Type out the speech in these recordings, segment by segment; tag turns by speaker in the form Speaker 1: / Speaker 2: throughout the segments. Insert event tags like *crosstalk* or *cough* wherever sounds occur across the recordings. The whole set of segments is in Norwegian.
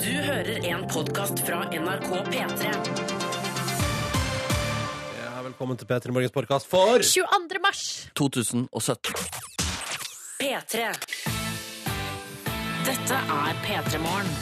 Speaker 1: Du hører en podkast fra NRK P3.
Speaker 2: Ja, velkommen til P3 Morgens podkast for
Speaker 3: 22. mars.
Speaker 4: 2017.
Speaker 1: P3. Dette er P3 Morgen.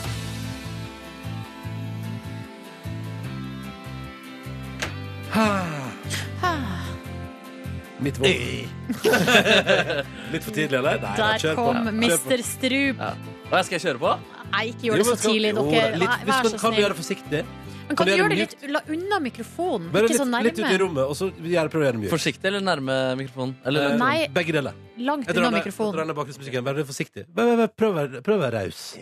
Speaker 2: mitt våpen. *laughs* Litt for tidlig, eller? Nei,
Speaker 3: Der
Speaker 2: kjør på.
Speaker 3: kom
Speaker 2: Kjør på.
Speaker 3: Mr. Strup.
Speaker 4: Ja. Hva skal jeg kjøre på?
Speaker 3: Nei, ikke gjør det
Speaker 2: Jo,
Speaker 3: så
Speaker 2: men skal-
Speaker 3: tidlig,
Speaker 2: jo,
Speaker 3: dere.
Speaker 2: litt-
Speaker 3: Nei,
Speaker 2: hvis
Speaker 3: Vær
Speaker 2: man
Speaker 3: så
Speaker 2: kan du gjøre
Speaker 3: snill.
Speaker 2: det forsiktig?
Speaker 3: Men kan du gjøre det
Speaker 2: mjukt?
Speaker 3: litt la unna mikrofonen?
Speaker 2: Bare
Speaker 3: Ikke så
Speaker 2: litt, litt ut i
Speaker 3: nærme.
Speaker 2: rommet, og så gjør prøv å gjøre det mye.
Speaker 4: Forsiktig eller nærme mikrofonen? Eller,
Speaker 2: Eh,
Speaker 3: Nei.
Speaker 2: Begge deler.
Speaker 3: Langt
Speaker 2: Jeg drar
Speaker 3: unna
Speaker 2: ned, jeg drar
Speaker 3: mikrofonen.
Speaker 2: ned bakgrunnsmusikken. Vær forsiktig. Vær- vær- vær- Prøv å være- prøv å være raus.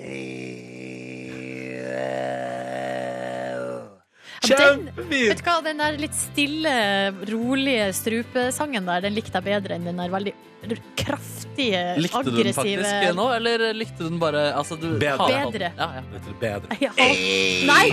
Speaker 3: Ja, den-
Speaker 2: Kjempefint!
Speaker 3: Vet du hva, Den der litt stille, rolige strupesangen der, den likte jeg bedre enn den der veldig r- kraftige,
Speaker 4: likte du den
Speaker 3: Eh,
Speaker 4: faktisk eh,
Speaker 3: aggressive
Speaker 4: nå, eller likte du den bare altså, du,
Speaker 2: Bedre.
Speaker 4: hatet
Speaker 3: Bedre.
Speaker 4: den. Ja, ja.
Speaker 2: Dette er bedre.
Speaker 3: Ja. Nei!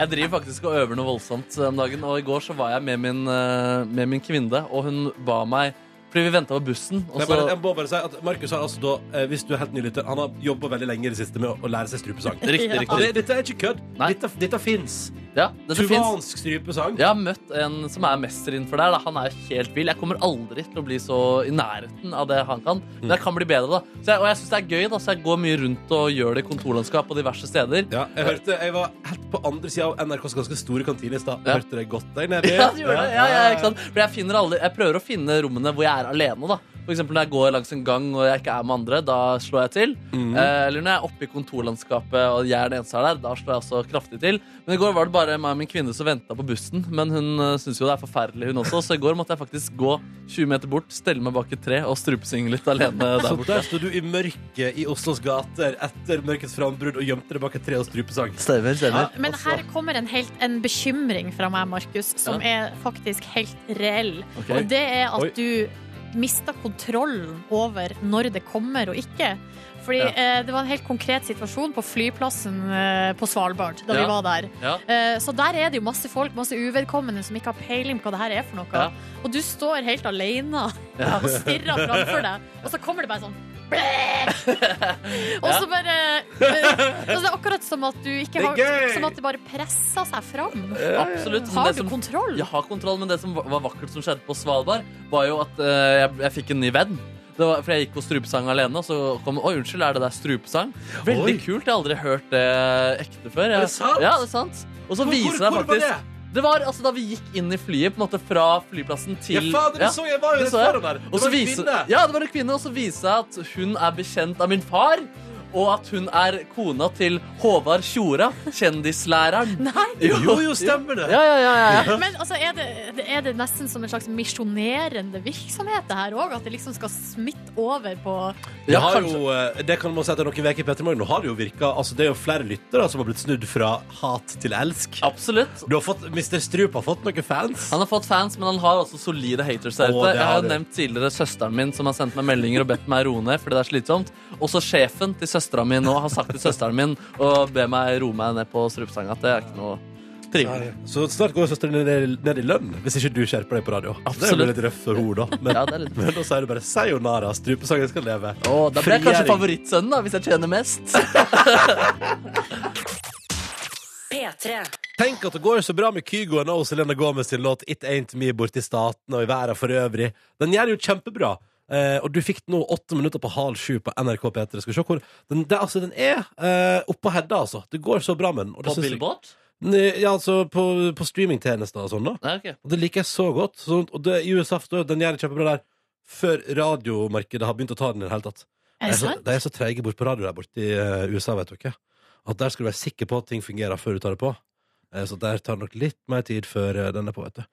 Speaker 4: Jeg driver faktisk og øver noe voldsomt eh, om dagen, og i går så var jeg med min, eh, med min kvinne, og hun ba meg Fordi vi venta på bussen, og
Speaker 2: Jeg,
Speaker 4: så
Speaker 2: bare,
Speaker 3: Altså-
Speaker 2: jeg må bare si at Markus har altså da, eh, hvis du er helt ny lytter, han har jobba veldig lenge i det siste med å, å lære seg strupesang.
Speaker 4: Riktig,
Speaker 3: Ja.
Speaker 2: Og det,
Speaker 4: riktig.
Speaker 2: dette er ikke kødd.
Speaker 4: Nei.
Speaker 2: Dette, dette fins.
Speaker 4: Ja, det fins.
Speaker 2: Tuvansk strupesang.
Speaker 4: Jeg har møtt en som er mester innenfor der. Da. Han er helt vill. Jeg kommer aldri til å bli så i nærheten av det han kan.
Speaker 2: Mm.
Speaker 4: Men jeg kan bli bedre, da. Så jeg, og jeg syns det er gøy, da, så jeg går mye rundt og gjør det i kontorlandskap og diverse steder.
Speaker 2: Ja, jeg hørte, jeg var helt på andre sida av NRKs ganske store kantine i stad.
Speaker 4: Ja.
Speaker 2: Hørte det godt der nede?
Speaker 4: *laughs* Ja, du gjør det. Ja, ja, ikke sant? For jeg, finner aldri, jeg prøver å finne rommene hvor jeg er alene. da For eksempel når jeg går langs en gang og jeg ikke er med andre, da slår jeg til. Eh, eller når jeg er oppe i kontorlandskapet og jeg er den eneste her der, da slår jeg også kraftig til. Men i går var det bare meg og min kvinne som venta på bussen, men hun uh, syns jo det er forferdelig, hun også, så i går måtte jeg faktisk gå 20 meter bort, stelle meg bak et tre og strupesynge litt *laughs* alene der
Speaker 2: Så
Speaker 4: borte.
Speaker 2: der sto du i mørket i Oslos gater etter mørkets frambrudd og gjemte deg bak et tre og strupesang. altså.
Speaker 4: Stemmer, stemmer. Altså.
Speaker 3: Men her kommer en, helt, en bekymring fra meg, Markus, som er faktisk helt reell.
Speaker 4: Ok.
Speaker 3: Og det er
Speaker 2: Oi.
Speaker 3: at du mister kontrollen over når det kommer og ikke. Fordi
Speaker 4: Ja.
Speaker 3: eh, det var en helt konkret situasjon på flyplassen eh, på Svalbard da
Speaker 4: Ja.
Speaker 3: vi var der.
Speaker 4: Ja.
Speaker 3: Eh, så der er det jo masse folk, masse uvedkommende som ikke har peiling på hva det her er for noe.
Speaker 4: Ja.
Speaker 3: Og du står helt alene *laughs* og stirrer framfor deg, og så kommer det bare sånn og så bare altså Det er akkurat som at du ikke
Speaker 2: Det er
Speaker 3: har
Speaker 2: gøy!
Speaker 3: Som at det bare presser seg fram. Har
Speaker 4: Absolutt. Det sånn-
Speaker 3: du
Speaker 4: som-
Speaker 3: kontroll?
Speaker 4: Jeg har kontroll, men det som var vakkert som skjedde på Svalbard, var jo at eh, jeg, jeg fikk en ny venn. Det var, for jeg gikk på strupesang alene, og så kom Oi, unnskyld, er det der strupesang? Veldig
Speaker 2: Oi.
Speaker 4: kult. Jeg har aldri hørt det ekte før. Jeg,
Speaker 2: Er det sant?
Speaker 4: Ja, det er sant. Og så
Speaker 2: Hvor-
Speaker 4: viser
Speaker 2: hvor-
Speaker 4: jeg
Speaker 2: hvor var
Speaker 4: faktisk Det var altså da vi gikk inn i flyet, på en måte fra flyplassen til
Speaker 2: Ja, fader, det
Speaker 4: Ja.
Speaker 2: så jeg var jo
Speaker 4: Det
Speaker 2: rett
Speaker 4: så jeg.
Speaker 2: foran der.
Speaker 4: Og
Speaker 2: Det
Speaker 4: så
Speaker 2: var en
Speaker 4: viser-
Speaker 2: kvinne.
Speaker 4: Ja, det var en kvinne, og så viser jeg at hun er bekjent av min far. Og at hun er kona til Håvard Tjora, kjendislæreren.
Speaker 3: Nei!
Speaker 2: Jo, jo, stemmer det.
Speaker 4: Ja, ja, ja, ja.
Speaker 3: Men altså, er det, det- er det nesten som en slags misjonerende virksomhet, det her òg? At det liksom skal smitte over på
Speaker 2: Det,
Speaker 4: Ja,
Speaker 2: har
Speaker 4: kanskje.
Speaker 2: jo, eh, det kan man si etter noen uker i Petter Morgen. Nå har det jo virka. Altså, det er jo flere lyttere som har blitt snudd fra hat til elsk.
Speaker 4: Absolutt.
Speaker 2: Du har fått, Mr. Strup har fått noen fans.
Speaker 4: Han har fått fans, men han har også solide haters der
Speaker 2: Å,
Speaker 4: ute.
Speaker 2: det
Speaker 4: Jeg har
Speaker 2: har du.
Speaker 4: jo nevnt tidligere søsteren min som har sendt meg meldinger og bedt meg roe ned fordi det er slitsomt. Også sjefen til søstera mi nå har sagt til søsteren min å be meg roe meg ned på strupesang at det er ikke noe trivelig.
Speaker 2: Så snart går søsteren din ned, ned i lønn hvis ikke du skjerper deg på radio. Det
Speaker 4: Absolutt.
Speaker 2: blir litt røft for henne, da. Men,
Speaker 4: *laughs* Ja, det er litt-
Speaker 2: men da sier du bare 'sayonara', strupesangen skal leve.
Speaker 4: Å, da blir jeg kanskje
Speaker 2: Frigjøring.
Speaker 4: favorittsønnen, da, hvis jeg tjener mest.
Speaker 1: P3.
Speaker 2: Tenk at det går så bra med Kygo og Selena Gomez sin låt It Ain't Me borti staten og i verden for øvrig. Den gjør det jo kjempebra. Eh, og du fikk nå åtte minutter på halv sju på NRK P3. Skal vi se hvor Den, det, altså, den er eh, oppå hedda, altså. Det går så bra med den. og det
Speaker 4: På
Speaker 2: synes jeg-
Speaker 4: Billboard?
Speaker 2: Nei, Ja, altså på, på streamingtjenester og sånn, da.
Speaker 4: Nei, ok.
Speaker 2: Og det liker jeg så godt. Sånn, og det, i USA for den gjør det kjempebra der før radiomarkedet har begynt å ta den i det hele tatt.
Speaker 3: Er det
Speaker 2: De
Speaker 4: Altså,
Speaker 2: er så,
Speaker 3: sant?
Speaker 2: de er så treige bort på radio der borte i eh, USA, vet dere. At der skal du være sikker på at ting fungerer før du tar det på. Eh, Så der tar det nok litt mer tid før eh, den er på, vet du.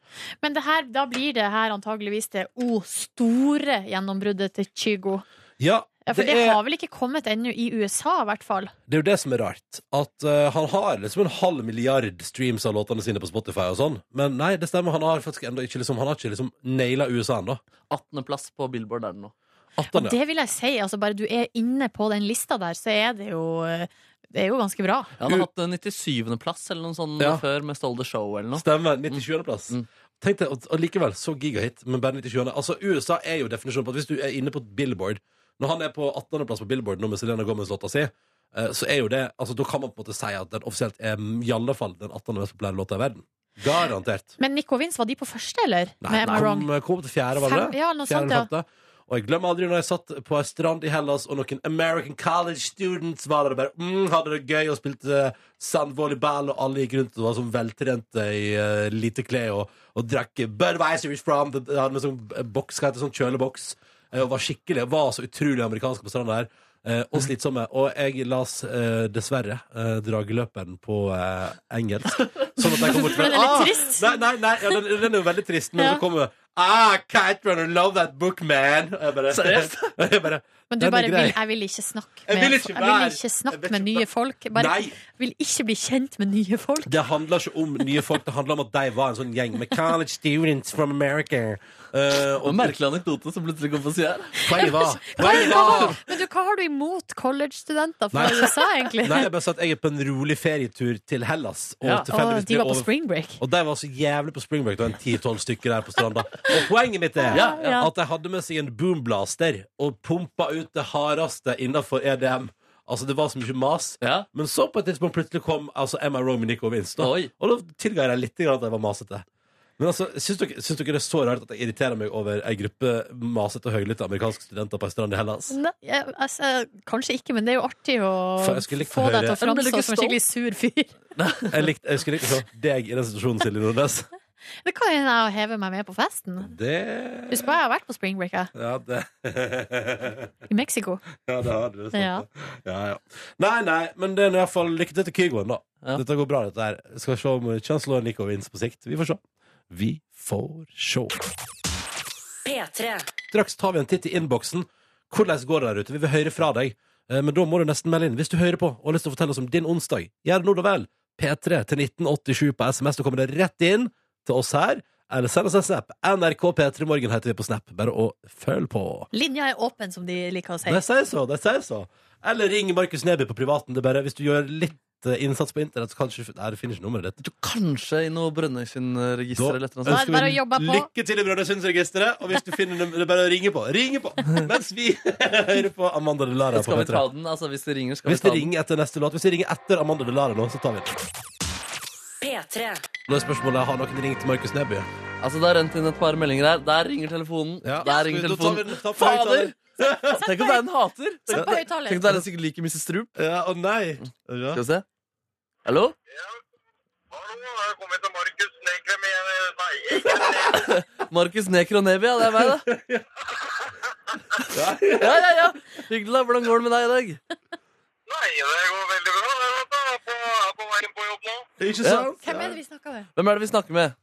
Speaker 3: Men det her, da blir det her antageligvis det o store gjennombruddet til Kygo.
Speaker 2: Ja,
Speaker 3: Ja, for
Speaker 2: det,
Speaker 3: det,
Speaker 2: er,
Speaker 3: har vel ikke kommet ennå i USA, i hvert fall.
Speaker 2: det er jo det som er rart. At eh, han har liksom en halv milliard streams av låtene sine på Spotify og sånn. Men nei, det stemmer. Han har faktisk enda ikke liksom, Han har ikke liksom naila USA ennå.
Speaker 4: 18.-plass på Billboard er det nå.
Speaker 2: 18, Sånn, ja.
Speaker 3: Det vil jeg si. Altså, bare du er inne på den lista der, så er det jo Det er jo ganske bra.
Speaker 4: Han har hatt 97.-plass eller noe sånt
Speaker 2: Ja.
Speaker 4: før med Stole the Show eller noe.
Speaker 2: Stemmer. 97.-plass.
Speaker 4: Mm.
Speaker 2: Tenk deg, og- og likevel så gigahit, men bare 97. Altså, USA er jo definisjonen på at hvis du er inne på Billboard, Når han er på 18.-plass på Billboard nå med Selena Gomez-låta si, eh, så er jo det altså, Da kan man på en måte si at den offisielt er mm, i alle fall den 18. mest populære låta i verden. Garantert.
Speaker 3: Men Nico Vince, var de på første, eller? Nei, Am I
Speaker 2: kom,
Speaker 3: wrong?
Speaker 2: kom til fjerde, var det
Speaker 3: Fem-
Speaker 2: det?
Speaker 3: ja, noe
Speaker 2: Fjerde
Speaker 3: sånt,
Speaker 2: eller femte. Og jeg glemmer aldri når jeg satt på en strand i Hellas, og noen American college students var der og bare mm, hadde det gøy og spilte eh, sandvolleyball, og alle gikk rundt og var sånn veltrente i eh, lite klær og, og drakk Budweiser is from Det hadde med sånn eh, boks, hva heter det, sånn kjøleboks, eh, og var skikkelig, var så utrolig amerikanske på stranda der. eh, Og
Speaker 3: Mhm.
Speaker 2: slitsomme. Og jeg las eh, dessverre eh, Drageløperen på eh, engelsk.
Speaker 3: *laughs*
Speaker 2: Sånn at jeg kom bort
Speaker 3: Den er litt trist.
Speaker 2: Nei, nei, nei ja, den, den er jo veldig trist, men
Speaker 3: Ja.
Speaker 2: så kommer det Ah, Kite Runner, love that book, man! *laughs* Og jeg bare,
Speaker 4: Seriøst?
Speaker 2: jeg bare,
Speaker 3: Men du
Speaker 2: den er
Speaker 3: bare vil,
Speaker 2: grei.
Speaker 3: jeg vil ikke snakke
Speaker 2: Jeg
Speaker 3: med,
Speaker 2: vil ikke
Speaker 3: jeg vil
Speaker 2: være-
Speaker 3: ikke snakke
Speaker 2: jeg vil
Speaker 3: med
Speaker 2: ikke
Speaker 3: nye
Speaker 2: være-
Speaker 3: folk. Bare,
Speaker 2: Nei.
Speaker 3: Vil ikke bli kjent med nye
Speaker 2: *laughs*
Speaker 3: folk.
Speaker 2: Det handler ikke om nye folk, det handler om at de var en sånn gjeng med college students from America. Eh, og
Speaker 4: Og en merkelig anekdote som plutselig kom på sida her.
Speaker 2: poenget var
Speaker 3: *laughs*
Speaker 2: Poenget
Speaker 3: Hva,
Speaker 2: var
Speaker 3: men du, hva har du imot college-studenter fra
Speaker 2: Nei.
Speaker 3: USA, egentlig? *laughs*
Speaker 2: Nei, jeg bare sa at jeg er på en rolig ferietur til Hellas. Og
Speaker 4: Ja.
Speaker 3: Å,
Speaker 2: tilfeldigvis
Speaker 3: de
Speaker 2: blir
Speaker 3: var på
Speaker 2: over-
Speaker 3: spring break.
Speaker 2: Og de var så jævlig på springbreak. Det var en 10-12 stykker der på stranda. Og poenget mitt er
Speaker 4: Ja,
Speaker 3: ja.
Speaker 2: at de hadde med seg en boomblaster og pumpa ut det hardeste innafor EDM. Altså, det var så mye mas.
Speaker 4: Ja.
Speaker 2: Men så på et tidspunkt plutselig kom altså, Emma Roe med Nico Vince. Da.
Speaker 4: Oi.
Speaker 2: Og da tilga jeg litt grann at jeg var masete. Men altså, syns dere, syns dere det er så rart at jeg irriterer meg over ei gruppe masete og høylytte amerikanske studenter på ei strand i
Speaker 4: *laughs*
Speaker 2: Hellas?
Speaker 3: Nei, jeg, altså, kanskje ikke, men det er jo artig å
Speaker 2: For jeg skulle likt å
Speaker 3: få deg
Speaker 2: høre-
Speaker 3: til å
Speaker 4: Men blir du
Speaker 3: framstå
Speaker 4: ikke
Speaker 3: som en skikkelig sur fyr. *laughs*
Speaker 2: Jeg, likte, jeg skulle ikke se deg i den situasjonen, Silje Nordnes.
Speaker 3: Det kan hende jeg hever meg med på festen.
Speaker 2: Det
Speaker 3: Husk på, jeg har vært på spring break, jeg.
Speaker 2: Ja, det *laughs*
Speaker 3: I Mexico.
Speaker 2: Ja, det hadde du
Speaker 3: Ja.
Speaker 2: sant. det. Ja, ja. Nei, nei, men det er nå i hvert fall lykke til til Kygoen, da.
Speaker 4: Ja.
Speaker 2: Dette går bra, dette her. Skal se om Chancellor Nico vinner på sikt. Vi får se. Vi får se.
Speaker 1: P3.
Speaker 2: Straks tar vi en titt i innboksen. Hvordan går det der ute? Vi vil høre fra deg. Eh, Men da må du nesten melde inn. Hvis du hører på og har lyst til å fortelle oss om din onsdag, gjør det nå da vel. P3 til 1987 på SMS, da kommer det rett inn til oss her. Eller send oss en snap. NRK P3 Morgen heter vi på snap. Bare å følge på.
Speaker 3: Linja er åpen, som de liker å si.
Speaker 2: De sier så, de sier så. Eller ring Markus Neby på privaten. Det er bare, hvis du gjør litt eh, innsats på internett, så kanskje Nei, du finner ikke nummeret ditt.
Speaker 4: Du, kanskje i noe Brønnøysundregister eller et eller annet sånt.
Speaker 3: Da er det bare å jobbe på.
Speaker 2: lykke til i Brønnøysundsregisteret, og hvis du finner nummeret, det er bare å ringe på. Ringe
Speaker 4: *laughs*
Speaker 2: på! Mens vi *laughs* hører på Amanda Delara på
Speaker 4: Skal vi ta
Speaker 2: P3.
Speaker 4: den? Altså, hvis det ringer, skal
Speaker 2: Hvis
Speaker 4: vi
Speaker 2: det
Speaker 4: ta den.
Speaker 2: ringer etter neste låt, hvis det ringer etter Amanda Delara nå, så tar vi den.
Speaker 1: P3.
Speaker 2: Da er spørsmålet har noen ringt Markus Neby.
Speaker 4: Altså, det har rent inn et par meldinger her. Der ringer telefonen.
Speaker 2: Ja. Skal vi-
Speaker 4: Der ringer
Speaker 2: da tar vi
Speaker 4: telefonen.
Speaker 2: den- ta på
Speaker 4: Fader!
Speaker 2: høyttaler.
Speaker 4: Tenk om det er en hater! Tenk
Speaker 3: Sett på høyttaler.
Speaker 4: tenk om det er en sikkert like Mrs. Strup.
Speaker 2: Ja, å nei! Ja.
Speaker 4: Skal vi se. Hallo?
Speaker 5: Hallo, jeg har kommet til Markus Nekre med Nei,
Speaker 4: Markus Nekro Neby, ja, det er meg, da. Ja, ja, ja. Hyggelig, da. Hvordan går det med deg i dag?
Speaker 5: nei, det går veldig bra. det, vet du. Jeg er på, jeg er på veien på jobb nå.
Speaker 2: Ikke
Speaker 4: Ja.
Speaker 2: sant?
Speaker 3: Hvem er det vi snakker med?
Speaker 4: Hvem er det vi snakker med?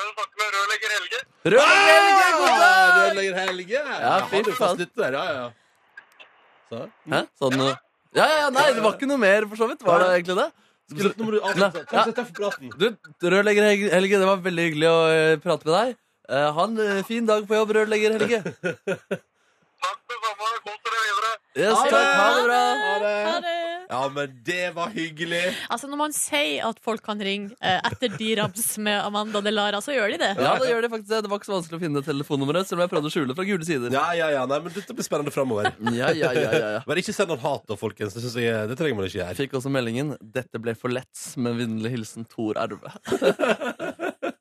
Speaker 5: Jeg snakker med rørlegger Helge.
Speaker 4: Rød Helge, god dag!
Speaker 2: Rørlegger Helge! Ja,
Speaker 4: fy
Speaker 2: han er
Speaker 4: faen.
Speaker 2: fast ute der, ja, ja. Så.
Speaker 4: Hæ? Sånn noe Ja, ja, ja, nei, det var ikke noe mer, for så vidt. Var det egentlig det?
Speaker 2: Skulle, nå må du avslutte.
Speaker 4: Ja.
Speaker 2: Takk for praten.
Speaker 4: Du, rørlegger Helge, Helge, det var veldig hyggelig å eh, prate med deg. Eh, ha en eh, fin dag på jobb, rørlegger Helge.
Speaker 5: Takk det samme. Godt dere videre.
Speaker 4: Yes,
Speaker 2: Ha det!
Speaker 4: takk, ha det bra.
Speaker 3: Ha det!
Speaker 2: Ja, men det var hyggelig.
Speaker 3: Altså Når man sier at folk kan ringe eh, etter Dirabs med Amanda Delara, så gjør de det.
Speaker 4: Ja, det gjør det faktisk. det. Det var ikke så vanskelig å finne telefonnummeret, selv om jeg prøvde å skjule det fra gule sider.
Speaker 2: Ja, ja, ja, nei, men Dette blir spennende framover.
Speaker 4: ja, ja, ja, ja, ja.
Speaker 2: Bare ikke send noen hat, da, folkens. Det, synes jeg, det trenger man ikke gjøre.
Speaker 4: Fikk også meldingen 'Dette ble for lett', med vennlig hilsen Tor Arve.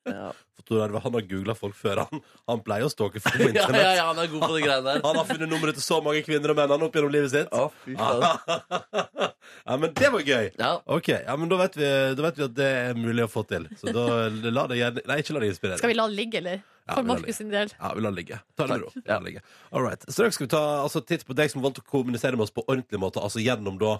Speaker 4: ja.
Speaker 2: For Tor Arve han har googla folk før. Han, han pleier å stalke folk på
Speaker 4: *laughs* ja,
Speaker 2: internett.
Speaker 4: ja, ja, han er god på de greiene der.
Speaker 2: Han har funnet nummeret til så mange kvinner og menn han opp gjennom livet sitt.
Speaker 4: Å, fy faen.
Speaker 2: *laughs* Ja, men det var gøy.
Speaker 4: Ja.
Speaker 2: Ok, ja, men da vet, vi, da vet vi at det er mulig å få til. Så da la det gjerne Nei, ikke la deg inspirere.
Speaker 3: Skal vi la det ligge, eller?
Speaker 2: Ja, vi
Speaker 3: For
Speaker 2: lar det
Speaker 3: Markus sin del.
Speaker 2: Ja, vi lar det ligge. Ta det med ro.
Speaker 4: Takk.
Speaker 2: Ja. ligge. All right. Straks skal vi ta altså, titt på deg som valgte å kommunisere med oss på ordentlig måte, altså gjennom da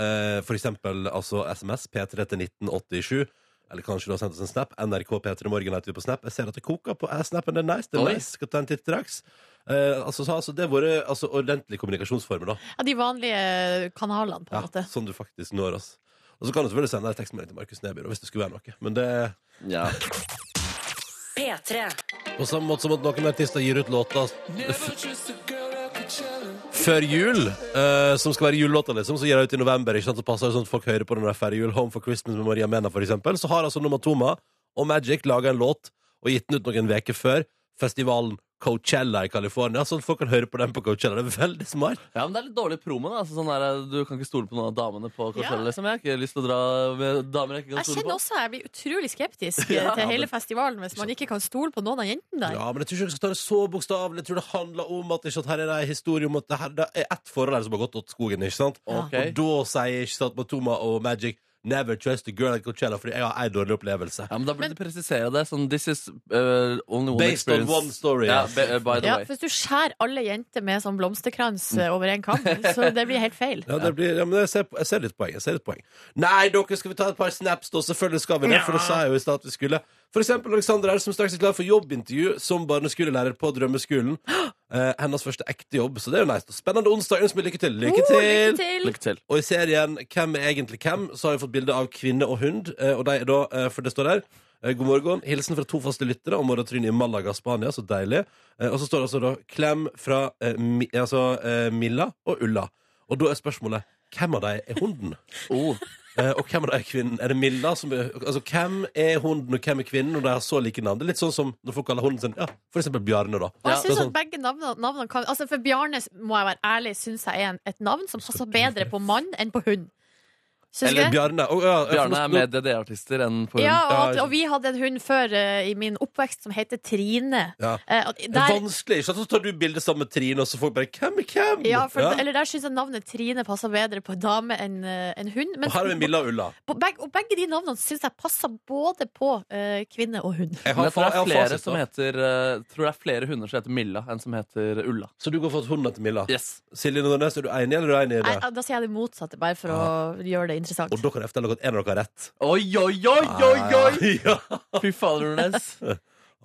Speaker 2: eh, for eksempel altså, SMS P3 til 1987. Eller kanskje du har sendt oss en snap. NRK P3 Morgen heter vi på snap. Jeg ser at det koker på eh, snappen. Det er nice. det er
Speaker 4: Oi.
Speaker 2: nice. Skal ta en titt straks. Eh, altså, så, har altså, det har vært altså, ordentlige kommunikasjonsformer, da.
Speaker 3: Ja, De vanlige eh, kanalene, på
Speaker 2: Ja,
Speaker 3: en måte.
Speaker 2: sånn du faktisk når oss. Og så kan du selvfølgelig sende en tekstmelding til Markus Neby da, hvis det skulle være noe. Men det
Speaker 4: ja.
Speaker 1: P3.
Speaker 2: På samme måte som at noen artister gir ut låter f- før jul, eh, som skal være julelåter, liksom, så gir de ut i november. Ikke sant? Så passer det sånn at folk hører på den der færre jul. Home for Christmas med Maria Mena, for eksempel. Så har altså Nomatoma og Magic laga en låt og gitt den ut noen uker før festivalen Coachella i California, sånn at folk kan høre på den på Coachella. Det er veldig smart.
Speaker 4: Ja, men Det er litt dårlig promo. da altså, sånn der, Du kan ikke stole på noen av damene på Coachella.
Speaker 3: Ja.
Speaker 4: Liksom. Jeg har ikke lyst til å dra med damer jeg ikke kan
Speaker 3: Jeg
Speaker 4: stole
Speaker 3: kjenner
Speaker 4: på.
Speaker 3: også jeg blir utrolig skeptisk
Speaker 4: Ja,
Speaker 3: eh, til
Speaker 4: men-
Speaker 3: hele festivalen hvis man ikke kan stole på noen av jentene der.
Speaker 2: Ja, men jeg tror ikke jeg skal ta det så bokstavelig. Jeg tror det handler om at, ikke, at her er det en historie om at det, her, det er ett forhold her som har gått åt skogen, ikke sant?
Speaker 4: Ok.
Speaker 2: Og da sier ikke sant Matoma og Magic Never trust a girl at Coachella fordi jeg har ei dårlig opplevelse.
Speaker 4: Ja, men Da burde
Speaker 3: Men-
Speaker 4: du presisere det. Sånn, This is uh, only one
Speaker 2: Based on
Speaker 4: experience.
Speaker 2: one story,
Speaker 4: Ja,
Speaker 2: yes.
Speaker 4: be, uh, by the
Speaker 3: Ja,
Speaker 4: way.
Speaker 3: hvis du skjærer alle jenter med sånn blomsterkrans eh, over
Speaker 2: *laughs*
Speaker 3: en kam, så det blir helt feil.
Speaker 2: Ja, det blir, ja, men jeg ser, jeg ser litt poeng. Jeg ser litt poeng. Nei, dere, skal vi ta et par snaps, da? Selvfølgelig skal vi det. For det sa jeg jo i stad at vi skulle. For eksempel Alexandra her, som straks er klar for jobbintervju som barneskolelærer på Drømmeskolen. Eh, hennes første ekte jobb, så det er jo nice. Spennende onsdag. Ønsker meg lykke til. Lykke
Speaker 3: Oh,
Speaker 2: til!
Speaker 3: lykke til!
Speaker 4: Lykke til.
Speaker 2: Og i serien Hvem er egentlig hvem? Så har vi fått bilde av kvinne og hund. eh, Og de er da, eh, for det står der eh, God morgen. Hilsen fra to faste lyttere om Tryne i Malaga, Spania. Så deilig. Eh, Og så står det altså da klem fra eh, Mi, altså, eh, Milla og Ulla. Og da er spørsmålet hvem av dem er hunden?
Speaker 4: *laughs* Oh.
Speaker 2: Eh, Og hvem av dem er kvinnen? Er det Milla som er Altså, hvem er hunden, og hvem er kvinnen? Og de har så like navn. Det er litt sånn som når folk kaller hunden sin Ja, for eksempel Bjarne, da.
Speaker 3: Og
Speaker 4: Ja,
Speaker 3: jeg
Speaker 2: det
Speaker 3: synes
Speaker 2: er sånn-
Speaker 3: at begge navnene, navnene kan, altså For Bjarne må jeg være ærlig Synes jeg er en, et navn som passer bedre på mann enn på hund Synes du
Speaker 2: Eller
Speaker 3: ikke?
Speaker 2: Bjarne. Å, ja, for
Speaker 4: Bjarne
Speaker 2: nå-
Speaker 4: er mer DDE-artister enn på
Speaker 3: Ja, og,
Speaker 2: Ja,
Speaker 3: at, og vi hadde en hund før eh, i min oppvekst som heter Trine
Speaker 2: Ja. sånn
Speaker 3: Eh, og
Speaker 2: Det er
Speaker 3: der,
Speaker 2: vanskelig. ikke sant? Så tar du bilde sammen med Trine, og så folk bare Hvem er hvem?
Speaker 3: ja, for,
Speaker 2: Ja.
Speaker 3: Eller der synes jeg navnet Trine passer bedre på dame enn eh, en hund
Speaker 2: Og
Speaker 3: mens-
Speaker 2: her er vi Milla og Ulla.
Speaker 3: på begge, Og begge de navnene synes jeg passer både på eh, kvinne og hund
Speaker 2: Jeg
Speaker 4: Men jeg tror det
Speaker 2: fa-
Speaker 4: er
Speaker 2: jeg har
Speaker 4: flere
Speaker 2: fasit,
Speaker 4: som
Speaker 2: da.
Speaker 4: heter uh, Tror det er flere hunder som heter Milla, enn som heter Ulla.
Speaker 2: Så du går for at hunden heter Milla?
Speaker 4: Yes
Speaker 2: Silje Nordnes, er du enig eller er du enig i
Speaker 3: Nei, altså-
Speaker 2: det?
Speaker 3: Da sier jeg det motsatte bare for å gjøre det interessant
Speaker 2: Og da kan jeg fortelle dere at en av dere har rett.
Speaker 4: Oi, oi, oi, oi, oi!
Speaker 2: *laughs* Ja.
Speaker 4: Ah, *laughs* Fy fader, Nordnes.
Speaker 2: *laughs*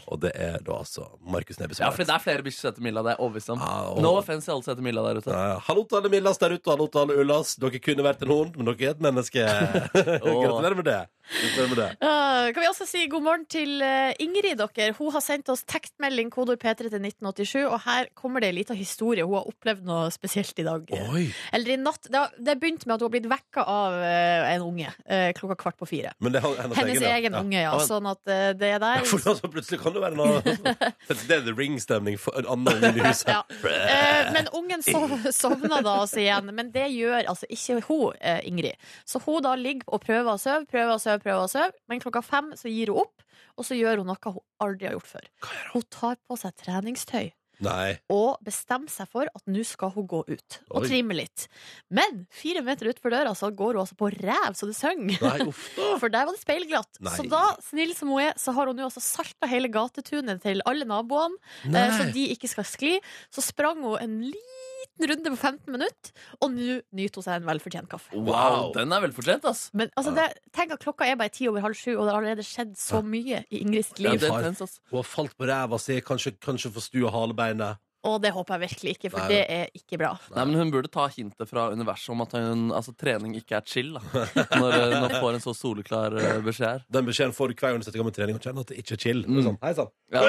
Speaker 2: Og det er da altså Markus Neby som
Speaker 4: Ja,
Speaker 2: har
Speaker 4: for
Speaker 2: rett.
Speaker 4: det er flere bikkjer som heter Milla. Det er jeg overbevist om.
Speaker 2: Ja, og-
Speaker 4: No offense til alle som heter Milla der ute.
Speaker 2: Ah, oh. Ja, ja. Hallo til alle Millas der ute, og hallo til alle Ullas. Dere kunne vært en hund, men dere er et
Speaker 4: *laughs*
Speaker 2: menneske. *laughs* Gratulerer med det. Gratulerer med det.
Speaker 3: Uh, kan vi også si god morgen til eh, Ingrid, dere. Hun har sendt oss tekstmelding, kodord P3 til 1987, og her kommer det en liten historie. Hun har opplevd noe spesielt i dag.
Speaker 2: Oi.
Speaker 3: Eller i natt. Det har- det har begynt med at hun har blitt vekka av eh, en unge eh, klokka kvart på fire.
Speaker 2: Men det er hennes,
Speaker 3: Hennes
Speaker 2: ja.
Speaker 3: egen
Speaker 2: Ja.
Speaker 3: unge, ja.
Speaker 4: Ja, men-
Speaker 3: Sånn at eh, det er der.
Speaker 2: For altså, plutselig kan det være noe
Speaker 3: *laughs*
Speaker 2: Det er The Ring-stemning for en annen unge i huset.
Speaker 3: Ja. Eh, men ungen sov, sovna da altså igjen. Men det gjør altså ikke hun, eh, Ingrid. Så hun da ligger og prøver å sove, prøver å sove, prøver å sove. Men klokka fem så gir hun opp, og så gjør hun noe hun aldri har gjort før. Hun tar på seg treningstøy
Speaker 2: Nei.
Speaker 3: og bestemmer seg for at nå skal hun gå ut og
Speaker 2: Oi.
Speaker 3: trimme litt. Men fire meter utfor døra så går hun altså på ræv så det synger.
Speaker 2: Nei, uff da.
Speaker 3: For der var det speilglatt.
Speaker 2: Nei.
Speaker 3: Så da, snill som hun er, så har hun jo altså salta hele gatetunet til alle naboene.
Speaker 2: Nei.
Speaker 3: Eh, så de ikke skal skli. Så sprang hun en liten runde på 15 minutter, og nå nyter hun seg en velfortjent kaffe.
Speaker 4: Wow, den er velfortjent, ass.
Speaker 3: Men altså, det, tenk at klokka er bare ti over halv sju, og det har allerede skjedd så mye i Ingrids
Speaker 4: Ja,
Speaker 3: liv.
Speaker 4: det er intens, ass.
Speaker 2: Hun har falt på ræva si, kanskje, kanskje forstua halebeinet.
Speaker 3: Og det håper jeg virkelig ikke, for
Speaker 2: Nei.
Speaker 3: det er ikke bra.
Speaker 4: Nei, men Hun burde ta hintet fra universet om at hun, altså, trening ikke er chill. da
Speaker 2: *laughs*
Speaker 4: Når eh, hun får en så soleklar eh, beskjed her.
Speaker 2: Den beskjeden får du hver gang du setter i gang med trening og kjenner at det ikke er chill.
Speaker 4: Mm.
Speaker 2: Sånn, Hei sann.
Speaker 4: Ja.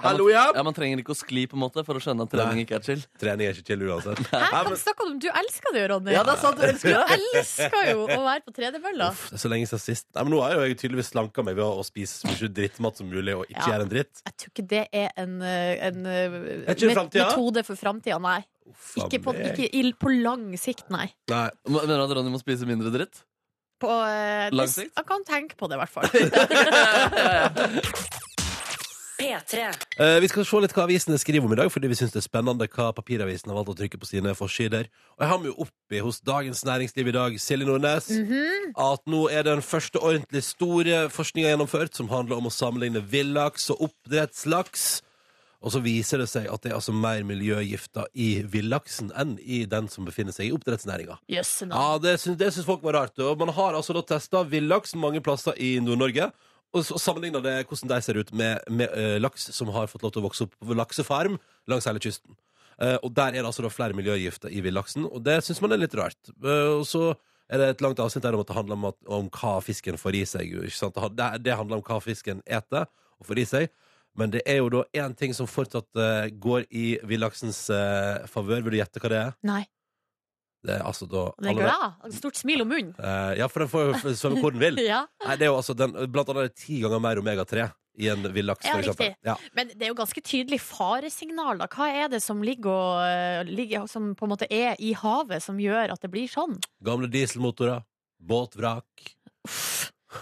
Speaker 2: Hallo, ja.
Speaker 4: Ja, Man trenger ikke å skli på en måte for å skjønne at trening
Speaker 2: Nei.
Speaker 4: ikke er chill.
Speaker 2: Trening er ikke chill uansett.
Speaker 3: Hæ,
Speaker 2: Nei,
Speaker 3: hva
Speaker 2: men-
Speaker 3: snakker du om? Du elsker det jo, Ronny.
Speaker 4: Ja, det er sant, du elsker
Speaker 3: Du elsker jo å være på tredemølla.
Speaker 2: Uff, det er så lenge siden sist. Nei, men nå har jeg jo jeg tydeligvis slanka meg ved å å spise så mye drittmat som mulig og ikke
Speaker 3: Ja.
Speaker 2: gjøre en dritt.
Speaker 3: Jeg tror ikke det er en, eh, en eh,
Speaker 2: ikke det
Speaker 3: met-
Speaker 2: framtida?
Speaker 3: metode for framtida, nei.
Speaker 2: Uff,
Speaker 3: Ikke på,
Speaker 2: meg.
Speaker 3: ikke i, på lang sikt, nei.
Speaker 2: Nei.
Speaker 4: Mener du at Ronny må spise mindre dritt?
Speaker 3: På, eh,
Speaker 4: Lang
Speaker 3: det-
Speaker 4: sikt?
Speaker 3: Jeg kan tenke på det, i hvert
Speaker 4: *laughs*
Speaker 3: fall.
Speaker 1: P3.
Speaker 2: Eh, vi skal se litt hva avisene skriver om i dag, fordi vi syns det er spennende hva papiravisene har valgt å trykke på sine forsider. Og jeg har meg jo oppi hos Dagens Næringsliv i dag, Silje Nordnes, at nå er den første ordentlig store forskninga gjennomført, som handler om å sammenligne villaks og oppdrettslaks. Og så viser det seg at det er altså mer miljøgifter i villaksen enn i den som befinner seg i oppdrettsnæringa.
Speaker 3: Jøss, nå.
Speaker 2: Ja, det syns, det syns folk var rart. Og man har altså da testa villaks mange plasser i Nord-Norge. Og så sammenligna det hvordan de ser ut med, med eh, laks som har fått lov til å vokse opp på laksefarm langs hele kysten. Eh, og der er det altså da flere miljøgifter i villaksen, og det syns man er litt rart. Eh, og så er det et langt avsnitt der om at det handler om, at, om hva fisken får i seg. jo, Ikke sant? Det, ha- det handler om hva fisken eter og får i seg. Men det er jo da én ting som fortsatt eh, går i villaksens eh, favør. Vil du gjette hva det er?
Speaker 3: Nei.
Speaker 2: Det er altså da
Speaker 3: Den er glad. Stort smil om munnen.
Speaker 2: Eh, ja, for den får jo svømme hvor den vil.
Speaker 3: *laughs* Ja.
Speaker 2: Nei, det er jo altså den, blant annet er det ti ganger mer omega-3 i en villaks,
Speaker 3: Ja,
Speaker 2: for eksempel.
Speaker 3: riktig.
Speaker 2: Ja.
Speaker 3: Men det er jo ganske tydelig faresignal, da. Hva er det som ligger og eh, ligger, Som på en måte er i havet, som gjør at det blir sånn?
Speaker 2: *laughs* Gamle dieselmotorer, båtvrak,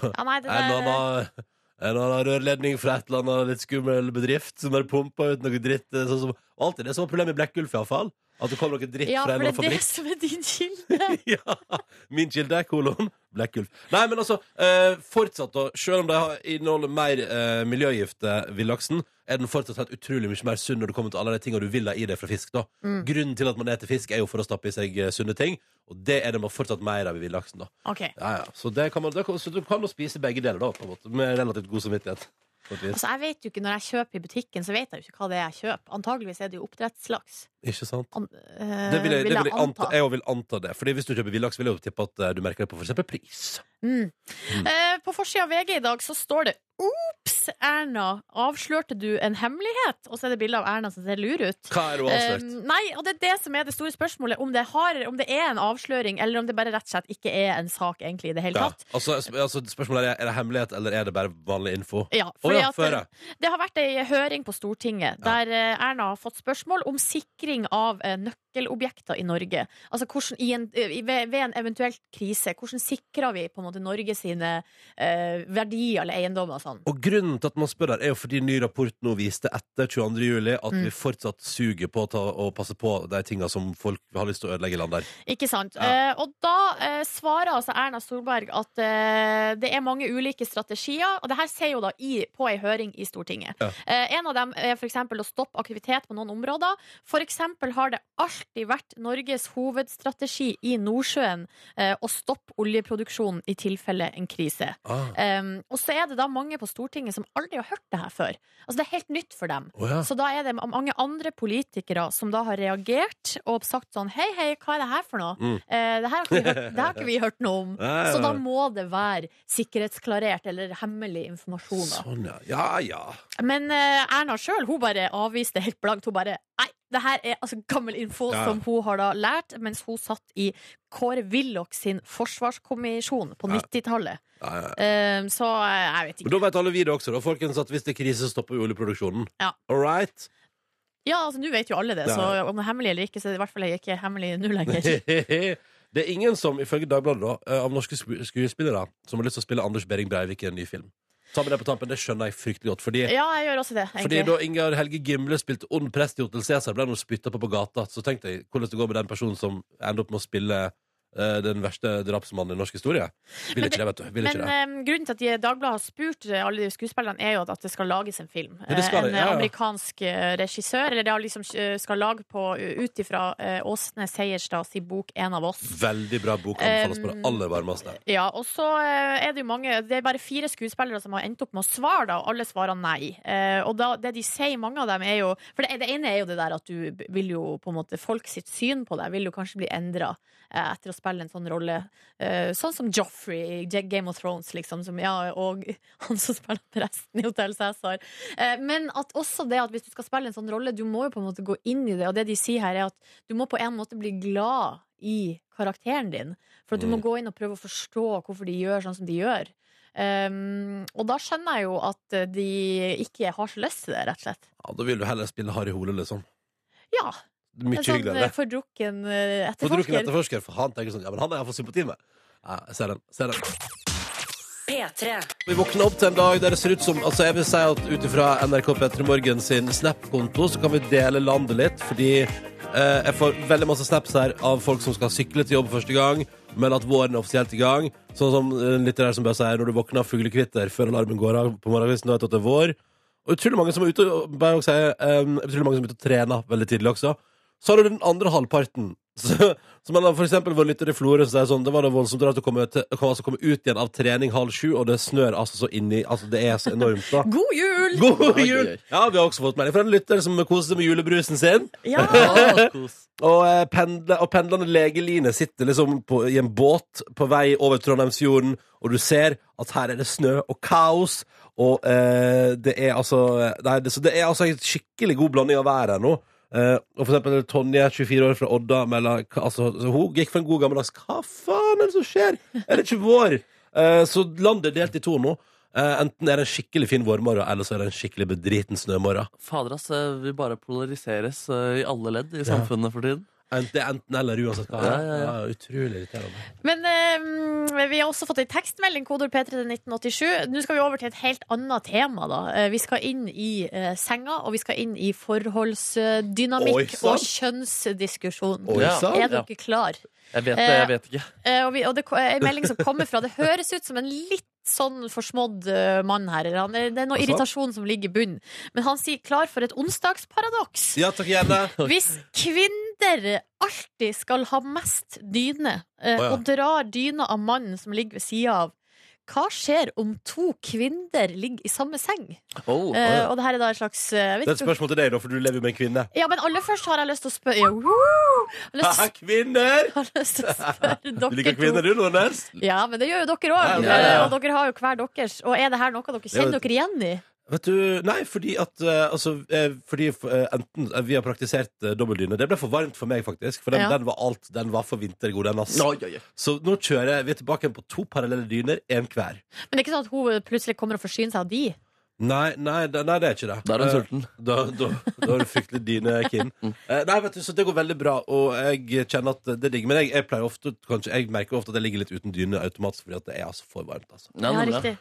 Speaker 3: Ja, nei,
Speaker 2: en
Speaker 3: det,
Speaker 2: eller
Speaker 3: det,
Speaker 2: annen, en eller annen rørledning fra et eller annet litt skummel bedrift som bare pumper ut noe dritt. eh, Sånn som, og alltid det som var problemet i Blekkulf, iallfall. At det kom noe dritt
Speaker 3: ja,
Speaker 2: fra
Speaker 3: for
Speaker 2: en
Speaker 3: det
Speaker 2: eller annen
Speaker 3: er det
Speaker 2: fabrikk.
Speaker 3: som er din
Speaker 2: *laughs*
Speaker 3: kilde.
Speaker 2: ja, min kilde er kolon Blekkulf. Nei, men altså, eh, fortsatt, da, selv om de har- inneholder mer eh, miljøgift, eh, villaksen, er den fortsatt helt utrolig mye mer sunn når det kommer til alle de tingene du vil ha i deg fra fisk. da. Grunnen til at man eter fisk, er jo for å stappe i seg eh, sunne ting, og det er det man fortsatt mer av i villaksen. da.
Speaker 3: Ok.
Speaker 2: Ja, ja. Så, det kan man, det kan, så du kan jo spise begge deler, da, på en måte, med relativt god samvittighet. på et vis.
Speaker 3: Altså, jeg vet jo ikke Når jeg kjøper i butikken, så vet jeg jo ikke hva det er jeg kjøper. Antageligvis er det jo oppdrettslaks.
Speaker 2: Ikke sant?
Speaker 3: An eh,
Speaker 2: Det vil jeg, det vil jeg, anta,
Speaker 3: anta.
Speaker 2: jeg også vil anta det. Fordi Hvis du kjøper villaks, vil jeg jo tippe at eh, du merker det på f.eks. pris.
Speaker 3: Eh, på forsida av VG i dag så står det Ops, Erna, avslørte du en hemmelighet? Og så er det bilde av Erna som ser lur ut.
Speaker 2: Hva er det hun har avslørt?
Speaker 3: Eh, nei, og det er det som er det store spørsmålet. Om det, har, om det er en avsløring, eller om det bare rett og slett ikke er en sak egentlig i det hele
Speaker 2: Ja.
Speaker 3: tatt.
Speaker 2: Altså, sp- altså, spørsmålet er er det hemmelighet eller er det bare vanlig info.
Speaker 3: Ja,
Speaker 2: Å
Speaker 3: fordi
Speaker 2: ja,
Speaker 3: at
Speaker 2: før
Speaker 3: det, det har vært ei høring på Stortinget der eh, Erna har fått spørsmål om sikring av eh, nøkkelobjekter i Norge. Altså hvordan, i en, i, ved, ved en eventuelt krise, hvordan sikrer vi på en måte Norge sine eh, verdier eller eiendommer og sånn?
Speaker 2: Og grunnen til at man spør der, er jo fordi ny rapport nå viste etter 22. juli at
Speaker 3: Mm.
Speaker 2: vi fortsatt suger på å ta, og passe på de tinga som folk har lyst til å ødelegge i land der.
Speaker 3: Ikke sant.
Speaker 2: Ja.
Speaker 3: Eh, og da eh, svarer altså Erna Solberg at eh, det er mange ulike strategier, og det her ser jo da i, på ei høring i Stortinget.
Speaker 2: Ja.
Speaker 3: Eh, en av dem er f.eks. å stoppe aktivitet på noen områder. F.eks. har det alltid vært Norges hovedstrategi i Nordsjøen eh, å stoppe oljeproduksjonen i tilfelle en krise.
Speaker 2: Ah.
Speaker 3: Um, og så er det da mange på Stortinget som aldri har hørt det her før. Altså Det er helt nytt for dem.
Speaker 2: Å ja.
Speaker 3: Så da er det mange andre politikere som da har reagert og sagt sånn Hei, hei, hva er det her for noe?
Speaker 2: Mm.
Speaker 3: Eh, det, her har ikke vi hørt, det her har ikke
Speaker 2: *laughs*
Speaker 3: vi hørt noe om.
Speaker 2: Nei,
Speaker 3: Så
Speaker 2: nei,
Speaker 3: da
Speaker 2: nei.
Speaker 3: må det være sikkerhetsklarert eller hemmelig informasjon. Da.
Speaker 2: Sånn, ja. Ja, ja.
Speaker 3: Men eh, Erna sjøl bare avviste helt blankt. Hun bare Nei, det her er altså gammel info
Speaker 2: Ja, ja.
Speaker 3: som hun har da lært mens hun satt i Kåre Willoch sin forsvarskommisjon på
Speaker 2: Ja.
Speaker 3: 90-tallet.
Speaker 2: ja, ja.
Speaker 3: Eh, så eh, jeg vet ikke.
Speaker 2: Men da vet alle vi det også, da, folkens, at hvis det er krise, så stopper vi oljeproduksjonen.
Speaker 3: Ja.
Speaker 2: All right? *laughs*
Speaker 3: Ja, altså, nå vet jo alle det,
Speaker 2: Ja.
Speaker 3: så om det er hemmelig eller ikke, så er det i hvert fall ikke hemmelig nå
Speaker 2: *laughs*
Speaker 3: lenger.
Speaker 2: det er ingen som, ifølge Dagbladet, da, eh, av norske sku- skuespillere som har lyst til å spille Anders Behring Breivik i en ny film. Ta med det på tampen, det skjønner jeg fryktelig godt. Fordi
Speaker 3: Ja, jeg gjør også det,
Speaker 2: Fordi
Speaker 3: egentlig.
Speaker 2: da Ingar Helge Gimle spilte ond prest i Hotel Cæsar, ble han spytta på på gata. Så tenkte jeg hvordan det går med den personen som ender opp med å spille eh, den verste drapsmannen i norsk historie. Vil
Speaker 3: Men
Speaker 2: ikke det, vet du. Vil
Speaker 3: Men
Speaker 2: ikke det.
Speaker 3: eh, grunnen til at de- Dagbladet har spurt eh, alle de skuespillerne, er jo at at det skal lages en film.
Speaker 2: Ja, det skal
Speaker 3: Eh,
Speaker 2: det,
Speaker 3: en
Speaker 2: ja, ja.
Speaker 3: amerikansk eh, regissør, eller det har liksom eh, skal lage på ut ifra eh, Åsne Seierstad sin bok 'En av oss'.
Speaker 2: Veldig bra bok anbefales på det
Speaker 3: Em,
Speaker 2: aller varmeste.
Speaker 3: Ja, og så eh, er det jo mange Det er bare fire skuespillere som har endt opp med å svare, da, og alle svarer nei. Eh, Og da, det de sier, mange av dem, er jo For det, det ene er jo det der at du b- vil jo på en måte Folk sitt syn på deg vil jo kanskje bli endra etter å spille en sånn rolle. Eh, Sånn som Joffrey i J- Game of Thrones, liksom. Som, ja, og *laughs* han som spiller presten i Hotell Cæsar. Eh, Men at også det at hvis du skal spille en sånn rolle, du må jo på en måte gå inn i det. Og det de sier her, er at du må på en måte bli glad i karakteren din. For at du
Speaker 2: Mm.
Speaker 3: må gå inn og prøve å forstå hvorfor de gjør sånn som de gjør. Um, og da skjønner jeg jo at eh, de ikke har så lyst til det, rett og slett.
Speaker 2: Ja, da vil du heller spille Harry Hole, liksom.
Speaker 3: Ja,
Speaker 2: Mye
Speaker 3: en sånn eh,
Speaker 2: hyggeligere.
Speaker 3: fordrukken
Speaker 2: Fordrukken
Speaker 3: eh, etterforsker.
Speaker 2: etterforsker, for han tenker sånn Ja, men han har jeg fått sympati med. Ja, jeg ser den. jeg Ser den.
Speaker 1: P3.
Speaker 2: Vi våkner opp til en dag der det ser ut som Altså jeg vil si at ut ifra NRK P3 Morgen sin Snap-konto, så kan vi dele landet litt, fordi eh, jeg får veldig masse snaps her av folk som skal sykle til jobb første gang, men at våren er offisielt i gang. Sånn som eh, litt der som bare sier når du våkner av fuglekvitter før alarmen går av på morgenkvisten, da vet du at det er vår. Og utrolig mange som er ute og bare også sier, eh, utrolig mange som er ute og trener veldig tidlig også. Så har du den andre halvparten. *laughs* Så, som en av for eksempel vår lytter i Florø som sier sånn Det var da voldsomt rart å komme, til, å komme- altså komme ut igjen av trening halv sju, og det snør altså så inni Altså, det er så enormt, da.
Speaker 3: God jul!
Speaker 2: God
Speaker 4: Oi,
Speaker 2: jul!
Speaker 4: oi, oi.
Speaker 2: Ja, vi har også fått melding fra en lytter som koser seg med julebrusen sin.
Speaker 3: Ja,
Speaker 2: *laughs*
Speaker 4: Å, kos.
Speaker 2: Og, eh, pendle, og pendlende legeline sitter liksom på, i en båt på vei over Trondheimsfjorden, og du ser at her er det snø og kaos, eh, og eh, det er altså det er, Så det er altså en skikkelig god blanding av vær her nå. Eh, og for eksempel Tonje, 24 år fra Odda, melder hva- altså, så Hun gikk for en god gammeldags Hva faen er det som skjer? Er det ikke vår? Eh, så landet er delt i to nå. Eh, enten er det en skikkelig fin vårmorgen, eller så er det en skikkelig bedriten snømorgen.
Speaker 4: Fader, ass. eh, Vi bare polariseres eh, i alle ledd i samfunnet for tiden.
Speaker 2: Ent- Det er enten eller, uansett hva. det er.
Speaker 4: Ja, ja, ja.
Speaker 2: Ja, utrolig irriterende.
Speaker 3: Men eh, vi har også fått en tekstmelding, kodord P3 til 1987. Nå skal vi over til et helt annet tema, da. Eh, Vi skal inn i eh, senga, og vi skal inn i
Speaker 2: Oi,
Speaker 3: forholdsdynamikk
Speaker 2: sant.
Speaker 3: og kjønnsdiskusjon.
Speaker 2: Oi,
Speaker 4: Ja.
Speaker 2: sant?
Speaker 3: Er dere klar?
Speaker 4: Jeg vet det, jeg vet ikke.
Speaker 3: Eh, og, vi, og det ko- er en melding som kommer fra Det høres ut som en litt sånn forsmådd eh, mann her. eller han- Det er noe
Speaker 2: Altså?
Speaker 3: irritasjon som ligger i bunnen. Men han sier 'klar for et onsdagsparadoks'.
Speaker 2: Ja, takk *laughs* gjerne.
Speaker 3: Hvis kvinner alltid skal ha mest dyne,
Speaker 2: Å,
Speaker 3: eh,
Speaker 2: ja.
Speaker 3: og drar dyna av mannen som ligger ved sida av, hva skjer om to kvinner ligger i samme seng?
Speaker 4: Oh,
Speaker 3: Eh, og det her er da et slags eh, jeg
Speaker 2: Det er et
Speaker 3: vet ikke,
Speaker 2: spørsmål til deg, da, for du lever jo med en kvinne.
Speaker 3: Ja, men aller først har jeg lyst til å spørre ja, woo! Jeg
Speaker 2: *laughs*
Speaker 3: har lyst-
Speaker 2: Haha, kvinner!
Speaker 3: jeg har lyst til å spørre
Speaker 2: Du liker
Speaker 3: dere
Speaker 2: kvinner,
Speaker 3: to.
Speaker 2: du, Nordnes?
Speaker 3: Ja, men det gjør jo dere
Speaker 2: Ja,
Speaker 3: òg.
Speaker 4: ja, ja.
Speaker 3: Og dere har jo hver deres. Og er det her noe dere kjenner
Speaker 2: Det
Speaker 3: dere igjen i?
Speaker 2: Vet du, nei, fordi at eh, altså, eh, fordi eh, enten eh, vi har praktisert eh, dobbeldyne. Det ble for varmt for meg, faktisk. For den,
Speaker 3: Ja.
Speaker 2: den var alt. Den var for vintergod, den, ass.
Speaker 4: Oi, oi, oi.
Speaker 2: Så nå kjører vi tilbake på to parallelle dyner, én hver.
Speaker 3: Men det er ikke sånn at hun plutselig kommer og forsyner seg av de?
Speaker 2: Nei, nei, det- nei, det er ikke det.
Speaker 4: Da er hun
Speaker 2: Eh,
Speaker 4: sulten.
Speaker 2: Da, da, da er du fryktelig *laughs* dynekinn. Eh, nei, vet du, så det går veldig bra, og jeg kjenner at det digger. Men jeg, jeg pleier ofte, kanskje, jeg merker ofte at jeg ligger litt uten dyne automatisk fordi at det er altså for varmt. altså.
Speaker 4: Ja,
Speaker 3: Ja,
Speaker 4: nemlig.
Speaker 3: riktig.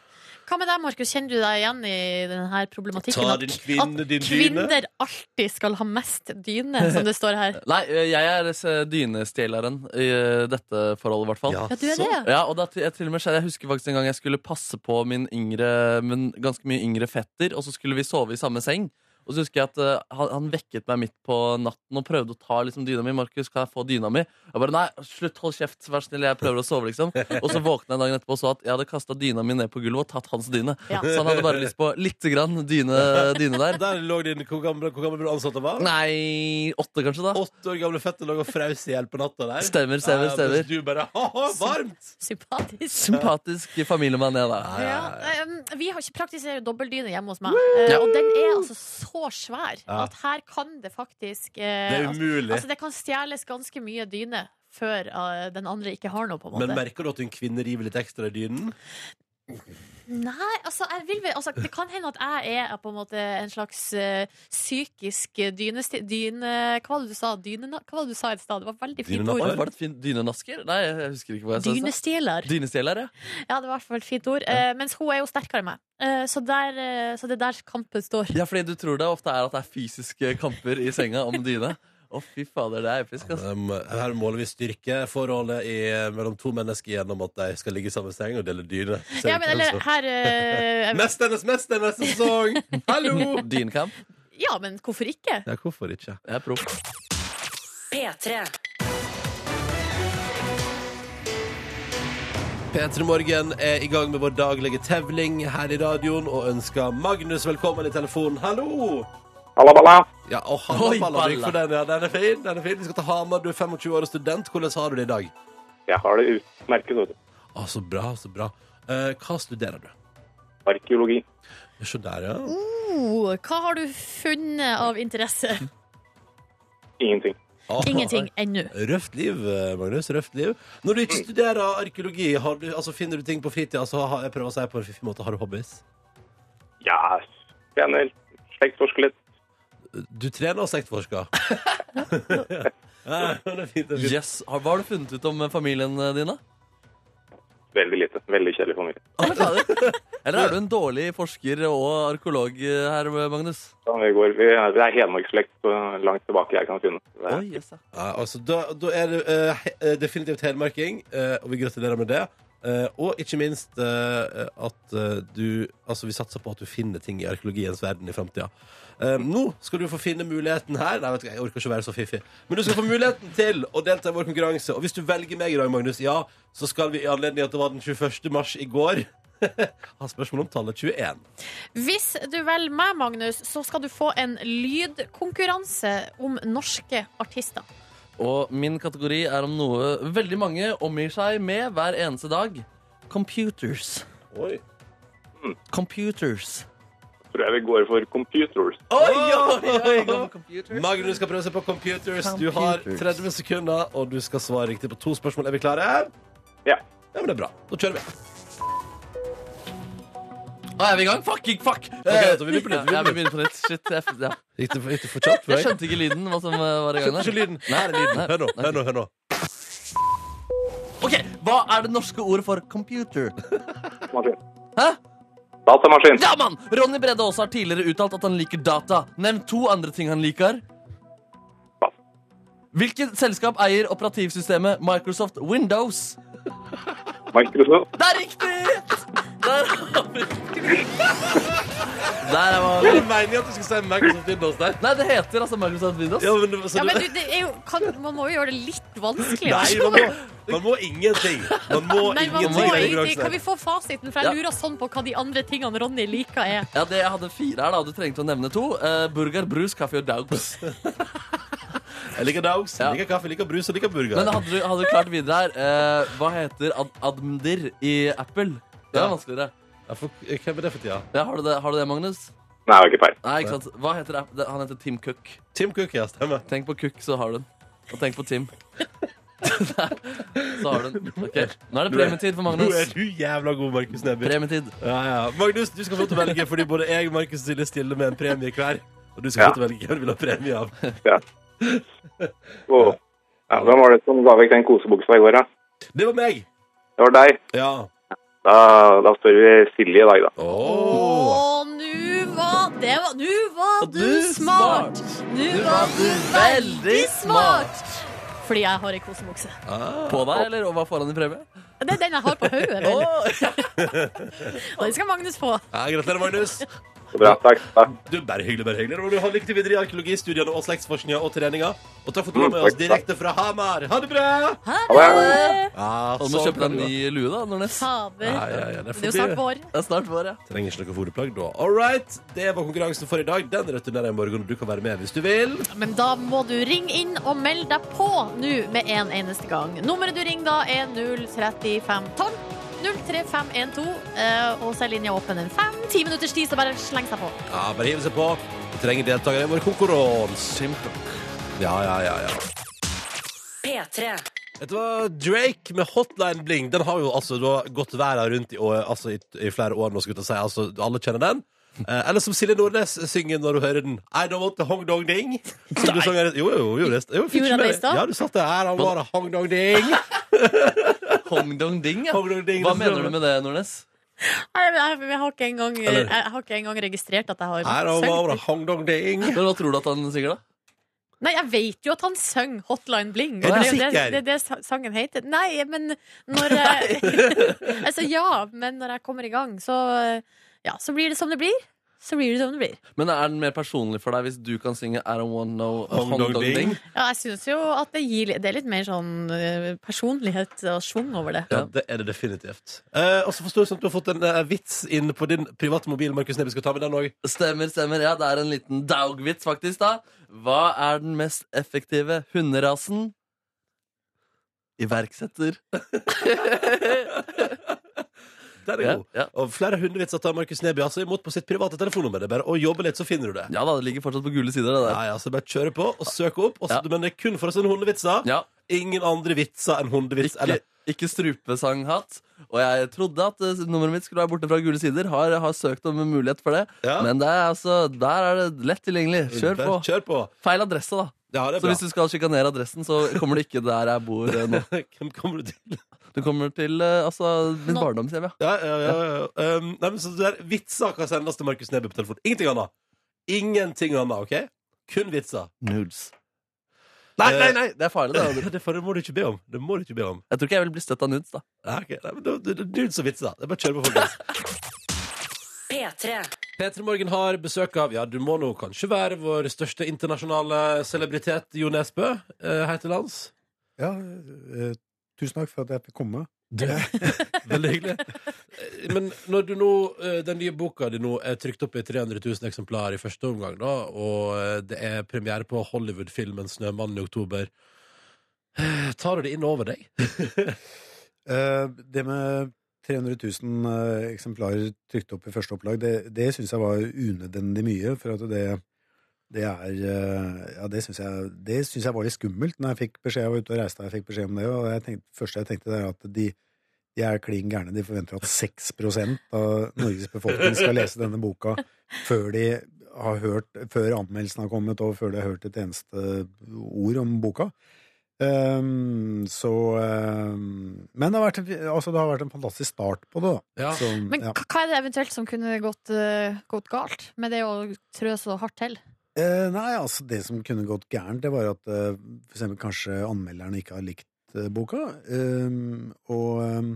Speaker 3: Hva med deg, Markus? Kjenner du deg igjen i denne problematikken?
Speaker 2: Ta
Speaker 3: At-
Speaker 2: din kvinne, din
Speaker 3: at
Speaker 2: dyne.
Speaker 3: kvinner alltid skal ha mest dyne, som det står her.
Speaker 4: Nei, eh, jeg er eh, dynestjeleren i eh, dette forholdet, i hvert fall.
Speaker 3: Ja, du
Speaker 2: så-
Speaker 3: er det, ja.
Speaker 4: Ja, og da, jeg, til og med, skjedde- jeg husker faktisk en gang jeg skulle passe på min yngre, men ganske mye yngre fetter, og så skulle vi sove i samme seng. Og så husker jeg at eh, han, han vekket meg midt på natten og prøvde å ta liksom, dyna mi. 'Markus, kan jeg få dyna mi?' Jeg bare 'nei, slutt, hold kjeft, vær snill, jeg prøver å sove', liksom. Og så våkna jeg dagen etterpå og så at jeg hadde kasta dyna mi ned på gulvet og tatt hans dyne.
Speaker 3: Ja.
Speaker 4: Så han hadde bare lyst på lite grann dyne, dyne
Speaker 3: *laughs*
Speaker 4: der.
Speaker 2: Der lå din Hvor gammel, hvor gammel ble du ansatt av? hva?
Speaker 4: Nei, åtte kanskje, da.
Speaker 2: Åtte år gamle fetter lå og frøs i hjel på natta der.
Speaker 4: Stemmer, stemmer,
Speaker 2: Ja,
Speaker 4: stemmer.
Speaker 2: mens Du bare ha-ha, varmt!
Speaker 3: Sympatisk.
Speaker 4: Sympatisk familiemann, jeg, da.
Speaker 3: Ja, um, vi har ikke praktiserer dobbeltdyne hjemme hos meg, eh, og den er altså så svær
Speaker 2: Ja.
Speaker 3: at her kan det faktisk eh,
Speaker 2: Det er
Speaker 3: altså-
Speaker 2: umulig.
Speaker 3: Altså, det kan stjeles ganske mye dyne før eh, den andre ikke har noe, på en måte.
Speaker 2: Men merker du at en kvinne river litt ekstra i dynen?
Speaker 3: Nei, altså, jeg vil, vel- altså Det kan hende at jeg er eh, på en måte en slags eh, psykisk dynesti... Dyne... Hva var det du sa? Dyne, hva var det du sa i stad? Det var et veldig fint
Speaker 2: Dynenatter?
Speaker 4: Oi,
Speaker 3: ord.
Speaker 4: var det et fint dynenasker? Nei, jeg husker ikke hva jeg sa.
Speaker 3: Dynestjeler.
Speaker 4: Dynestjeler, ja.
Speaker 3: Ja, det var i hvert fall et fint ord. Eh, mens hun er jo sterkere enn meg. Eh, så, der, eh, så det er der kampen står.
Speaker 4: Ja, fordi du tror det ofte er at det er fysiske kamper i senga om dyne. Å, fy fader, det er episk, ass.
Speaker 2: Um, her måler vi styrkeforholdet i, mellom to mennesker gjennom at de skal ligge i samme seng og dele dyne. Ser
Speaker 3: Ja,
Speaker 2: du
Speaker 3: men
Speaker 2: hvem
Speaker 3: eller
Speaker 4: altså.
Speaker 2: som-
Speaker 3: her
Speaker 4: *laughs*
Speaker 3: eh,
Speaker 2: Mesternes mester neste sesong! *laughs* Hallo!
Speaker 4: Dynekamp.
Speaker 3: Ja, men hvorfor ikke?
Speaker 2: Ja, hvorfor ikke?
Speaker 4: Jeg er proff.
Speaker 1: P3.
Speaker 2: P3 Morgen er i gang med vår daglige tevling her i radioen og ønsker Magnus velkommen i telefonen. Hallo!
Speaker 5: Halla, balla.
Speaker 2: Ja, og
Speaker 4: Oi,
Speaker 2: Hanna Ballavik
Speaker 4: balla.
Speaker 2: for den, ja. Den er fin. den er fin. Vi skal til Hamar, du er 25 år og student. Hvordan har du det i dag?
Speaker 5: Jeg har det utmerket, vet du.
Speaker 2: Å, så bra, så bra. Eh, hva studerer du?
Speaker 5: Arkeologi.
Speaker 2: Se der, ja.
Speaker 3: Oh, hva har du funnet av interesse?
Speaker 4: *laughs*
Speaker 5: Ingenting.
Speaker 2: Å,
Speaker 3: Ingenting ennå.
Speaker 2: Røft liv, eh, Magnus. røft liv Når du ikke studerer arkeologi, har du, altså, finner du ting på fritida? Så har, jeg prøver å si på en fiffig måte, har du hobbies?
Speaker 5: Ja, trener. Slektsforsker litt.
Speaker 2: Du trener og sektforsker. *laughs* ja, det er fint, det er fint.
Speaker 4: Yes. Har- Hva har du funnet ut om eh, familien eh, din, da?
Speaker 5: Veldig lite. Veldig kjedelig familie.
Speaker 4: Å, fader. Eller er du en dårlig forsker og arkeolog eh, her, Magnus?
Speaker 5: Ja, vi går, vi er, det er Hedmarkslekt så langt tilbake jeg kan finne. Det
Speaker 4: Oi,
Speaker 5: er
Speaker 4: yes, ja.
Speaker 2: Ja, altså, da, da er det eh, he- eh, definitivt helmarking, eh, og vi gratulerer med det. Eh, og ikke minst eh, at eh, du Altså, vi satser på at du finner ting i arkeologiens verden i framtida. nå skal du få finne muligheten her Nei, vet du, hva, jeg orker ikke å være så fiffig. Men du skal få muligheten til å delta i vår konkurranse. Og hvis du velger meg i dag, Magnus, ja, så skal vi i anledning at det var den 21. mars i går *laughs* ha spørsmål om tallet 21.
Speaker 3: Hvis du velger meg, Magnus, så skal du få en lydkonkurranse om norske artister.
Speaker 4: Og min kategori er om noe veldig mange omgir seg med hver eneste dag. Computers.
Speaker 2: Oi.
Speaker 4: Computers.
Speaker 5: tror jeg vi går for computers.
Speaker 4: Oi, oi, oi, go computer.
Speaker 2: Magnus skal prøve seg på computers. Du har 30 sekunder, og du skal svare riktig på to spørsmål. Er vi klare?
Speaker 5: Ja.
Speaker 2: Ja, men det er bra. Da kjører vi.
Speaker 4: Å, er vi i gang? Fuck, ikke fuck!
Speaker 2: da begynner vi på nytt, vi begynner
Speaker 4: Ja, ja, vi begynner på nytt. Shit, jeg, ja.
Speaker 2: Gikk det, gikk det for kjapt? for
Speaker 4: jeg
Speaker 2: deg?
Speaker 4: skjønte ikke lyden. Hva som eh, var i gang
Speaker 2: Skjønte
Speaker 4: der.
Speaker 2: ikke lyden.
Speaker 4: Nei, lyden
Speaker 2: Hør nå, hør nå, hør nå.
Speaker 4: Ok, Hva er det norske ordet for computer?
Speaker 5: Maskin.
Speaker 4: Hæ?
Speaker 5: Datamaskin.
Speaker 4: Ja, mann! Ronny Brede Aase har tidligere uttalt at han liker data. Nevn to andre ting han liker.
Speaker 5: Pass.
Speaker 4: Hvilket selskap eier operativsystemet Microsoft Windows?
Speaker 5: Microsoft.
Speaker 4: Det er riktig! Der har vi Der er man.
Speaker 2: Jeg mener jo at du skulle si Microsoft Windows der.
Speaker 4: Nei, det heter altså Microsoft Windows.
Speaker 2: Ja, men, så
Speaker 3: Ja,
Speaker 2: du,
Speaker 3: men du, det er jo, kan, man må jo gjøre det litt vanskelig.
Speaker 2: nei, man må, man må ingenting. Man må
Speaker 3: *laughs* Nei, man
Speaker 2: ingenting i
Speaker 3: må
Speaker 2: den
Speaker 3: egentlig- Kan
Speaker 2: konkurransen.
Speaker 3: vi få fasiten? For
Speaker 4: Ja.
Speaker 3: jeg lurer sånn på hva de andre tingene Ronny liker er.
Speaker 4: Ja, det Jeg hadde fire her, da. Du trengte å nevne to. Eh, burger, brus, kaffe og dogs.
Speaker 2: Jeg liker dogs, jeg
Speaker 4: Ja.
Speaker 2: liker kaffe, jeg liker brus og jeg liker burger.
Speaker 4: Men hadde du, hadde du klart videre her eh, Hva heter ad admdir i Apple? Det er
Speaker 2: Ja.
Speaker 4: vanskeligere.
Speaker 2: Ja, for- Hvem er det for tida?
Speaker 4: Ja, har, du det, har du det, Magnus?
Speaker 5: Nei, det var ikke feil.
Speaker 4: Nei, ikke sant. Hva heter app- det? Han heter Tim Cook.
Speaker 2: Tim Cook, ja. Stemmer.
Speaker 4: Tenk på Cook, så har du den. Og tenk på *laughs* Tim. Der, så har du den. Ok, Nå er det premietid for
Speaker 2: Nå er
Speaker 4: Magnus.
Speaker 2: du jævla god, Markus Neby.
Speaker 4: Premietid.
Speaker 2: Ja, ja. Magnus, du skal få lov til å velge, fordi både jeg og Markus stiller stille med en premie hver. Og du skal få
Speaker 5: Ja.
Speaker 2: lov til å velge hvem du vil ha premie av.
Speaker 5: Ja. Åh. Ja, hvem var det som ga vekk den kosebuksa i går, da?
Speaker 2: Det var meg.
Speaker 5: Det var deg.
Speaker 2: Ja.
Speaker 5: Da, da spør vi Silje i dag, da.
Speaker 2: Åh.
Speaker 3: Å, nå var det var, Nå var
Speaker 4: Og
Speaker 3: du
Speaker 4: du smart.
Speaker 3: smart! Nå var du veldig smart! Fordi jeg har ei kosebukse.
Speaker 2: Ah.
Speaker 4: På deg, eller? Og hva får han i premie?
Speaker 3: Det er den jeg har på hodet. vel? Og den skal Magnus få.
Speaker 2: Ja, gratulerer, Magnus.
Speaker 5: Så bra. Takk. Takk.
Speaker 2: Du, bare hyggelig, bare hyggelig. Og Du har lykke til videre i arkeologistudiene og slektsforskninga og treninga. Og takk for at du var
Speaker 4: Mm,
Speaker 2: med oss direkte fra Hamar. Ha det bra!
Speaker 3: Ha
Speaker 5: Ha det.
Speaker 3: det!
Speaker 2: Ja, sånn
Speaker 4: Og du må kjøpe deg en ny lue, da, Nordnes.
Speaker 2: Ja,
Speaker 3: Fader.
Speaker 2: ja, ja, det
Speaker 3: Det er jo snart
Speaker 2: får bli.
Speaker 3: vår.
Speaker 4: Det er snart vår, ja.
Speaker 2: Trenger ikke noe fôrplagg da. All right, det var konkurransen for i dag. Den returnerer i morgen, og du kan være med hvis du vil.
Speaker 3: Men da må du ringe inn og melde deg på nå med en eneste gang. Nummeret du ringer da er 03512. 03512. eh, Og så er linja åpen en fem-ti minutters tid, så bare sleng seg på.
Speaker 2: Ja, bare hiv seg på. Vi trenger deltakere i vår konkurranse. Ja, ja, ja, ja.
Speaker 1: P3.
Speaker 2: Dette var Drake med Hotline Bling. Den har jo altså da gått verden rundt i, år, altså, i, i flere år nå, skulle jeg til å si. Altså, alle kjenner den. Eh, eller som Silje Nordnes synger når hun hører den. I don't want the hong dong ding. Som du sang her. Jo, jo, jo. Det, jo fikk ikke
Speaker 3: Gjorde jeg det i
Speaker 2: med deg.
Speaker 3: stad?
Speaker 2: Ja, du satt der. Her, han var hong dong ding.
Speaker 4: Hong dong ding, ja.
Speaker 2: Hong dong ding.
Speaker 4: Hva mener du med det, Nordnes?
Speaker 3: Nei, men Jeg, jeg, har ikke engang,
Speaker 2: Eller-
Speaker 3: jeg har ikke engang registrert at jeg har
Speaker 2: Her, han
Speaker 3: sunget.
Speaker 2: var hong dong ding.
Speaker 4: Men Hva tror du at han synger, da?
Speaker 3: Nei, jeg vet jo at han søng Hotline Bling.
Speaker 2: Er du
Speaker 3: det jo det,
Speaker 2: sikker?
Speaker 3: det, er det sa- sangen heter. Nei, men
Speaker 2: *laughs*
Speaker 3: når jeg *laughs* Altså ja, men når jeg kommer i gang, så Ja, så blir det som det blir. Så blir det som det blir.
Speaker 4: Men er den mer personlig for deg hvis du kan synge I don't uh, want no
Speaker 2: Hong Dong Ding?
Speaker 3: Ja, jeg syns jo at det gir litt- Det er litt mer sånn eh, personlighet og schwung over det.
Speaker 2: Ja, det er det definitivt. Eh, og så forstår jeg sånn at du har fått en eh, vits inn på din private mobil, Markus Neby. Skal vi ta med den òg?
Speaker 4: Stemmer, stemmer. Ja, det er en liten daugvits, faktisk, da. Hva er den mest effektive hunderasen? Iverksetter.
Speaker 2: Den er
Speaker 4: Ja,
Speaker 2: god.
Speaker 4: ja.
Speaker 2: Og flere hundrevitser tar Markus Neby altså imot på sitt private telefonnummer. Det er bare å jobbe litt, så finner du det.
Speaker 4: Ja da, det ligger fortsatt på gule sider, det der.
Speaker 2: Ja, ja, så bare kjøre på og søke opp. Og så,
Speaker 4: Ja.
Speaker 2: Men det er kun for å sende hundevitser.
Speaker 4: Ja,
Speaker 2: Ingen andre vitser enn hundevits.
Speaker 4: ikke,
Speaker 2: Eller
Speaker 4: ikke strupesanghatt. Og jeg trodde at eh, nummeret mitt skulle være borte fra gule sider. Har, har søkt om en mulighet for det.
Speaker 2: Ja.
Speaker 4: Men det er altså, der er det lett tilgjengelig. Kjør på.
Speaker 2: Bare Kjør på.
Speaker 4: Feil adresse, da.
Speaker 2: Ja, det er
Speaker 4: Så
Speaker 2: bra.
Speaker 4: hvis du skal sjikanere adressen, så kommer du ikke der jeg bor eh, nå.
Speaker 2: *laughs* Hvem kommer du til?
Speaker 4: Du kommer til eh, altså, mitt
Speaker 3: Nå.
Speaker 4: barndomshjem, ja.
Speaker 2: Ja, ja, ja, ja. Um, nei, men så det der, vitser kan sendes til Markus Neby på telefon. Ingenting annet. Ingenting annet, OK? Kun vitser.
Speaker 4: Nudes. Nei, nei,
Speaker 2: Eh,
Speaker 4: nei, det er farlig. Det. Abu.
Speaker 2: Det får- det må du ikke be om. Det må du ikke be om.
Speaker 4: Jeg tror ikke jeg vil bli støtt av nudes, da.
Speaker 2: Ja, ok. Nei, men da- da- da- Nudes og vitser. Det er bare å kjøre på, folkens.
Speaker 1: P3.
Speaker 2: Petra Morgen har besøk av Ja, du må nå kanskje være vår største internasjonale celebritet, Jo Nesbø, eh, her til lands.
Speaker 6: Ja, eh, tusen takk for at jeg fikk komme. *laughs*
Speaker 2: Veldig hyggelig. Eh, Men når du nå, eh, den nye boka di nå er trykt opp i 300 000 eksemplar i første omgang, da, og eh, det er premiere på Hollywood-filmen 'Snømannen' i oktober, eh, tar du det inn over deg?
Speaker 6: Eh, det med 300 000 eh, eksemplarer trykt opp i første opplag, det, det syns jeg var unødvendig mye. For at det, det er eh, Ja, det syns jeg, det synes jeg var litt skummelt når jeg fikk beskjed. Jeg var ute og reiste, og jeg fikk beskjed om det. Og jeg tenkte, det første jeg tenkte, det er at de, de er klin gærne. De forventer at 6 av Norges befolkning skal lese denne boka før de har hørt Før anmeldelsen har kommet, og før de har hørt et eneste ord om boka. Ehm, så ehm, Men det har, vært, en- altså, det har vært en fantastisk start på det, da.
Speaker 2: Ja.
Speaker 6: Så,
Speaker 3: Men
Speaker 6: ja.
Speaker 3: hva hva er det eventuelt som kunne gått, eh, gått galt med det å trø så hardt til?
Speaker 6: Eh, nei, altså det som kunne gått gærent, det var at eh, for eksempel kanskje anmelderne ikke har likt eh, boka. Ehm, og ehm,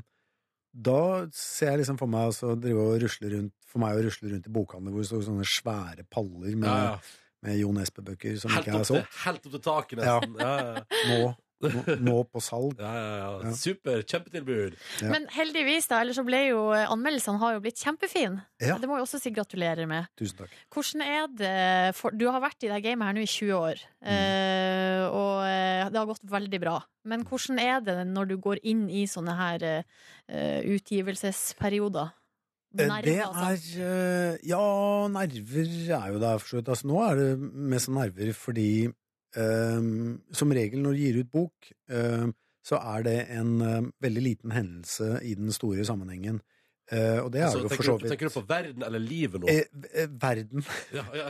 Speaker 6: da ser jeg liksom for meg altså, drive og rusle rundt For meg å rusle rundt i bokhandler hvor det står sånne svære paller med,
Speaker 2: Ja, ja.
Speaker 6: med Jon Espe-bøker eh, som
Speaker 2: Helt,
Speaker 6: ikke er
Speaker 2: opp til,
Speaker 6: solgt.
Speaker 2: helt opp til taket, nesten. Ja. Ja,
Speaker 6: Nå, nå, nå på
Speaker 2: *laughs*
Speaker 6: salg.
Speaker 2: ja, ja, ja.
Speaker 6: Ja.
Speaker 2: Super. Kjempetilbud.
Speaker 6: Ja.
Speaker 3: Men heldigvis, da, ellers så ble jo eh, anmeldelsene har jo blitt kjempefine.
Speaker 6: Ja.
Speaker 3: Det må vi også si gratulerer med.
Speaker 6: Tusen takk.
Speaker 3: Hvordan er det for, Du har vært i det gamet her nå i 20 år,
Speaker 6: Mm.
Speaker 3: eh, og eh, det har gått veldig bra. Men hvordan er det når du går inn i sånne her eh, eh, utgivelsesperioder?
Speaker 6: Eh,
Speaker 3: Nerver,
Speaker 6: Det
Speaker 3: altså.
Speaker 6: er eh, Ja, nerver er jo der, for så vidt. Altså, nå er det mest nerver fordi eh, Som regel når du gir ut bok, eh, så er det en eh, veldig liten hendelse i den store sammenhengen. Eh, og det er
Speaker 2: Altså,
Speaker 6: jo for
Speaker 2: tenker,
Speaker 6: så
Speaker 2: du, tenker
Speaker 6: vidt
Speaker 2: du på verden eller livet nå?
Speaker 6: Eh, eh, Verden. *laughs*
Speaker 2: Ja, ja,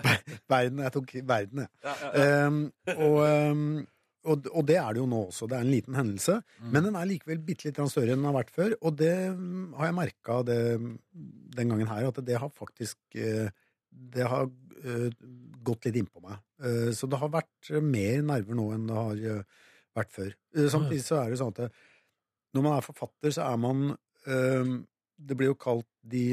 Speaker 6: Verden. Jeg tok verden, jeg.
Speaker 2: ja, ja, ja.
Speaker 6: Ehm, og, ehm, og, og det er det jo nå også. Det er en liten hendelse. Men den er likevel bitte litt større enn den har vært før. Og det mm, har jeg merka den gangen her, at det har faktisk eh, Det har eh, gått litt innpå meg. Eh, Så det har vært mer nerver nå enn det har eh, vært før. Eh, Samtidig så er det sånn at det, når man er forfatter, så er man ehm, Det blir jo kalt de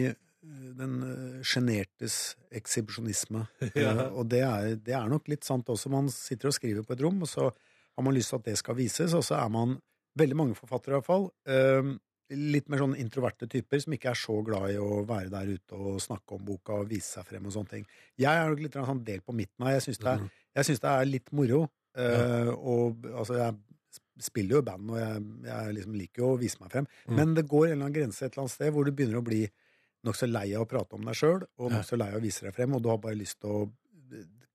Speaker 6: den eh, sjenertes eksibisjonisme.
Speaker 2: Ja.
Speaker 6: Eh, Og det er, det er nok litt sant også. Man sitter og skriver på et rom, og så har man lyst til at det skal vises, og så er man Veldig mange forfattere, iallfall. eh, Litt mer sånn introverte typer som ikke er så glad i å være der ute og snakke om boka og vise seg frem og sånne ting. Jeg er nok litt grann sånn delt på midten her. Jeg syns
Speaker 2: Mm.
Speaker 6: det, er- jeg synes det er litt moro. eh, Og altså, jeg spiller jo i band, og jeg, jeg liksom liker jo å vise meg frem.
Speaker 2: Mm.
Speaker 6: Men det går en eller annen grense et eller annet sted hvor du begynner å bli nokså lei av å prate om deg sjøl, og
Speaker 2: Ja.
Speaker 6: nokså lei av å vise deg frem, og du har bare lyst til å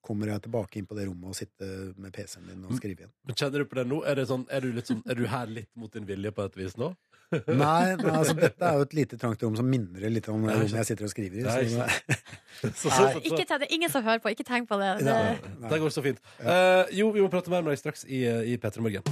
Speaker 6: Kommer jeg tilbake inn på det rommet og sitte med PC-en din og
Speaker 2: Mm.
Speaker 6: skrive igjen?
Speaker 2: Men kjenner du på det nå? Er, det sånn, er, du litt sånn, er du her litt mot din vilje på et vis nå?
Speaker 6: Nei, nei altså, dette er jo et lite trangt rom som minner litt om det
Speaker 2: Nei,
Speaker 6: rommet jeg sitter og skriver i.
Speaker 2: Nei,
Speaker 6: så-
Speaker 2: *laughs* Så,
Speaker 6: Nei.
Speaker 3: Ikke tenk, det er ingen som hører på, ikke tenk på det. det
Speaker 6: Nei,
Speaker 2: Nei. Det går så fint. Eh, jo, vi må prate mer med deg straks i, eh, i P3 Morgen.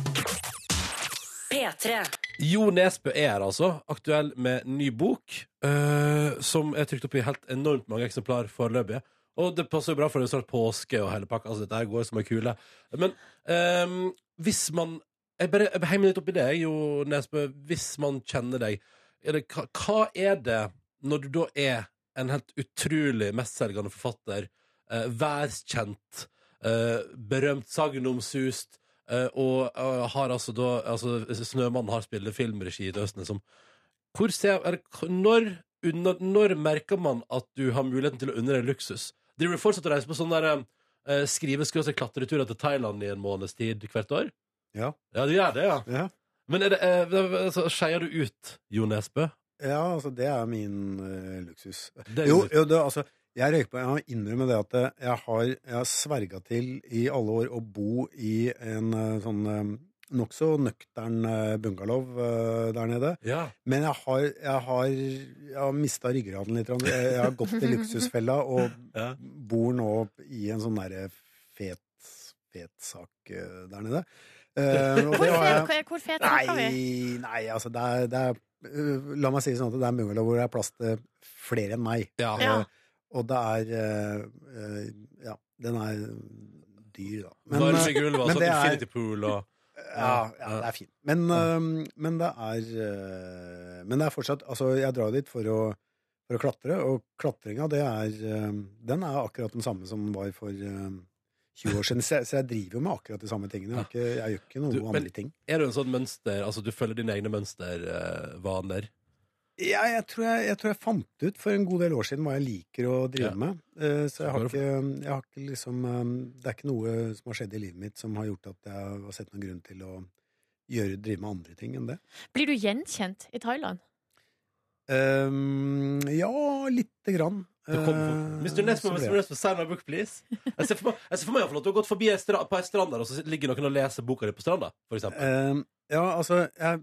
Speaker 1: P3.
Speaker 2: Jo Nesbø er her, altså. Aktuell med ny bok, eh, som er trykt opp i helt enormt mange eksemplar foreløpig. Og det passer jo bra, for det er jo snart påske og hele pakka. Altså, dette her går som en kule. Men ehm, hvis man Jeg bare jeg bare henger meg litt opp i det, jeg, Jo Nesbø. Hvis man kjenner deg, er det, hva, hva er det når du da er en helt utrolig mestselgende forfatter, eh, værkjent, eh, berømt sagnomsust, eh, og eh, har altså da altså, Snømannen har spilt filmregi i Østene som hvor ser, eller, k- når, når, når merker man at du har muligheten til å unne deg luksus? Driver du fortsatt å reise på sånne der, eh, skrive skråstrek klatreturer til Thailand i en måneds tid hvert år?
Speaker 6: Ja.
Speaker 2: Ja, du gjør det, ja.
Speaker 6: Ja.
Speaker 2: Men er det, eh, altså, skeier du ut, Jo Nesbø?
Speaker 6: ja, altså, det er min eh, luksus.
Speaker 2: Det er
Speaker 6: Jo,
Speaker 2: jo-
Speaker 6: jo det, altså, jeg røyker på Jeg har innrømmet det at eh, jeg har, jeg har sverga til i alle år å bo i en eh, sånn eh, nokså nøktern eh, bungalow eh, der nede.
Speaker 2: Ja.
Speaker 6: Men jeg har, jeg har, jeg har mista ryggraden litt. Jeg jeg har gått i
Speaker 2: *laughs*
Speaker 6: luksusfella og
Speaker 2: Ja.
Speaker 6: bor nå i en sånn derre fet, fet sak eh, der nede. Eh, og
Speaker 3: Hvor
Speaker 6: det har jeg-
Speaker 3: fet, hvor fet snakker vi?
Speaker 6: Nei, nei, altså det er, det er øh, La meg si det sånn at det er en bungalow hvor det er plass til flere enn meg.
Speaker 2: Ja.
Speaker 3: Ja.
Speaker 6: Eh, og det er eh, eh, Ja, den er dyr, da. Men, eh,
Speaker 2: Varmegulv og
Speaker 6: men
Speaker 2: sånn
Speaker 6: det er-
Speaker 2: infinity pool og
Speaker 6: ja, ja, det er fint. Men, eh, men det er eh, Men det er fortsatt Altså, jeg drar dit for å for å klatre, og klatringa, det er eh, Den er akkurat den samme som den var for eh, 20 år siden. Så jeg, så jeg driver jo med akkurat de samme tingene. Jeg, har ikke, jeg gjør ikke noe
Speaker 2: Du, men-
Speaker 6: andre ting.
Speaker 2: Er du en sånn mønster Altså, du følger dine egne mønstervaner?
Speaker 6: Ja, jeg tror jeg, jeg tror jeg fant ut for en god del år siden hva jeg liker å drive
Speaker 2: Ja.
Speaker 6: med. Eh, Så jeg har,
Speaker 2: Bare for-
Speaker 6: ikke, jeg har ikke liksom eh, Det er ikke noe som har skjedd i livet mitt som har gjort at jeg har sett noen grunn til å gjøre, drive med andre ting enn det.
Speaker 3: Blir du gjenkjent i Thailand?
Speaker 6: Ehm, ja, lite grann.
Speaker 2: Det kom for-
Speaker 6: Eh,
Speaker 2: Mr. Nesmo,
Speaker 6: så
Speaker 2: Mr.
Speaker 6: ble det.
Speaker 2: Nesmo, sign my book, please. Jeg ser for meg, jeg ser for meg at du har gått forbi ei stra på ei strand der, og så ligger noen og leser boka di på stranda, for eksempel.
Speaker 6: Ehm, ja, altså jeg,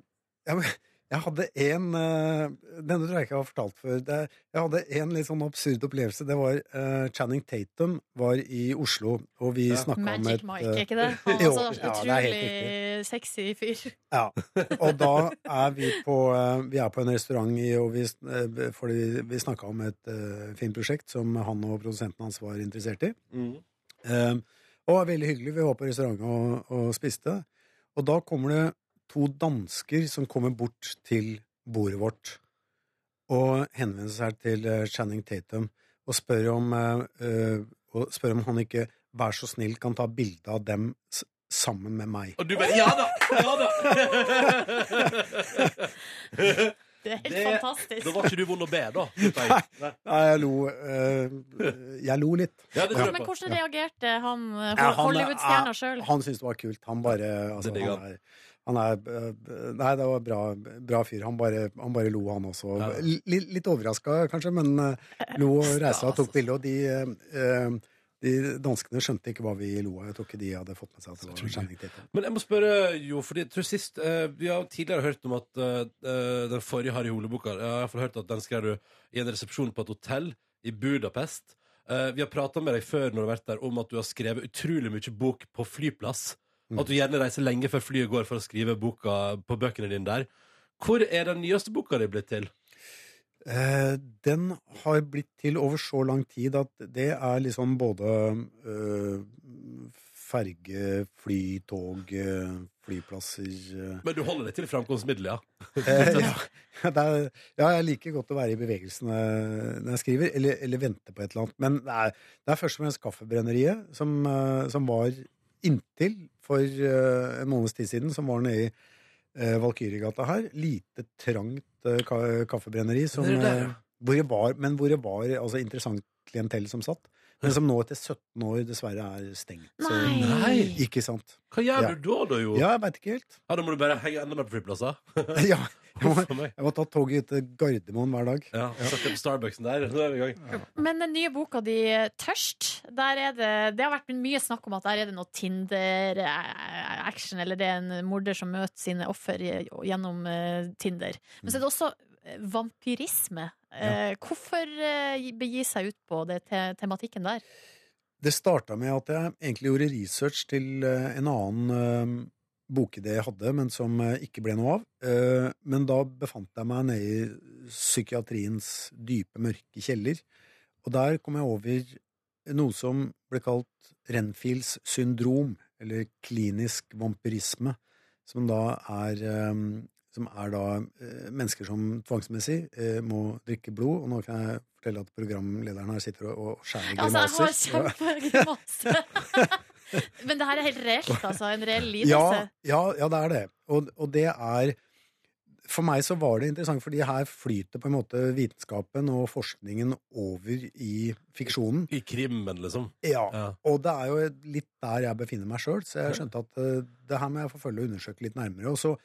Speaker 6: jeg, jeg hadde en eh, Denne tror jeg ikke jeg har fortalt før. Det, jeg hadde en litt sånn absurd opplevelse. Det var eh, Channing Tatum var i Oslo, og vi
Speaker 2: Ja.
Speaker 6: snakka om
Speaker 3: Magic
Speaker 6: et
Speaker 3: Mike,
Speaker 6: eh,
Speaker 3: er ikke
Speaker 6: *laughs*
Speaker 3: det? Han
Speaker 6: Jo,
Speaker 3: er så
Speaker 6: ja, det er helt
Speaker 3: utrolig sexy fyr. *laughs*
Speaker 6: Ja, og da er vi på, eh, vi er på en restaurant, i, og vi, eh, fordi vi snakka om et eh, filmprosjekt som han og produsenten hans var interessert i.
Speaker 2: Mm.
Speaker 6: Eh, og det var veldig hyggelig, vi var på restauranten og, og spiste. Og da kommer det to dansker som kommer bort til bordet vårt og henvender seg til eh, Channing Tatum og spør om, eh, eh, og spør om han ikke, vær så snill, kan ta bilde av dem s- sammen med meg.
Speaker 2: Og du bare Ja da! Ja da!
Speaker 3: Det er helt
Speaker 2: Det- Da
Speaker 3: fantastisk.
Speaker 2: var ikke du vond å be, da. Nei.
Speaker 6: Nei, jeg lo, eh, jeg lo litt.
Speaker 2: Ja, det tror jeg
Speaker 3: Men
Speaker 2: på.
Speaker 3: hvordan reagerte han eh,
Speaker 6: Ja, han-
Speaker 3: Hollywood-stjerna
Speaker 6: ja,
Speaker 3: sjøl?
Speaker 6: Han syntes det var kult. Han bare altså,
Speaker 2: digger
Speaker 6: han, er, han er eh, Nei, det var bra, bra fyr. Han bare, han bare lo, han også.
Speaker 2: Ja.
Speaker 6: L- li- litt overraska, kanskje, men eh, lo og reiste seg og
Speaker 2: altså.
Speaker 6: tok bilde. Og de, eh, de danskene skjønte ikke hva vi lo av. Jeg tror ikke de hadde fått med seg at det var Channing Tatum.
Speaker 2: Men jeg må spørre, jo, fordi jeg tror sist eh, Vi har jo tidligere hørt om at eh, eh, den forrige Harry Hole-boka Jeg har iallfall hørt at den skrev du i en resepsjon på et hotell i Budapest. Eh, vi har prata med deg før når du har vært der om at du har skrevet utrolig mye bok på flyplass.
Speaker 6: Mm.
Speaker 2: At du gjerne reiser lenge før flyet går for å skrive boka på bøkene dine der. Hvor er den nyeste boka di blitt til?
Speaker 6: Eh, den har blitt til over så lang tid at det er liksom både eh, ferge, fly, tog, eh, flyplasser eh,
Speaker 2: Men du holder deg til framkomstmiddelet, ja.
Speaker 6: Eh, ja, *laughs* det er, ja, jeg liker godt å være i bevegelsen eh, når jeg skriver, eller, eller vente på et eller annet. Men det er, det er først og fremst Kaffebrenneriet, som, eh, som var inntil for eh, en måneds tid siden, som var nede i eh, Valkyrjegata her. Lite trangt eh, ka kaffebrenneri, som,
Speaker 2: Det er der,
Speaker 6: eh,
Speaker 2: ja.
Speaker 6: hvor det var, men hvor det var altså, interessant klientell som satt. Men som nå etter 17 år dessverre er stengt. Så-
Speaker 2: Nei.
Speaker 6: Ikke sant?
Speaker 2: Hva gjør
Speaker 6: Ja.
Speaker 2: du da, da, jo?
Speaker 6: Ja, jeg veit ikke helt. *laughs*
Speaker 2: Ja, Da må du bare henge enda mer på flyplasser.
Speaker 6: ja, jeg, må,
Speaker 2: For meg.
Speaker 6: jeg må ta toget ut til Gardermoen hver dag.
Speaker 2: Ja, Sette deg på Starbucksen der, så er vi i gang.
Speaker 3: Men den nye boka di, Tørst, der er det, det har vært mye snakk om at der er det noe Tinder-action, eller det er en morder som møter sine offer i- gjennom eh, Tinder. Men så er det også eh, vampyrisme. Eh, Hvorfor eh, begi seg ut på det te tematikken der?
Speaker 6: Det starta med at jeg egentlig gjorde research til eh, en annen eh, bokidé jeg hadde, men som eh, ikke ble noe av. Eh, Men da befant jeg meg nede i psykiatriens dype, mørke kjeller. Og der kom jeg over noe som ble kalt Renfields syndrom, eller klinisk vampyrisme, som da er eh, som er da eh, mennesker som tvangsmessig eh, må drikke blod. Og nå kan jeg fortelle at programlederen her sitter og, og skjærer
Speaker 3: Ja, Altså,
Speaker 6: grimaser.
Speaker 3: jeg har kjempegrimaser. *laughs* Men det her er helt reelt, altså. En reell lidelse.
Speaker 6: Ja, ja, ja, det er det. Og, og det er For meg så var det interessant, fordi her flyter på en måte vitenskapen og forskningen over i fiksjonen.
Speaker 2: I krimmen, liksom.
Speaker 6: Ja.
Speaker 2: Ja.
Speaker 6: Og det er jo litt der jeg befinner meg sjøl, så jeg skjønte at eh, det her må jeg forfølge og undersøke litt nærmere. Og så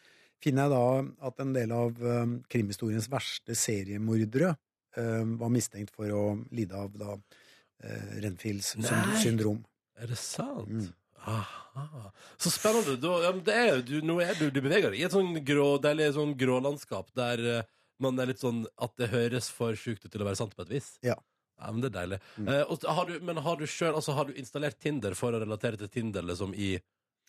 Speaker 6: finner jeg da at en del av eh, krimhistoriens verste seriemordere eh, var mistenkt for å lide av da eh, Renfields
Speaker 2: Nei.
Speaker 6: synd- syndrom.
Speaker 2: Er det sant?
Speaker 6: Mm.
Speaker 2: Aha. Så spennende. Da, ja, men det er, jo- du, nå er du, du beveger deg i et sånn grå, deilig sånn grå landskap der eh, man er litt sånn at det høres for sjukt ut til å være sant på et vis.
Speaker 6: Ja.
Speaker 2: Ja, men det er deilig.
Speaker 6: Mm.
Speaker 2: Eh, og, så har du, men har du selv, altså, har du installert Tinder for å relatere til Tinder liksom, i,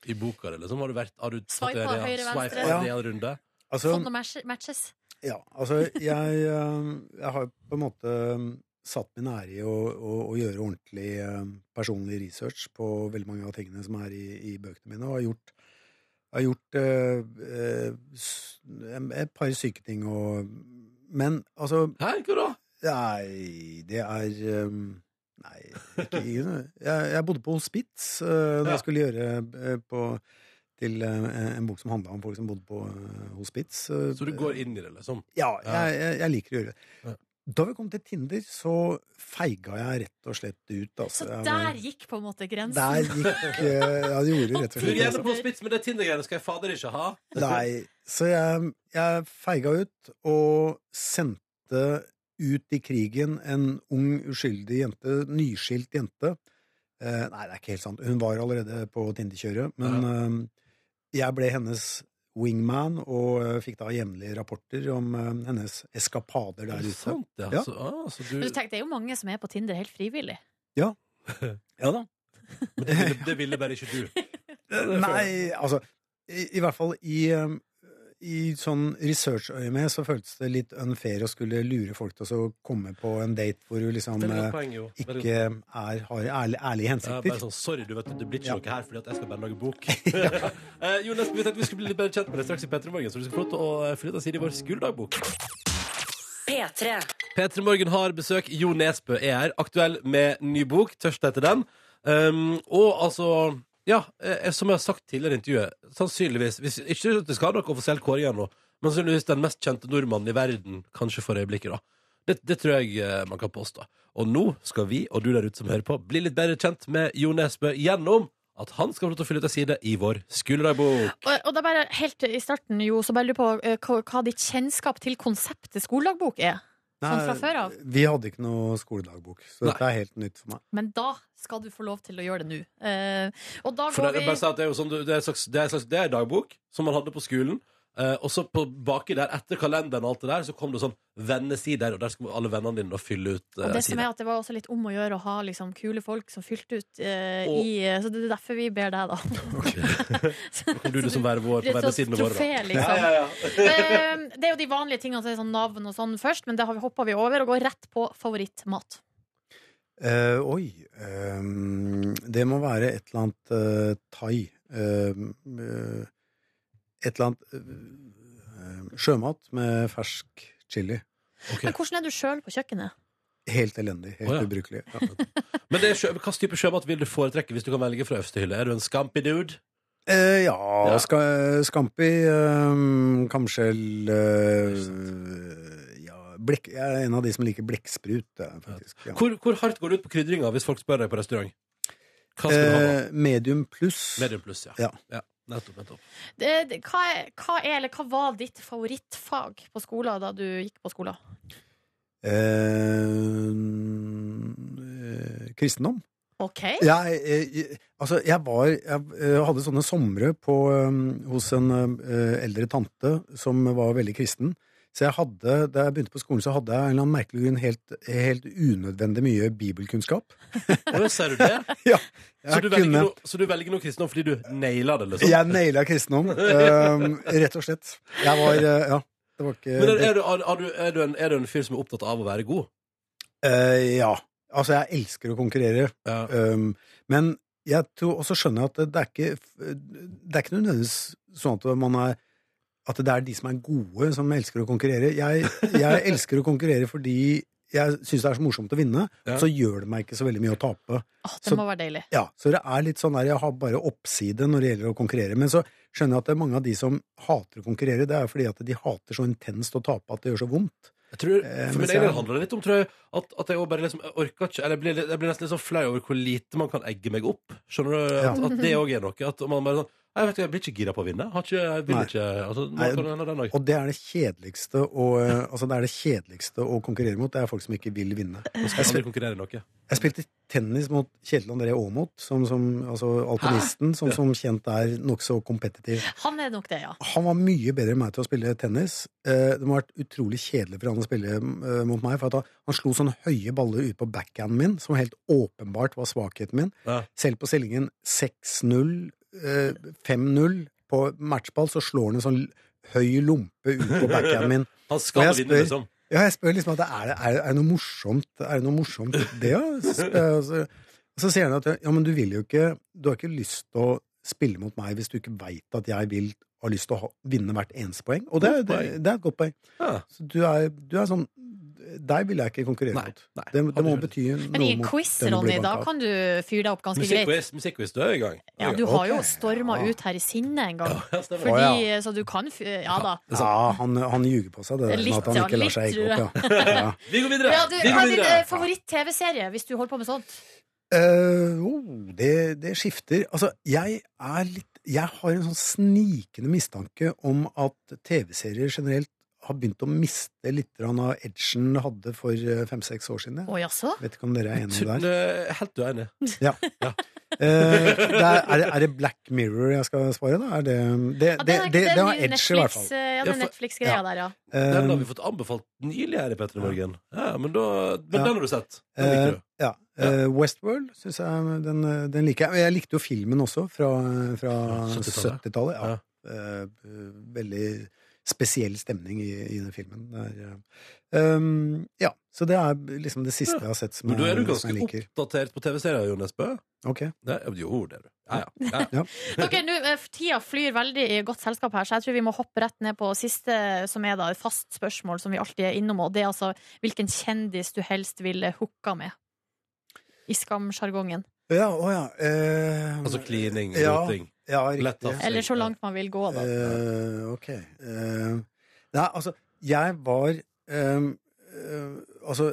Speaker 2: i boka? di, Liksom? Har du vært, har du tatt
Speaker 3: Swipe
Speaker 2: det-
Speaker 3: av høyre,
Speaker 2: swipe
Speaker 3: venstre.
Speaker 2: av det en runde?
Speaker 6: Altså,
Speaker 3: Sånn det matche- matches.
Speaker 6: Ja, altså jeg, eh, jeg har på en måte eh, satt min ære i å, å, å gjøre ordentlig eh, personlig research på veldig mange av tingene som er i, i bøkene mine, og har gjort, har gjort eh, eh, s- en- et par syke ting og Men altså
Speaker 2: Hæ, hva da?
Speaker 6: Nei, det er eh, Nei, ikke ikke noe. Jeg, jeg bodde på hospits eh, da
Speaker 2: Ja.
Speaker 6: jeg skulle gjøre eh, på til eh, en bok som handla om folk som bodde på eh, hospits. eh,
Speaker 2: Så du går inn i det, liksom?
Speaker 6: ja,
Speaker 2: Ja.
Speaker 6: jeg, jeg, jeg liker å gjøre
Speaker 2: Ja.
Speaker 6: det. Da vi kom til Tinder, så feiga jeg rett og slett ut.
Speaker 3: Så
Speaker 6: Altså. Jeg var-
Speaker 3: der gikk på en måte grensen.
Speaker 6: der gikk eh, Ja, det gjorde rett og
Speaker 2: Du er
Speaker 6: slett
Speaker 2: gjerne
Speaker 6: altså.
Speaker 2: på spits med det Tinder-greiene, skal jeg fader ikke ha.
Speaker 6: Nei, så jeg, jeg feiga ut og sendte sendte ut i krigen en ung, uskyldig jente, nyskilt jente Eh, Nei, det er ikke helt sant. Hun var allerede på Tinderkjøret, men eh, jeg ble hennes wingman og eh, fikk da jevnlige rapporter om eh, hennes eskapader
Speaker 2: Er
Speaker 6: der
Speaker 2: det
Speaker 6: ute.
Speaker 2: sant? Ja.
Speaker 6: Ja.
Speaker 2: Så, ah, så du,
Speaker 3: Men du tenker, det er jo mange som er på Tinder helt frivillig.
Speaker 6: Ja da.
Speaker 2: men det, ville, det ville bare ikke *laughs* du.
Speaker 6: Nei, altså i, I hvert fall i, um, i sånn researchøyemed så føltes det litt unfair å skulle lure folk til å så komme på en date hvor du liksom
Speaker 2: Veldig godt
Speaker 6: eh,
Speaker 2: poeng, jo. Veldig
Speaker 6: ikke er, har ærlig, ærlige
Speaker 2: Ja,
Speaker 6: hensikter.
Speaker 2: bare sånn, sorry, du vet, det blir ikke
Speaker 6: Ja.
Speaker 2: noe her fordi at jeg skal bare lage *laughs* bok. Eh, Jonas, vi tenkte vi skulle bli litt bedre kjent med deg straks i P3 Morgen, så du skal få lov til å eh, flytte oss inn i vår skoledagbok.
Speaker 1: P3.
Speaker 2: P3 Morgen har besøk. Jo Nesbø er her, aktuell med ny bok. Tørst etter den. Um, og altså Ja, eh, som jeg har sagt tidligere i intervjuet, sannsynligvis hvis, Ikke at det skal ha noe offisiell kåring ennå, men sannsynligvis den mest kjente nordmannen i verden, kanskje for øyeblikket, da. Det, det tror jeg eh, man kan påstå. Og nå skal vi, og du der ute som hører på, bli litt bedre kjent med Jo Nesbø gjennom at han skal få lov til å fylle ut ei side i vår skoledagbok.
Speaker 3: Og, og da bare helt i starten, jo, så bare lurer på eh, hva, hva ditt kjennskap til konseptet skoledagbok er. sånn fra før av?
Speaker 6: Vi hadde ikke noe skoledagbok, så
Speaker 2: Nei.
Speaker 6: dette er helt nytt for meg.
Speaker 3: Men da skal du få lov til å gjøre det nå. Eh, og da
Speaker 2: For
Speaker 3: går
Speaker 2: det,
Speaker 3: vi
Speaker 2: jeg bare sa at det er jo sånn, det er en slags, det er en slags det er en dagbok som man hadde på skolen. Eh, og så på baki der, etter kalenderen og alt det der, så kom det sånn vennesider, og der skulle alle vennene dine da fylle ut
Speaker 3: Og
Speaker 2: eh,
Speaker 3: det som
Speaker 2: sider.
Speaker 3: er at det var også litt om å gjøre å ha liksom, kule folk som fylte ut eh,
Speaker 2: Og-
Speaker 3: i eh, Så det er derfor vi ber deg, da. *laughs*
Speaker 2: Da Kan du liksom være vår på
Speaker 3: Det er et
Speaker 2: vennesidene
Speaker 3: sånt
Speaker 2: våre, da?
Speaker 3: trofé, liksom. Eh, det er jo de vanlige tingene, så det er sånn navn og sånn først, men det har vi hoppa vi over og går rett på favorittmat.
Speaker 6: Eh, oi eh, Det må være et eller annet eh, thai. Eh, eh, et eller annet eh, eh, sjømat med fersk chili.
Speaker 2: Ok.
Speaker 3: Men hvordan er du sjøl på kjøkkenet?
Speaker 6: Helt elendig. Helt
Speaker 2: Å, ja.
Speaker 6: ubrukelig. Ja.
Speaker 2: Men det er sjø, hva type sjømat vil du foretrekke hvis du kan velge fra øverste hylle? Er du en scampy dude?
Speaker 6: Eh, ja,
Speaker 2: Ja.
Speaker 6: Ska, Skampi, eh, kamskjell eh, ja, blekk, Jeg er en av de som liker blekksprut, eh, faktisk. Ja.
Speaker 2: Hvor, hvor hardt går du ut på krydringa hvis folk spør deg på restaurant? Hva skal du ha? da?
Speaker 6: Eh, medium pluss.
Speaker 2: Medium pluss, ja.
Speaker 6: ja.
Speaker 2: Nettopp, nettopp.
Speaker 3: Det- det- Hva, er- hva er, eller hva var ditt favorittfag på skolen da du gikk på skolen?
Speaker 6: ehm, Eh, eh, kristendom.
Speaker 3: OK?
Speaker 6: Jeg, eh, altså, jeg var Jeg eh, hadde sånne somre på, eh, hos en eh, eldre tante som var veldig kristen. Så jeg hadde, da jeg begynte på skolen, så hadde jeg en eller annen merkelig grunn helt, helt unødvendig mye bibelkunnskap.
Speaker 2: Å, ja, ser du
Speaker 6: *laughs*
Speaker 2: det?
Speaker 6: Ja,
Speaker 2: Så
Speaker 6: jeg
Speaker 2: du velger noe, så du velger noe kristendom fordi du naila det, liksom?
Speaker 6: Jeg naila kristendom, ehm, rett og slett. Jeg var eh, Ja, det var ikke
Speaker 2: Men er, er, du, er, er, du, er, du en, er du en fyr som er opptatt av å være god?
Speaker 6: Eh, Ja. Altså, jeg elsker å konkurrere,
Speaker 2: Ja.
Speaker 6: ehm, men jeg tror også skjønner jeg at det- det er ikke Det er ikke nødvendigvis sånn at man er at det er de som er gode, som elsker å konkurrere. Jeg, jeg elsker å konkurrere fordi jeg syns det er så morsomt å vinne,
Speaker 2: Ja.
Speaker 6: og så gjør det meg ikke så veldig mye å tape.
Speaker 3: Åh, det
Speaker 6: Så-
Speaker 3: må være deilig.
Speaker 6: Ja, så det er litt sånn der, jeg har bare oppside når det gjelder å konkurrere. Men så skjønner jeg at det er mange av de som hater å konkurrere, det er fordi at de hater så intenst å tape at det gjør så vondt.
Speaker 2: Jeg tror,
Speaker 6: Eh,
Speaker 2: for min egen
Speaker 6: mens jeg-
Speaker 2: del handler det litt om tror jeg, at, at jeg også bare liksom jeg orker ikke Eller jeg blir, litt- jeg blir nesten litt sånn flau over hvor lite man kan egge meg opp. Skjønner du? At,
Speaker 6: Ja.
Speaker 2: at det òg er noe. At man bare sånn Jeg vet ikke, jeg blir ikke gira på å vinne. Har ikke, jeg vil
Speaker 6: Nei.
Speaker 2: ikke altså, nå
Speaker 6: Nei,
Speaker 2: kan det hende den også.
Speaker 6: Og det er det kjedeligste å, eh, altså det er det kjedeligste å konkurrere mot, det er folk som ikke vil vinne.
Speaker 2: Nå skal jeg aldri konkurrere i noe.
Speaker 6: Jeg spilte tennis mot Kjetil André Aamodt, som, som, altså alpinisten, som som kjent er nokså kompetitiv.
Speaker 3: Han er nok det, ja.
Speaker 6: Han var mye bedre enn meg til å spille tennis. Eh, Det må ha vært utrolig kjedelig for han å spille eh, mot meg, for at han, han slo sånne høye baller ut på backhanden min, som helt åpenbart var svakheten min.
Speaker 2: Ja.
Speaker 6: Selv på stillingen 6-0, eh, 5-0 på matchball, så slår han en sånn høy lompe ut på backhanden min.
Speaker 2: Han
Speaker 6: Og
Speaker 2: skal
Speaker 6: jeg
Speaker 2: vinne,
Speaker 6: spør-
Speaker 2: liksom.
Speaker 6: Ja, jeg spør liksom at er det, er, er det noe morsomt Er det noe morsomt det, ja? Så, spør jeg, og så, og så sier han at ja, men du vil jo ikke Du har ikke lyst til å spille mot meg hvis du ikke veit at jeg vil har lyst til å ha, vinne hvert eneste poeng. Og det, er- det, det er et godt poeng.
Speaker 2: Ja.
Speaker 6: Så du er, du er sånn Deg vil jeg ikke konkurrere
Speaker 2: Nei,
Speaker 6: mot.
Speaker 2: nei.
Speaker 6: Det, det må
Speaker 2: Aldri.
Speaker 6: bety noe
Speaker 3: Men i en
Speaker 6: mot
Speaker 3: quiz,
Speaker 6: den du blir
Speaker 3: Ronny, da
Speaker 6: banka av.
Speaker 3: kan du fyre deg opp ganske greit.
Speaker 2: Musikkquiz, musikkquiz, du er i gang.
Speaker 3: Ja, du har jo
Speaker 6: Ok.
Speaker 3: storma
Speaker 6: Ja.
Speaker 3: ut her i sinne en gang.
Speaker 2: Ja, stemmer.
Speaker 3: Fordi, eh,
Speaker 6: Å,
Speaker 3: Så du kan fy- Ja da.
Speaker 6: ja, han, han ljuger på seg, det der med
Speaker 3: Litt,
Speaker 6: at han
Speaker 3: ja,
Speaker 6: ikke lar seg
Speaker 3: litt,
Speaker 6: egge opp. Ja. Ja.
Speaker 2: Vi går videre!
Speaker 3: Ja, du,
Speaker 2: vi
Speaker 3: hva
Speaker 2: går
Speaker 3: er din eh,
Speaker 2: videre.
Speaker 3: favoritt-TV-serie, hvis du holder på med sånt?
Speaker 6: Eh, oh, det, det skifter. Altså, jeg er litt Jeg har en sånn snikende mistanke om at TV-serier generelt har begynt å miste litt grann av edgen jeg hadde for eh, fem-seks år siden. Jeg.
Speaker 3: Å jaså?
Speaker 6: Vet ikke om dere er enige
Speaker 2: Tror-
Speaker 6: der.
Speaker 2: eh, Helt uenig.
Speaker 6: Eh, det er, er, det, er det Black Mirror jeg skal svare, da? Er det, det,
Speaker 3: Ja,
Speaker 6: det,
Speaker 3: den er ikke-
Speaker 6: det,
Speaker 3: den
Speaker 6: det
Speaker 3: nye
Speaker 6: har edge, i hvert fall.
Speaker 3: Netflix, eh, Ja,
Speaker 2: Ja,
Speaker 3: den
Speaker 2: for-
Speaker 3: Netflix-greia der, ja.
Speaker 2: Den har
Speaker 6: Eh,
Speaker 2: vi fått anbefalt nylig her i Petter i
Speaker 6: Ja.
Speaker 2: morgen. Ja, men da, men
Speaker 6: Ja.
Speaker 2: den har du sett. Den
Speaker 6: Eh,
Speaker 2: liker du.
Speaker 6: ja. Eh, Westworld synes jeg den, den liker jeg. Jeg likte jo filmen også, fra, fra
Speaker 2: Fra 70-tallet.
Speaker 6: 70-tallet. ja. Eh, veldig spesiell stemning i, i den filmen. Det er, eh, um, ja, så det er liksom det siste jeg har sett som
Speaker 2: Men da er du
Speaker 6: jeg, som
Speaker 2: ganske
Speaker 6: jeg liker.
Speaker 2: oppdatert på TV-serier, Jo Nesbø.
Speaker 6: Ok.
Speaker 2: Det, jo, det er du. Ja, ja.
Speaker 6: *laughs*
Speaker 2: ja.
Speaker 3: Ok, nå, eh, Tida flyr veldig i godt selskap her, så jeg tror vi må hoppe rett ned på siste, som er da et fast spørsmål som vi alltid er innom, og det er altså hvilken kjendis du helst ville hooka med. I skamsjargongen.
Speaker 6: Ja, å ja. eh,
Speaker 2: Altså klining,
Speaker 6: Ja.
Speaker 2: roting.
Speaker 6: ja,
Speaker 2: lett
Speaker 6: riktig.
Speaker 2: av.
Speaker 3: Eller så langt man vil gå, da.
Speaker 6: Eh, ok. Eh, nei, altså, jeg var ehm, eh, Altså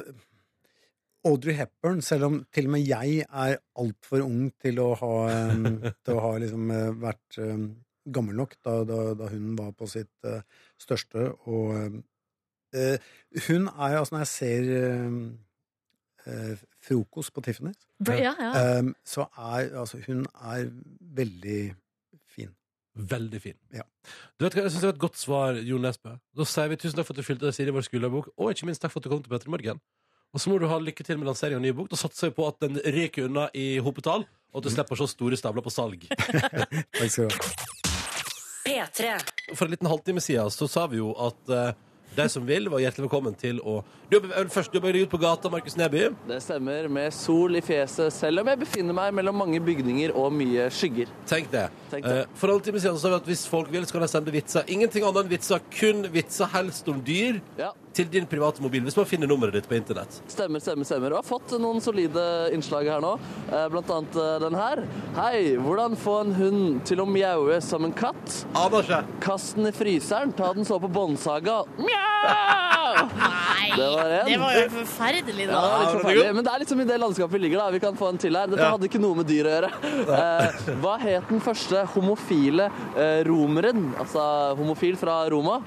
Speaker 6: Audrey Hepburn, selv om til og med jeg er altfor ung til å ha, ehm,
Speaker 3: *laughs*
Speaker 6: til å ha liksom, eh, vært ehm, gammel nok da, da, da hun var på sitt eh, største, og ehm, eh, Hun er altså, når jeg ser ehm, eh, frokost på Tiffany,
Speaker 3: Ja, ja.
Speaker 6: ehm, så er altså Hun er veldig fin.
Speaker 2: Veldig fin.
Speaker 6: Ja.
Speaker 2: Du vet hva, Jeg syns det var et godt svar, Jo Nesbø. Da sier vi tusen takk for at du fylte deg Siri vår skolebok, og ikke minst takk for at du kom til Petter i morgen. Og så må du ha lykke til med lansering av ny bok. Da satser vi på at den ryker unna i hopetall, og at du slipper så store stavler på salg.
Speaker 6: Takk skal du ha.
Speaker 1: P3.
Speaker 2: For en liten halvtime siden så sa vi jo at eh, de som vil, var hjertelig velkommen til å Du jobber først, du jobber deg ut på gata, Markus Neby.
Speaker 4: Det stemmer, med sol i fjeset, selv om jeg befinner meg mellom mange bygninger og mye skygger.
Speaker 2: Tenk det.
Speaker 4: Tenk det.
Speaker 2: Eh, for en halvtime siden så sa vi at hvis folk vil, så kan de sende vitser. Ingenting annet enn vitser, kun vitser, helst om dyr,
Speaker 4: Ja,
Speaker 2: til din private mobil, hvis man finner nummeret ditt på internett.
Speaker 4: stemmer, stemmer, stemmer. Og jeg har fått noen solide innslag her nå, Eh, blant annet eh, den her. Hei, hvordan få en hund til å mjaue som en katt?
Speaker 2: Aner ikke.
Speaker 4: Kast den i fryseren, ta den så på båndsaga. Mjau!
Speaker 3: Nei,
Speaker 4: Det var en.
Speaker 3: det var jo forferdelig,
Speaker 4: Ja, det
Speaker 2: Ja,
Speaker 3: da.
Speaker 4: er litt
Speaker 2: det er
Speaker 4: forferdelig, men det er liksom i det landskapet vi ligger. da Vi kan få en til her. Dette
Speaker 2: Ja.
Speaker 4: hadde ikke noe med dyr
Speaker 2: *laughs*
Speaker 4: å gjøre. Eh, hva het den første homofile eh, romeren? Altså homofil fra Roma?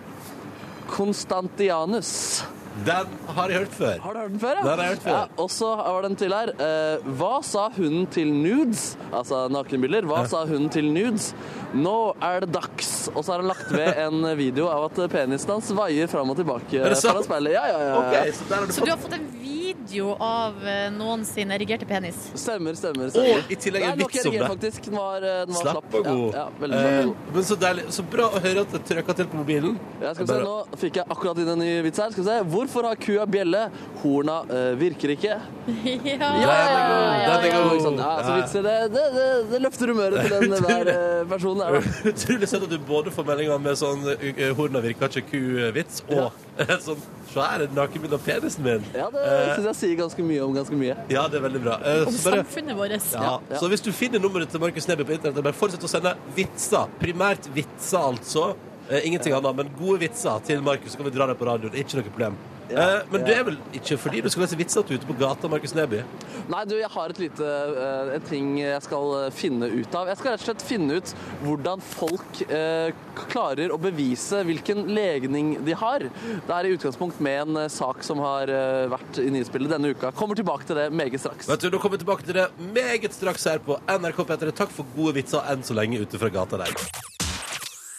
Speaker 4: Konstantianus.
Speaker 2: Den har jeg hørt før.
Speaker 4: Har du hørt den før?
Speaker 2: Den har jeg hørt før.
Speaker 4: Ja, og så var det en til her. Eh, hva sa hunden til nudes? Altså nakenbilder. Hva sa hunden til nudes? Nå er det dags. Og så har han lagt ved en video av at penisen hans vaier fram og tilbake.
Speaker 2: Er det sant?
Speaker 4: foran speilet. Ja, ja, ja, ja.
Speaker 2: Ok, Eh, så der har du
Speaker 3: Så du har fått en video av eh, noen sin erigerte penis?
Speaker 4: Stemmer, stemmer. stemmer.
Speaker 2: Og i tillegg en
Speaker 4: Nei, den var ikke
Speaker 2: vits om
Speaker 4: erigert,
Speaker 2: det.
Speaker 4: Faktisk. Den var, eh, den var slapp.
Speaker 2: Slapp og god.
Speaker 4: Ja, ja, veldig slapp og god.
Speaker 2: Eh, men så deilig. Så bra å høre at det trøkka til på mobilen.
Speaker 4: Ja, skal vi se,
Speaker 2: Bare-
Speaker 4: nå fikk jeg akkurat inn en ny vits her. Skal vi se. Hvorfor har kua bjelle? Horna eh, virker ikke.
Speaker 3: Ja,
Speaker 4: Ah, Ja,
Speaker 2: Den er god, den er god.
Speaker 4: ikke sant? Ja, så vitser, det, det, det, det løfter humøret til
Speaker 2: *laughs*
Speaker 4: den der eh, personen der. da.
Speaker 2: Utrolig søtt at du både får meldinger med sånn eh, 'horna virka ikke ku'-vits, og *laughs* et sånn 'svær nakenbilde av penisen min'.
Speaker 4: Ja, det
Speaker 2: Eh,
Speaker 4: syns jeg sier ganske mye om ganske mye.
Speaker 2: ja, det er veldig bra. Eh,
Speaker 3: Om
Speaker 2: så bare-
Speaker 3: samfunnet vårt.
Speaker 2: Ja.
Speaker 4: Ja.
Speaker 2: Så hvis du finner nummeret til Markus Neby på internett, bare fortsett å sende vitser. Primært vitser, altså. Eh, ingenting annet, men gode vitser til Markus, så kan vi dra det på radioen. Ikke noe problem.
Speaker 4: Ja,
Speaker 2: eh, men
Speaker 4: ja.
Speaker 2: det er vel ikke fordi du skal lese vitser at du er ute på gata, Markus Neby?
Speaker 4: Nei, du, jeg har et lite, eh, en ting jeg skal eh, finne ut av. Jeg skal rett og slett finne ut hvordan folk eh, klarer å bevise hvilken legning de har. Det er i utgangspunkt med en eh, sak som har eh, vært i nyhetsbildet denne uka. Kommer tilbake til det meget straks.
Speaker 2: Vet du, Da kommer vi tilbake til det meget straks her på NRK P3. Takk for gode vitser enn så lenge ute fra gata der.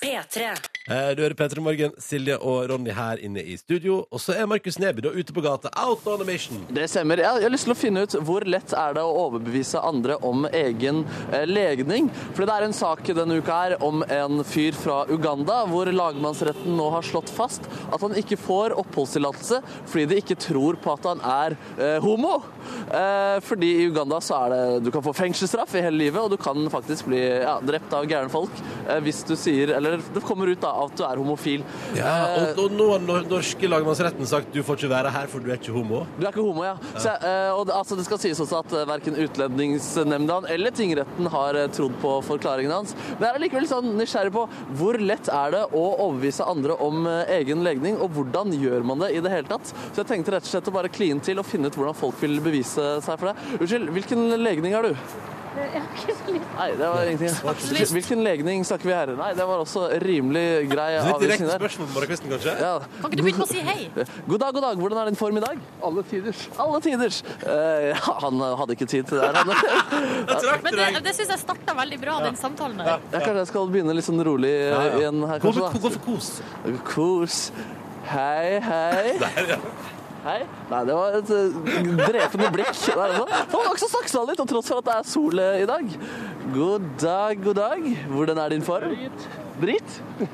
Speaker 1: P3.
Speaker 2: Eh, Du hører P3 Morgen, Silje og Ronny her inne i studio. Og så er Markus Neby da ute på gata. Out on a mission.
Speaker 4: Det stemmer. Jeg jeg har lyst til å finne ut hvor lett er det å overbevise andre om egen eh, legning. For det er en sak denne uka her om en fyr fra Uganda hvor lagmannsretten nå har slått fast at han ikke får oppholdstillatelse fordi de ikke tror på at han er eh, homo. Eh, fordi i Uganda så er det du kan få fengselsstraff i hele livet, og du kan faktisk bli ja, drept av gærne folk eh, hvis du sier Eller det kommer ut da at du er homofil. Eh,
Speaker 2: og, og nå har nor- norske lagmannsretten sagt du får ikke være her, for du er ikke homo.
Speaker 4: Du er ikke homo, ja. Så, eh, og det, altså, det skal sies også at eh, verken Utlendingsnemnda eller tingretten har eh, trodd på forklaringen hans. Men jeg er likevel sånn nysgjerrig på hvor lett er det å overbevise andre om eh, egen legning, og hvordan gjør man det i det hele tatt? Så jeg tenkte rett og slett å bare kline til og finne ut hvordan folk vil bevise seg for det. Unnskyld, hvilken legning har du? Nei, det var ingenting. Hvilken legning snakker vi her? Nei, det var også rimelig grei
Speaker 2: Så Litt
Speaker 4: avvisning
Speaker 2: direkte
Speaker 4: der.
Speaker 2: spørsmål på morgenkvisten, kanskje?
Speaker 4: Ja.
Speaker 3: Kan ikke du begynne med å si hei?
Speaker 4: God dag, god dag. Hvordan er din form i dag? Alle tiders. Alle tiders. Eh, ja, han hadde ikke tid til det her. Han. *laughs*
Speaker 2: Jeg trakk
Speaker 3: Men
Speaker 2: til
Speaker 3: det,
Speaker 2: deg.
Speaker 3: det syns jeg starta veldig bra, den samtalen der.
Speaker 4: Jeg kanskje jeg skal begynne litt sånn rolig eh,
Speaker 2: Ja, ja.
Speaker 4: igjen her,
Speaker 2: Gå for-
Speaker 4: kanskje.
Speaker 2: Gå for kos.
Speaker 4: da. Kos. Hei, hei. Hei. Nei, det var et eh, drepende blikk. Der, altså. Han har også saksa litt, og tross for at det er sol eh, i dag. God dag, god dag. Hvordan er din form? Drit.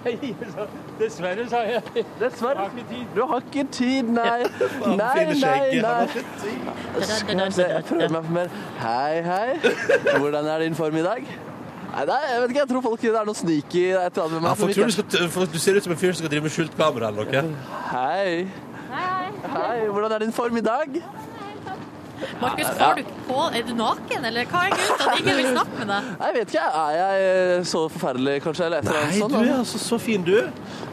Speaker 4: Drit?
Speaker 7: Dessverre, sa jeg.
Speaker 4: Dessverre. Du har ikke tid, nei. Nei,
Speaker 2: fine
Speaker 4: nei,
Speaker 2: skjegget.
Speaker 4: nei. Skal jeg se, jeg prøver meg på mer. Hei, hei. Hvordan er din form i dag? Nei, nei, jeg vet ikke, jeg tror folk det er noe sneaky et eller annet med
Speaker 2: Ja,
Speaker 4: meg. som
Speaker 2: folk tror du,
Speaker 4: ikke-
Speaker 2: skal, for du ser ut som en fyr som skal drive med skjult kamera eller noe.
Speaker 4: Hei. Hei, hvordan er din form i dag?
Speaker 3: Markus, får du ikke på Er du naken, eller hva er grunnen til at ingen vil snakke med deg?
Speaker 4: Jeg vet ikke, er jeg eh, så forferdelig, kanskje? Eller et eller annet
Speaker 2: Nei,
Speaker 4: sånt.
Speaker 2: du er
Speaker 4: sånn da.
Speaker 2: altså så fin, du.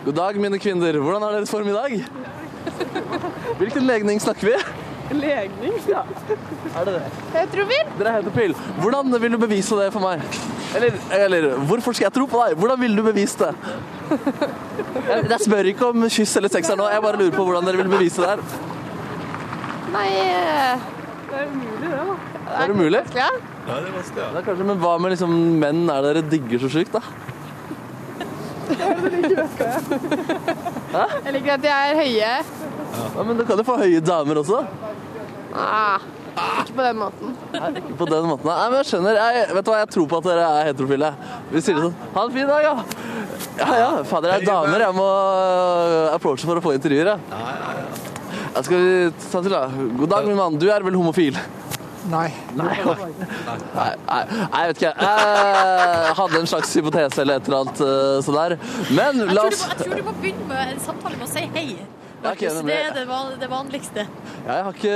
Speaker 4: God dag, mine kvinner. Hvordan er deres form i dag? Hvilken legning snakker vi?
Speaker 8: Legning?
Speaker 4: Ja. Er det det?
Speaker 8: Heterofil?
Speaker 4: Dere heter Pil. Hvordan vil du bevise det for meg? Eller, eller hvorfor skal jeg tro på deg? Hvordan ville du bevist det? Jeg, jeg spør ikke om kyss eller sex her nå, jeg bare lurer på hvordan dere vil bevise det her.
Speaker 8: Nei eh, Det er umulig, det, da.
Speaker 4: Er det mulig?
Speaker 8: Ja.
Speaker 2: Ja, det er vanskelig, ja.
Speaker 4: Det er kanskje, men hva med liksom menn er det dere digger så sjukt, da?
Speaker 8: Jeg liker at de er høye.
Speaker 4: Ja, men du kan jo få høye damer også, da.
Speaker 8: Ah, ikke på den måten.
Speaker 4: Nei, ikke på den måten. Nei, men jeg skjønner. Jeg, vet du hva, jeg tror på at dere er heterofile. Vi sier det sånn. Ha en fin dag, ja. Ja, ja. Fader, jeg er damer. Jeg må øh, approache for å få intervjuer, ja. Jeg skal ta til, da. God dag, min mann. Du er vel homofil?
Speaker 7: Nei.
Speaker 4: Nei. Nei, nei, nei, jeg vet ikke. Jeg hadde en slags hypotese eller et eller annet øh, sånn der. Men
Speaker 3: Jeg
Speaker 4: la
Speaker 3: tror, du
Speaker 4: oss
Speaker 3: må, jeg tror du må begynne med en samtale med å si hei.
Speaker 4: Ok,
Speaker 3: Markus,
Speaker 4: nemlig.
Speaker 3: det er det, van- det vanligste.
Speaker 4: Jeg har ikke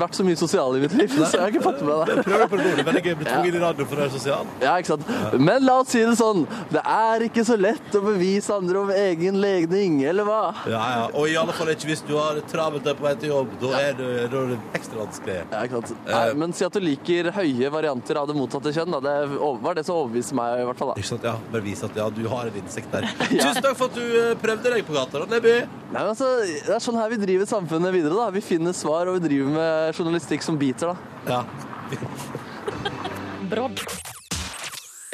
Speaker 4: vært så mye sosial i mitt liv, så jeg har ikke fått med meg det.
Speaker 2: Prøv deg på det gode. Veldig gøy å bli tvunget i radio for å være sosial.
Speaker 4: Ja, ikke sant? Men la oss si det sånn. Det er ikke så lett å bevise andre om egen legning, eller hva?
Speaker 2: Ja, ja. Og i alle fall ikke hvis du har travelt og er på vei til jobb. Da er du, da er det ekstra vanskelig.
Speaker 4: Ja, ikke sant? Nei, men si at du liker høye varianter av det motsatte kjønn. Da. Det over- var det som overbeviste meg, i hvert fall. Da.
Speaker 2: Ikke sant? Ja, bare vise at ja, du har en innsikt
Speaker 3: *laughs*
Speaker 2: der. Tusen takk for at du eh, prøvde deg på gata, da, Neby.
Speaker 4: Nei, men altså, det er sånn her vi driver samfunnet videre. da. Vi finner svar, og vi driver med journalistikk som biter. da.
Speaker 2: Ja.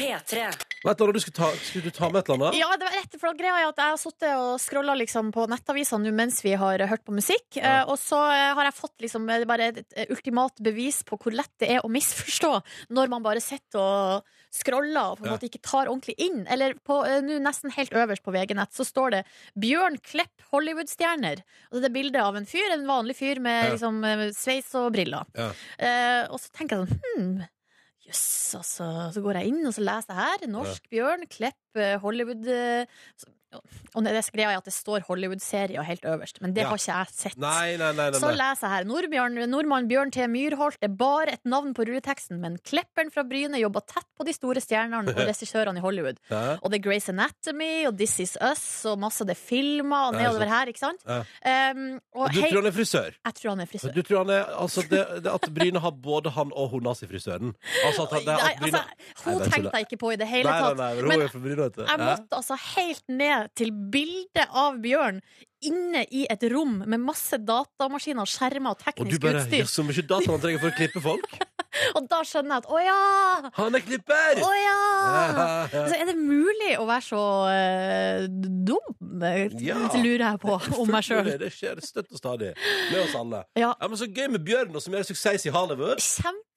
Speaker 1: P3.
Speaker 2: Vet du, hva, du skulle, ta, skulle du ta med et eller annet?
Speaker 3: Ja, det var rett, for da greia er at jeg har sittet og scrolla liksom på nettavisene nå mens vi har hørt på musikk, eh, og så eh, har jeg fått liksom eh, bare et eh, ultimat bevis på hvor lett det er å misforstå når man bare sitter og scroller og på en
Speaker 2: Ja.
Speaker 3: måte ikke tar ordentlig inn. Eller på, eh, nå nesten helt øverst på VG-nett så står det 'Bjørn Klepp, Hollywood-stjerner'. Og det er bildet av en fyr, en vanlig fyr med
Speaker 2: Ja.
Speaker 3: liksom eh, sveis og briller.
Speaker 2: Ja.
Speaker 3: Eh, og så tenker jeg sånn hmm, Jøss, altså. Så går jeg inn og så leser jeg her. Norsk bjørn, Klepp, eh, Hollywood eh, så- Og det som greia er at det står Hollywood-serier helt øverst, men det
Speaker 2: Ja.
Speaker 3: har ikke jeg sett.
Speaker 2: Nei, nei, nei.
Speaker 3: Så
Speaker 2: nei, nei.
Speaker 3: leser jeg her. Nordbjørn, nordmann Bjørn T. Myrholt er bare et navn på rulleteksten, men Klepperen fra Bryne jobber tett på de store
Speaker 2: *laughs*
Speaker 3: stjernene og regissørene i Hollywood.
Speaker 2: Ja.
Speaker 3: Og det er Grace Anatomy og This Is Us og masse av det filmer og
Speaker 2: Ja, ikke
Speaker 3: nedover her, ikke sant?
Speaker 2: Ja.
Speaker 3: Um, og
Speaker 2: Du
Speaker 3: hei,
Speaker 2: tror han er frisør?
Speaker 3: jeg tror han er frisør.
Speaker 2: Du tror han er, altså det, det At Bryne har både han og hun nazifrisøren? Altså at, han- det,
Speaker 3: Nei,
Speaker 2: at Bryne
Speaker 3: altså, hun
Speaker 2: Nei, det er
Speaker 3: tenkte jeg ikke på i det hele
Speaker 2: Nei, nei,
Speaker 3: tatt.
Speaker 2: nei, men hun
Speaker 3: Men
Speaker 2: er fra Bryne, vet du.
Speaker 3: jeg
Speaker 2: Ja.
Speaker 3: måtte altså helt ned til bildet av Bjørn inne i et rom med masse datamaskiner, skjermer og
Speaker 2: Og du
Speaker 3: teknisk
Speaker 2: bare
Speaker 3: utstyr.
Speaker 2: Jøss, så mye data man trenger for å klippe folk!
Speaker 3: Og da skjønner jeg at å ja!
Speaker 2: Han er klipper!
Speaker 3: Å ja!
Speaker 2: Ja, ja.
Speaker 3: Så er det mulig å være så eh, dum,
Speaker 2: Ja.
Speaker 3: lurer jeg på, om meg sjøl.
Speaker 2: Det, det skjer støtt og stadig med oss alle.
Speaker 3: Ja.
Speaker 2: men Så gøy med Bjørn, og som gjør suksess i Hollywood.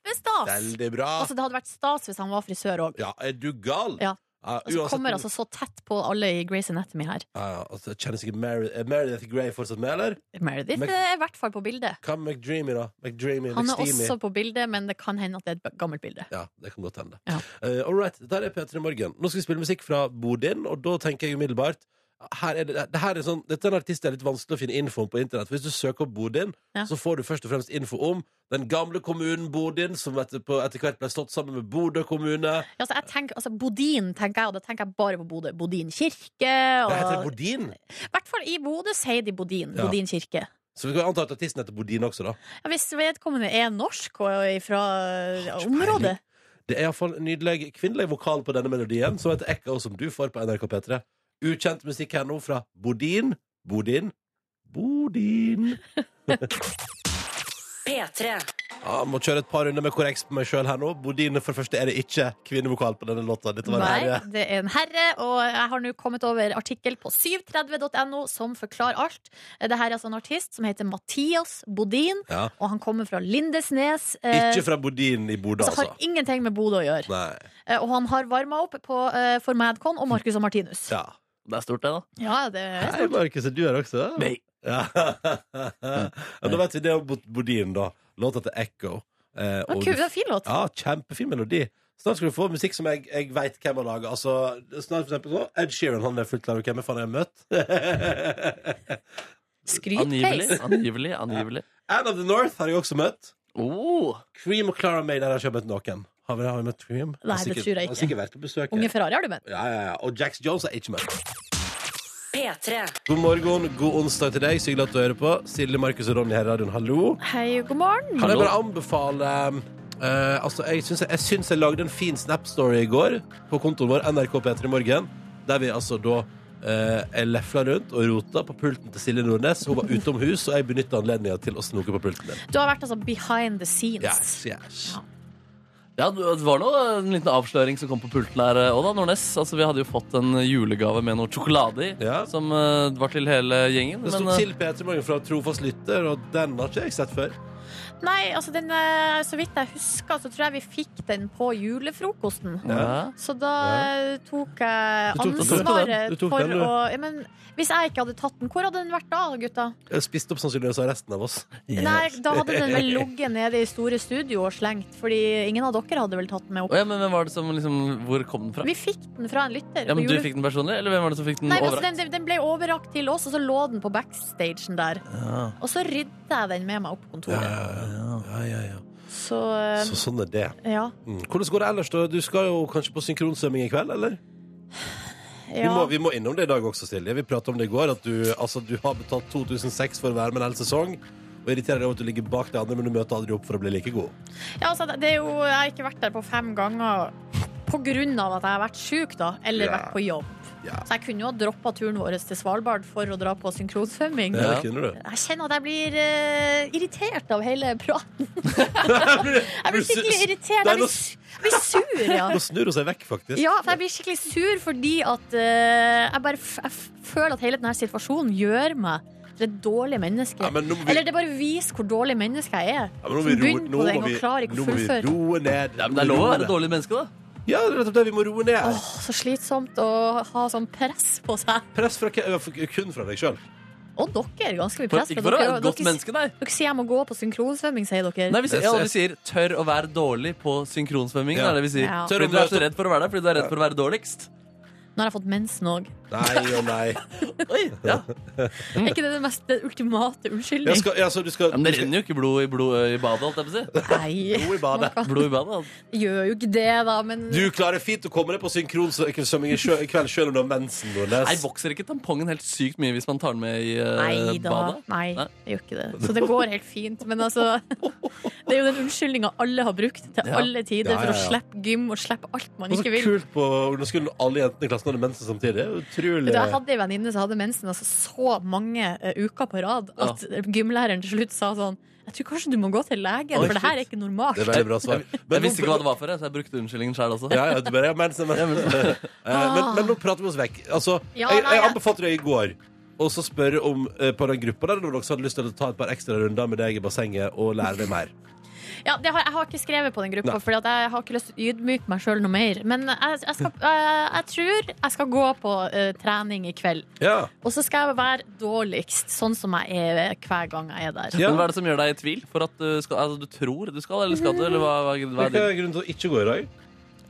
Speaker 3: Kjempestas!
Speaker 2: Veldig bra.
Speaker 3: Altså, det hadde vært stas hvis han var frisør òg.
Speaker 2: Ja, er du gal?
Speaker 3: Ja.
Speaker 2: Og
Speaker 3: Altså, kommer altså så tett på alle i Grace Anatomy her.
Speaker 2: ja, ja, altså, Kjennes ikke Mary, er Meredith Grey fortsatt med, eller?
Speaker 3: Meredith
Speaker 2: Men-
Speaker 3: er i hvert fall på bildet.
Speaker 2: Hva med McDreamy, da? McDreamy,
Speaker 3: Han er
Speaker 2: McSteamy.
Speaker 3: også på bildet, men det kan hende at det er et gammelt bilde.
Speaker 2: Ja, det kan godt hende.
Speaker 3: Ja.
Speaker 2: Eh, all right, der er P3 Morgen. Nå skal vi spille musikk fra Bodin, og da tenker jeg umiddelbart her er det, det her er sånn, Dette er en artist det er litt vanskelig å finne info om på internett. For Hvis du søker opp Bodin,
Speaker 3: Ja.
Speaker 2: så får du først og fremst info om den gamle kommunen Bodin, som etterpå, etter hvert ble slått sammen med Bodø kommune.
Speaker 3: Ja, Altså, jeg tenker, altså, Bodin tenker jeg, og da tenker jeg bare på Bodø. Bodin kirke.
Speaker 2: Det heter
Speaker 3: Og,
Speaker 2: Bodin!
Speaker 3: I hvert fall i Bodø sier de Bodin.
Speaker 2: Ja.
Speaker 3: Bodin kirke.
Speaker 2: Så vi kan anta at artisten heter Bodin også, da.
Speaker 3: Ja, hvis vedkommende er norsk og er fra
Speaker 2: Har ikke
Speaker 3: området.
Speaker 2: Det er iallfall en nydelig kvinnelig vokal på denne melodien, som heter Ekko, som du får på NRK P3. Ukjent musikk her nå fra Bodin. Bodin. Bodin.
Speaker 1: P3.
Speaker 2: Ja, må kjøre et par runder med korreks på meg sjøl her nå. Bodin, for det første er det ikke kvinnevokal på denne låta. Dette var
Speaker 3: Nei,
Speaker 2: det her.
Speaker 3: det er en herre, og jeg har nå kommet over artikkel på 730.no som forklarer alt. Dette er altså en artist som heter Mathias Bodin,
Speaker 2: Ja.
Speaker 3: og han kommer fra Lindesnes. eh,
Speaker 2: Ikke fra Bodin i Bodø,
Speaker 3: så har
Speaker 2: altså.
Speaker 3: ingenting med Bodø å gjøre.
Speaker 2: Nei.
Speaker 3: Eh, Og han har varma opp på, eh, for Madcon og Marcus og Martinus.
Speaker 2: Ja.
Speaker 4: Det er stort, det, da.
Speaker 3: Ja, det er
Speaker 2: Hei, Markus, er du her også?
Speaker 4: Nei.
Speaker 2: Ja. *laughs* ja, da vet vi det om Bo- Bodin, da. Låta til Echo. Eh,
Speaker 3: Men
Speaker 2: og
Speaker 3: kul,
Speaker 2: du-
Speaker 3: det er en fin låt.
Speaker 2: Ja, kjempefin melodi. Snart skal du få musikk som jeg, jeg veit hvem har laga. Altså, snart for eksempel så Ed Sheeran, han er fullt klar over hvem jeg faen jeg har møtt. *laughs*
Speaker 4: Angivelig.
Speaker 3: Skrytpeis.
Speaker 4: Angivelig. angivelig.
Speaker 2: Anne of the North har jeg også møtt.
Speaker 4: Oh,
Speaker 2: Cream og Clara May, der har jeg ikke møtt noen. Har vi, har vi møtt Cream?
Speaker 3: Nei,
Speaker 2: Har
Speaker 3: det
Speaker 2: sikkert-
Speaker 3: tror jeg
Speaker 2: Har
Speaker 3: ikke.
Speaker 2: sikkert vært på besøk.
Speaker 3: Unge Ferrari har du med.
Speaker 2: Ja, ja, ja. Og Jax Jones er ikke møtt.
Speaker 1: P3.
Speaker 2: God morgen, god onsdag til deg. Så hyggelig at du hører på. Silje, Markus og Ronny her i radioen, hallo.
Speaker 3: Hei, god morgen.
Speaker 2: Kan jeg
Speaker 4: Hallo.
Speaker 2: bare anbefale eh, altså, jeg, syns jeg, jeg syns jeg lagde en fin Snap-story i går på kontoen vår NRK P3 Morgen, der vi altså da eh, jeg lefla rundt og rota på pulten til Silje Nordnes. Hun var utom hus, og jeg benytta anledninga til å snoke på pulten din.
Speaker 3: Du har vært altså behind the scenes.
Speaker 2: Yes, yes.
Speaker 4: Ja, Det var nå en liten avsløring som kom på pulten her òg, da, Nordnes. Altså, Vi hadde jo fått en julegave med noe sjokolade i,
Speaker 2: Ja.
Speaker 4: som eh, var til hele gjengen.
Speaker 2: Det
Speaker 4: Men
Speaker 2: sto
Speaker 4: eh,
Speaker 2: til P3 Morgen fra trofast lytter, og den har ikke jeg sett før.
Speaker 3: Nei, altså den, eh, så vidt jeg husker, så tror jeg vi fikk den på julefrokosten.
Speaker 4: ja.
Speaker 3: Så da eh, tok jeg
Speaker 2: Du tok den, du.
Speaker 3: ansvaret
Speaker 2: Du tok
Speaker 3: for
Speaker 2: den, du.
Speaker 3: å ja, men, Hvis jeg ikke hadde tatt den, hvor hadde den vært da, gutta?
Speaker 2: Jeg spiste opp sannsynligvis av resten av oss.
Speaker 3: Nei, da hadde den
Speaker 2: *laughs*
Speaker 3: vel ligget nede i store studio og slengt, fordi ingen av dere hadde vel tatt den med
Speaker 4: Å
Speaker 3: opp.
Speaker 4: ja, men hvem var det som liksom, Hvor kom den fra?
Speaker 3: Vi fikk den fra en lytter.
Speaker 4: Ja, men
Speaker 3: på
Speaker 4: Du
Speaker 3: jule-
Speaker 4: fikk den personlig, eller hvem var det som fikk den
Speaker 3: Nei, men altså,
Speaker 4: overrakt?
Speaker 3: den, den- den ble overrakt til oss, og så lå den på backstagen der. Og så rydda jeg den med meg opp på kontoret.
Speaker 2: Ja, ja, ja.
Speaker 3: Så, eh,
Speaker 2: Så sånn er det.
Speaker 3: ja.
Speaker 2: Mm. Hvordan går det ellers? da? Du skal jo kanskje på synkronsvømming i kveld, eller? Vi, må,
Speaker 3: ja.
Speaker 2: vi må innom det i dag også, Silje. Vi pratet om det i går, at du, altså, du har betalt 2006 for å være med en hel sesong. Og irriterer deg over at du ligger bak de andre, men du møter aldri opp for å bli like god.
Speaker 3: ja altså, det er jo, jeg har ikke vært der på fem ganger på grunn av at jeg har vært syk, da. Eller
Speaker 2: Ja.
Speaker 3: vært på jobb.
Speaker 2: Ja.
Speaker 3: Så jeg kunne jo ha droppa turen vår til Svalbard for å dra på synkronsvømming.
Speaker 2: Ja. Det kunne du.
Speaker 3: *laughs* Jeg kjenner at jeg blir eh, irritert av hele praten. Jeg blir skikkelig irritert.
Speaker 2: Nei,
Speaker 3: Jeg
Speaker 2: nå
Speaker 3: blir, su- jeg blir sur, ja.
Speaker 2: *laughs* Nå snur hun seg vekk, faktisk.
Speaker 3: Ja, for jeg blir skikkelig sur fordi at eh, jeg bare f jeg f føler at hele denne situasjonen gjør meg til et dårlig menneske.
Speaker 2: Ja, men nå må vi-
Speaker 3: Eller det bare viser hvor dårlig menneske jeg er.
Speaker 2: Ja, men nå må
Speaker 3: som
Speaker 2: vi roe-
Speaker 3: begynner
Speaker 2: nå
Speaker 3: på det
Speaker 2: må
Speaker 3: og
Speaker 2: vi-
Speaker 3: klarer ikke
Speaker 2: nå
Speaker 3: å
Speaker 2: må vi
Speaker 3: fullføre.
Speaker 2: roe ned.
Speaker 4: Ja, men det er lov å være et dårlig menneske, da.
Speaker 2: Ja, det er nettopp det. Vi må roe ned.
Speaker 3: Åh, så slitsomt å ha sånn press på seg.
Speaker 2: Press fra, k- fra- kun fra deg sjøl.
Speaker 3: Og dere, ganske mye
Speaker 4: For,
Speaker 3: press. på
Speaker 4: ikke for å
Speaker 3: dere,
Speaker 4: være et godt
Speaker 3: dere,
Speaker 4: menneske, nei.
Speaker 3: dere sier jeg må gå på synkronsvømming, sier dere.
Speaker 4: Nei, vi sier,
Speaker 2: Jeg-
Speaker 4: ja,
Speaker 2: jeg-
Speaker 4: vi sier 'tør å være dårlig' på synkronsvømming.
Speaker 2: Ja.
Speaker 4: Er det vi sier.
Speaker 3: Ja.
Speaker 4: Fordi du er så redd for å være der, fordi du er redd for å være dårligst.
Speaker 3: Nå har jeg fått mensen òg.
Speaker 2: Nei og nei.
Speaker 4: Oi, ja.
Speaker 3: Er ikke det det mest den ultimate
Speaker 2: Mm. Jeg
Speaker 3: unnskyldning?
Speaker 2: skal, ja, så du skal,
Speaker 4: ja, Men det
Speaker 2: du skal
Speaker 4: renner jo ikke blod i, blod, ø, i badet, holdt jeg på å
Speaker 3: *laughs*
Speaker 4: si.
Speaker 3: Nei,
Speaker 2: roe i badet.
Speaker 4: Blod i badet. altså.
Speaker 3: gjør jo ikke det, da, men
Speaker 2: Du klarer fint å komme deg på synkronsvømming i sjø- i kveld sjøl om du har mensen, Nordnes.
Speaker 4: Nei, Vokser ikke tampongen helt sykt mye hvis man tar den med i ø,
Speaker 2: Eh,
Speaker 3: Nei da.
Speaker 4: badet?
Speaker 3: Nei,
Speaker 4: Nei.
Speaker 3: jeg gjør ikke det. Så det går helt fint. Men altså, *laughs* det er jo den unnskyldninga alle har brukt til
Speaker 4: Ja.
Speaker 3: alle tider
Speaker 2: Ja, ja,
Speaker 3: for
Speaker 2: ja.
Speaker 3: å slippe gym og slippe alt man
Speaker 2: Og så
Speaker 3: ikke vil.
Speaker 2: kult på ungdomsskolen når alle jentene i klassen hadde mensen samtidig. Det er jo
Speaker 3: Vet
Speaker 2: Utrolig.
Speaker 3: du, Jeg hadde ei venninne som hadde mensen altså, så mange eh, uker på rad at gymlæreren til slutt sa sånn Jeg tror kanskje du må gå til legen,
Speaker 4: Oi,
Speaker 3: for det her er
Speaker 4: shit.
Speaker 3: ikke normalt.
Speaker 2: Det er veldig bra svar.
Speaker 4: Jeg visste ikke hva det var for, jeg, så jeg brukte unnskyldningen sjøl også.
Speaker 2: Ja, ja, du bare, ja, mensen, men, *laughs* Eh, men, men nå prater vi oss vekk. Altså,
Speaker 3: Ja,
Speaker 2: jeg,
Speaker 3: nei,
Speaker 2: jeg
Speaker 3: jeg-
Speaker 2: anbefalte deg i går å så spørre om eh, på den gruppa der det var noen som hadde lyst til å ta et par ekstra runder med deg i bassenget og lære deg mer.
Speaker 3: Ja, det har, jeg har ikke skrevet på den gruppa,
Speaker 2: Nei.
Speaker 3: for jeg har ikke lyst til å ydmyke meg sjøl noe mer. Men jeg, jeg, skal, jeg, jeg tror jeg skal gå på eh, trening i kveld.
Speaker 2: Ja.
Speaker 3: Og så skal jeg være dårligst, sånn som jeg er hver gang jeg er der.
Speaker 2: Ja.
Speaker 4: Men Hva er det som gjør deg i tvil? For at du, skal, altså, du tror du skal, eller skal du? Eller hva, hva, hva
Speaker 2: Hva
Speaker 4: er din?
Speaker 2: er grunnen til å ikke gå i dag?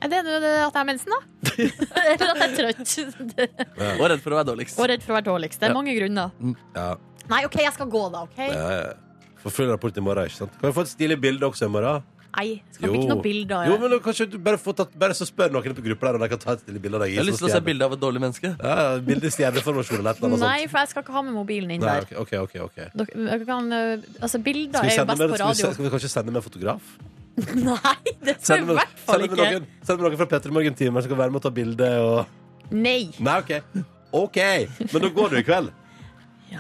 Speaker 3: Er det nå det at jeg har mensen, da?
Speaker 2: *laughs*
Speaker 3: Eller at jeg er trøtt? Det-
Speaker 4: Og redd for å være dårligst.
Speaker 3: Og redd for å være dårligst. Det er mange grunner.
Speaker 2: Mm, Ja.
Speaker 3: Nei, OK, jeg skal gå, da. ok?
Speaker 2: Eh, Får full rapport i morgen, ikke sant? Kan jeg få et stilig bilde også i morgen?
Speaker 3: Nei, skal ikke noen bilder.
Speaker 2: Jo,
Speaker 3: jeg.
Speaker 2: men kanskje du bare, får tatt, bare så spør noen på gruppa der om de kan ta et stilig bilde av deg. i
Speaker 4: Jeg har lyst til å se
Speaker 2: sånn
Speaker 4: bilde av et dårlig menneske.
Speaker 2: stjerne. Ja, ja, bilde i stjerneformasjon eller et eller annet sånt.
Speaker 3: Nei, for jeg skal ikke ha med mobilen inn
Speaker 2: Nei,
Speaker 3: der.
Speaker 2: ok, ok, ok, ok.
Speaker 3: Dere, dere kan, øh, altså,
Speaker 2: Skal
Speaker 3: bilder
Speaker 2: vi,
Speaker 3: er jo
Speaker 2: sende
Speaker 3: best
Speaker 2: med, skal, vi,
Speaker 3: på
Speaker 2: se-
Speaker 3: radio.
Speaker 2: skal vi kanskje sende med fotograf?
Speaker 3: Nei, det skal
Speaker 2: Send
Speaker 3: jeg i
Speaker 2: med,
Speaker 3: hvert
Speaker 2: send
Speaker 3: fall
Speaker 2: med
Speaker 3: ikke.
Speaker 2: noen, send med noen fra Petter Morgen-timen som kan være med og ta bilde og
Speaker 3: Nei.
Speaker 2: Nei, OK. OK. Men da går du i kveld.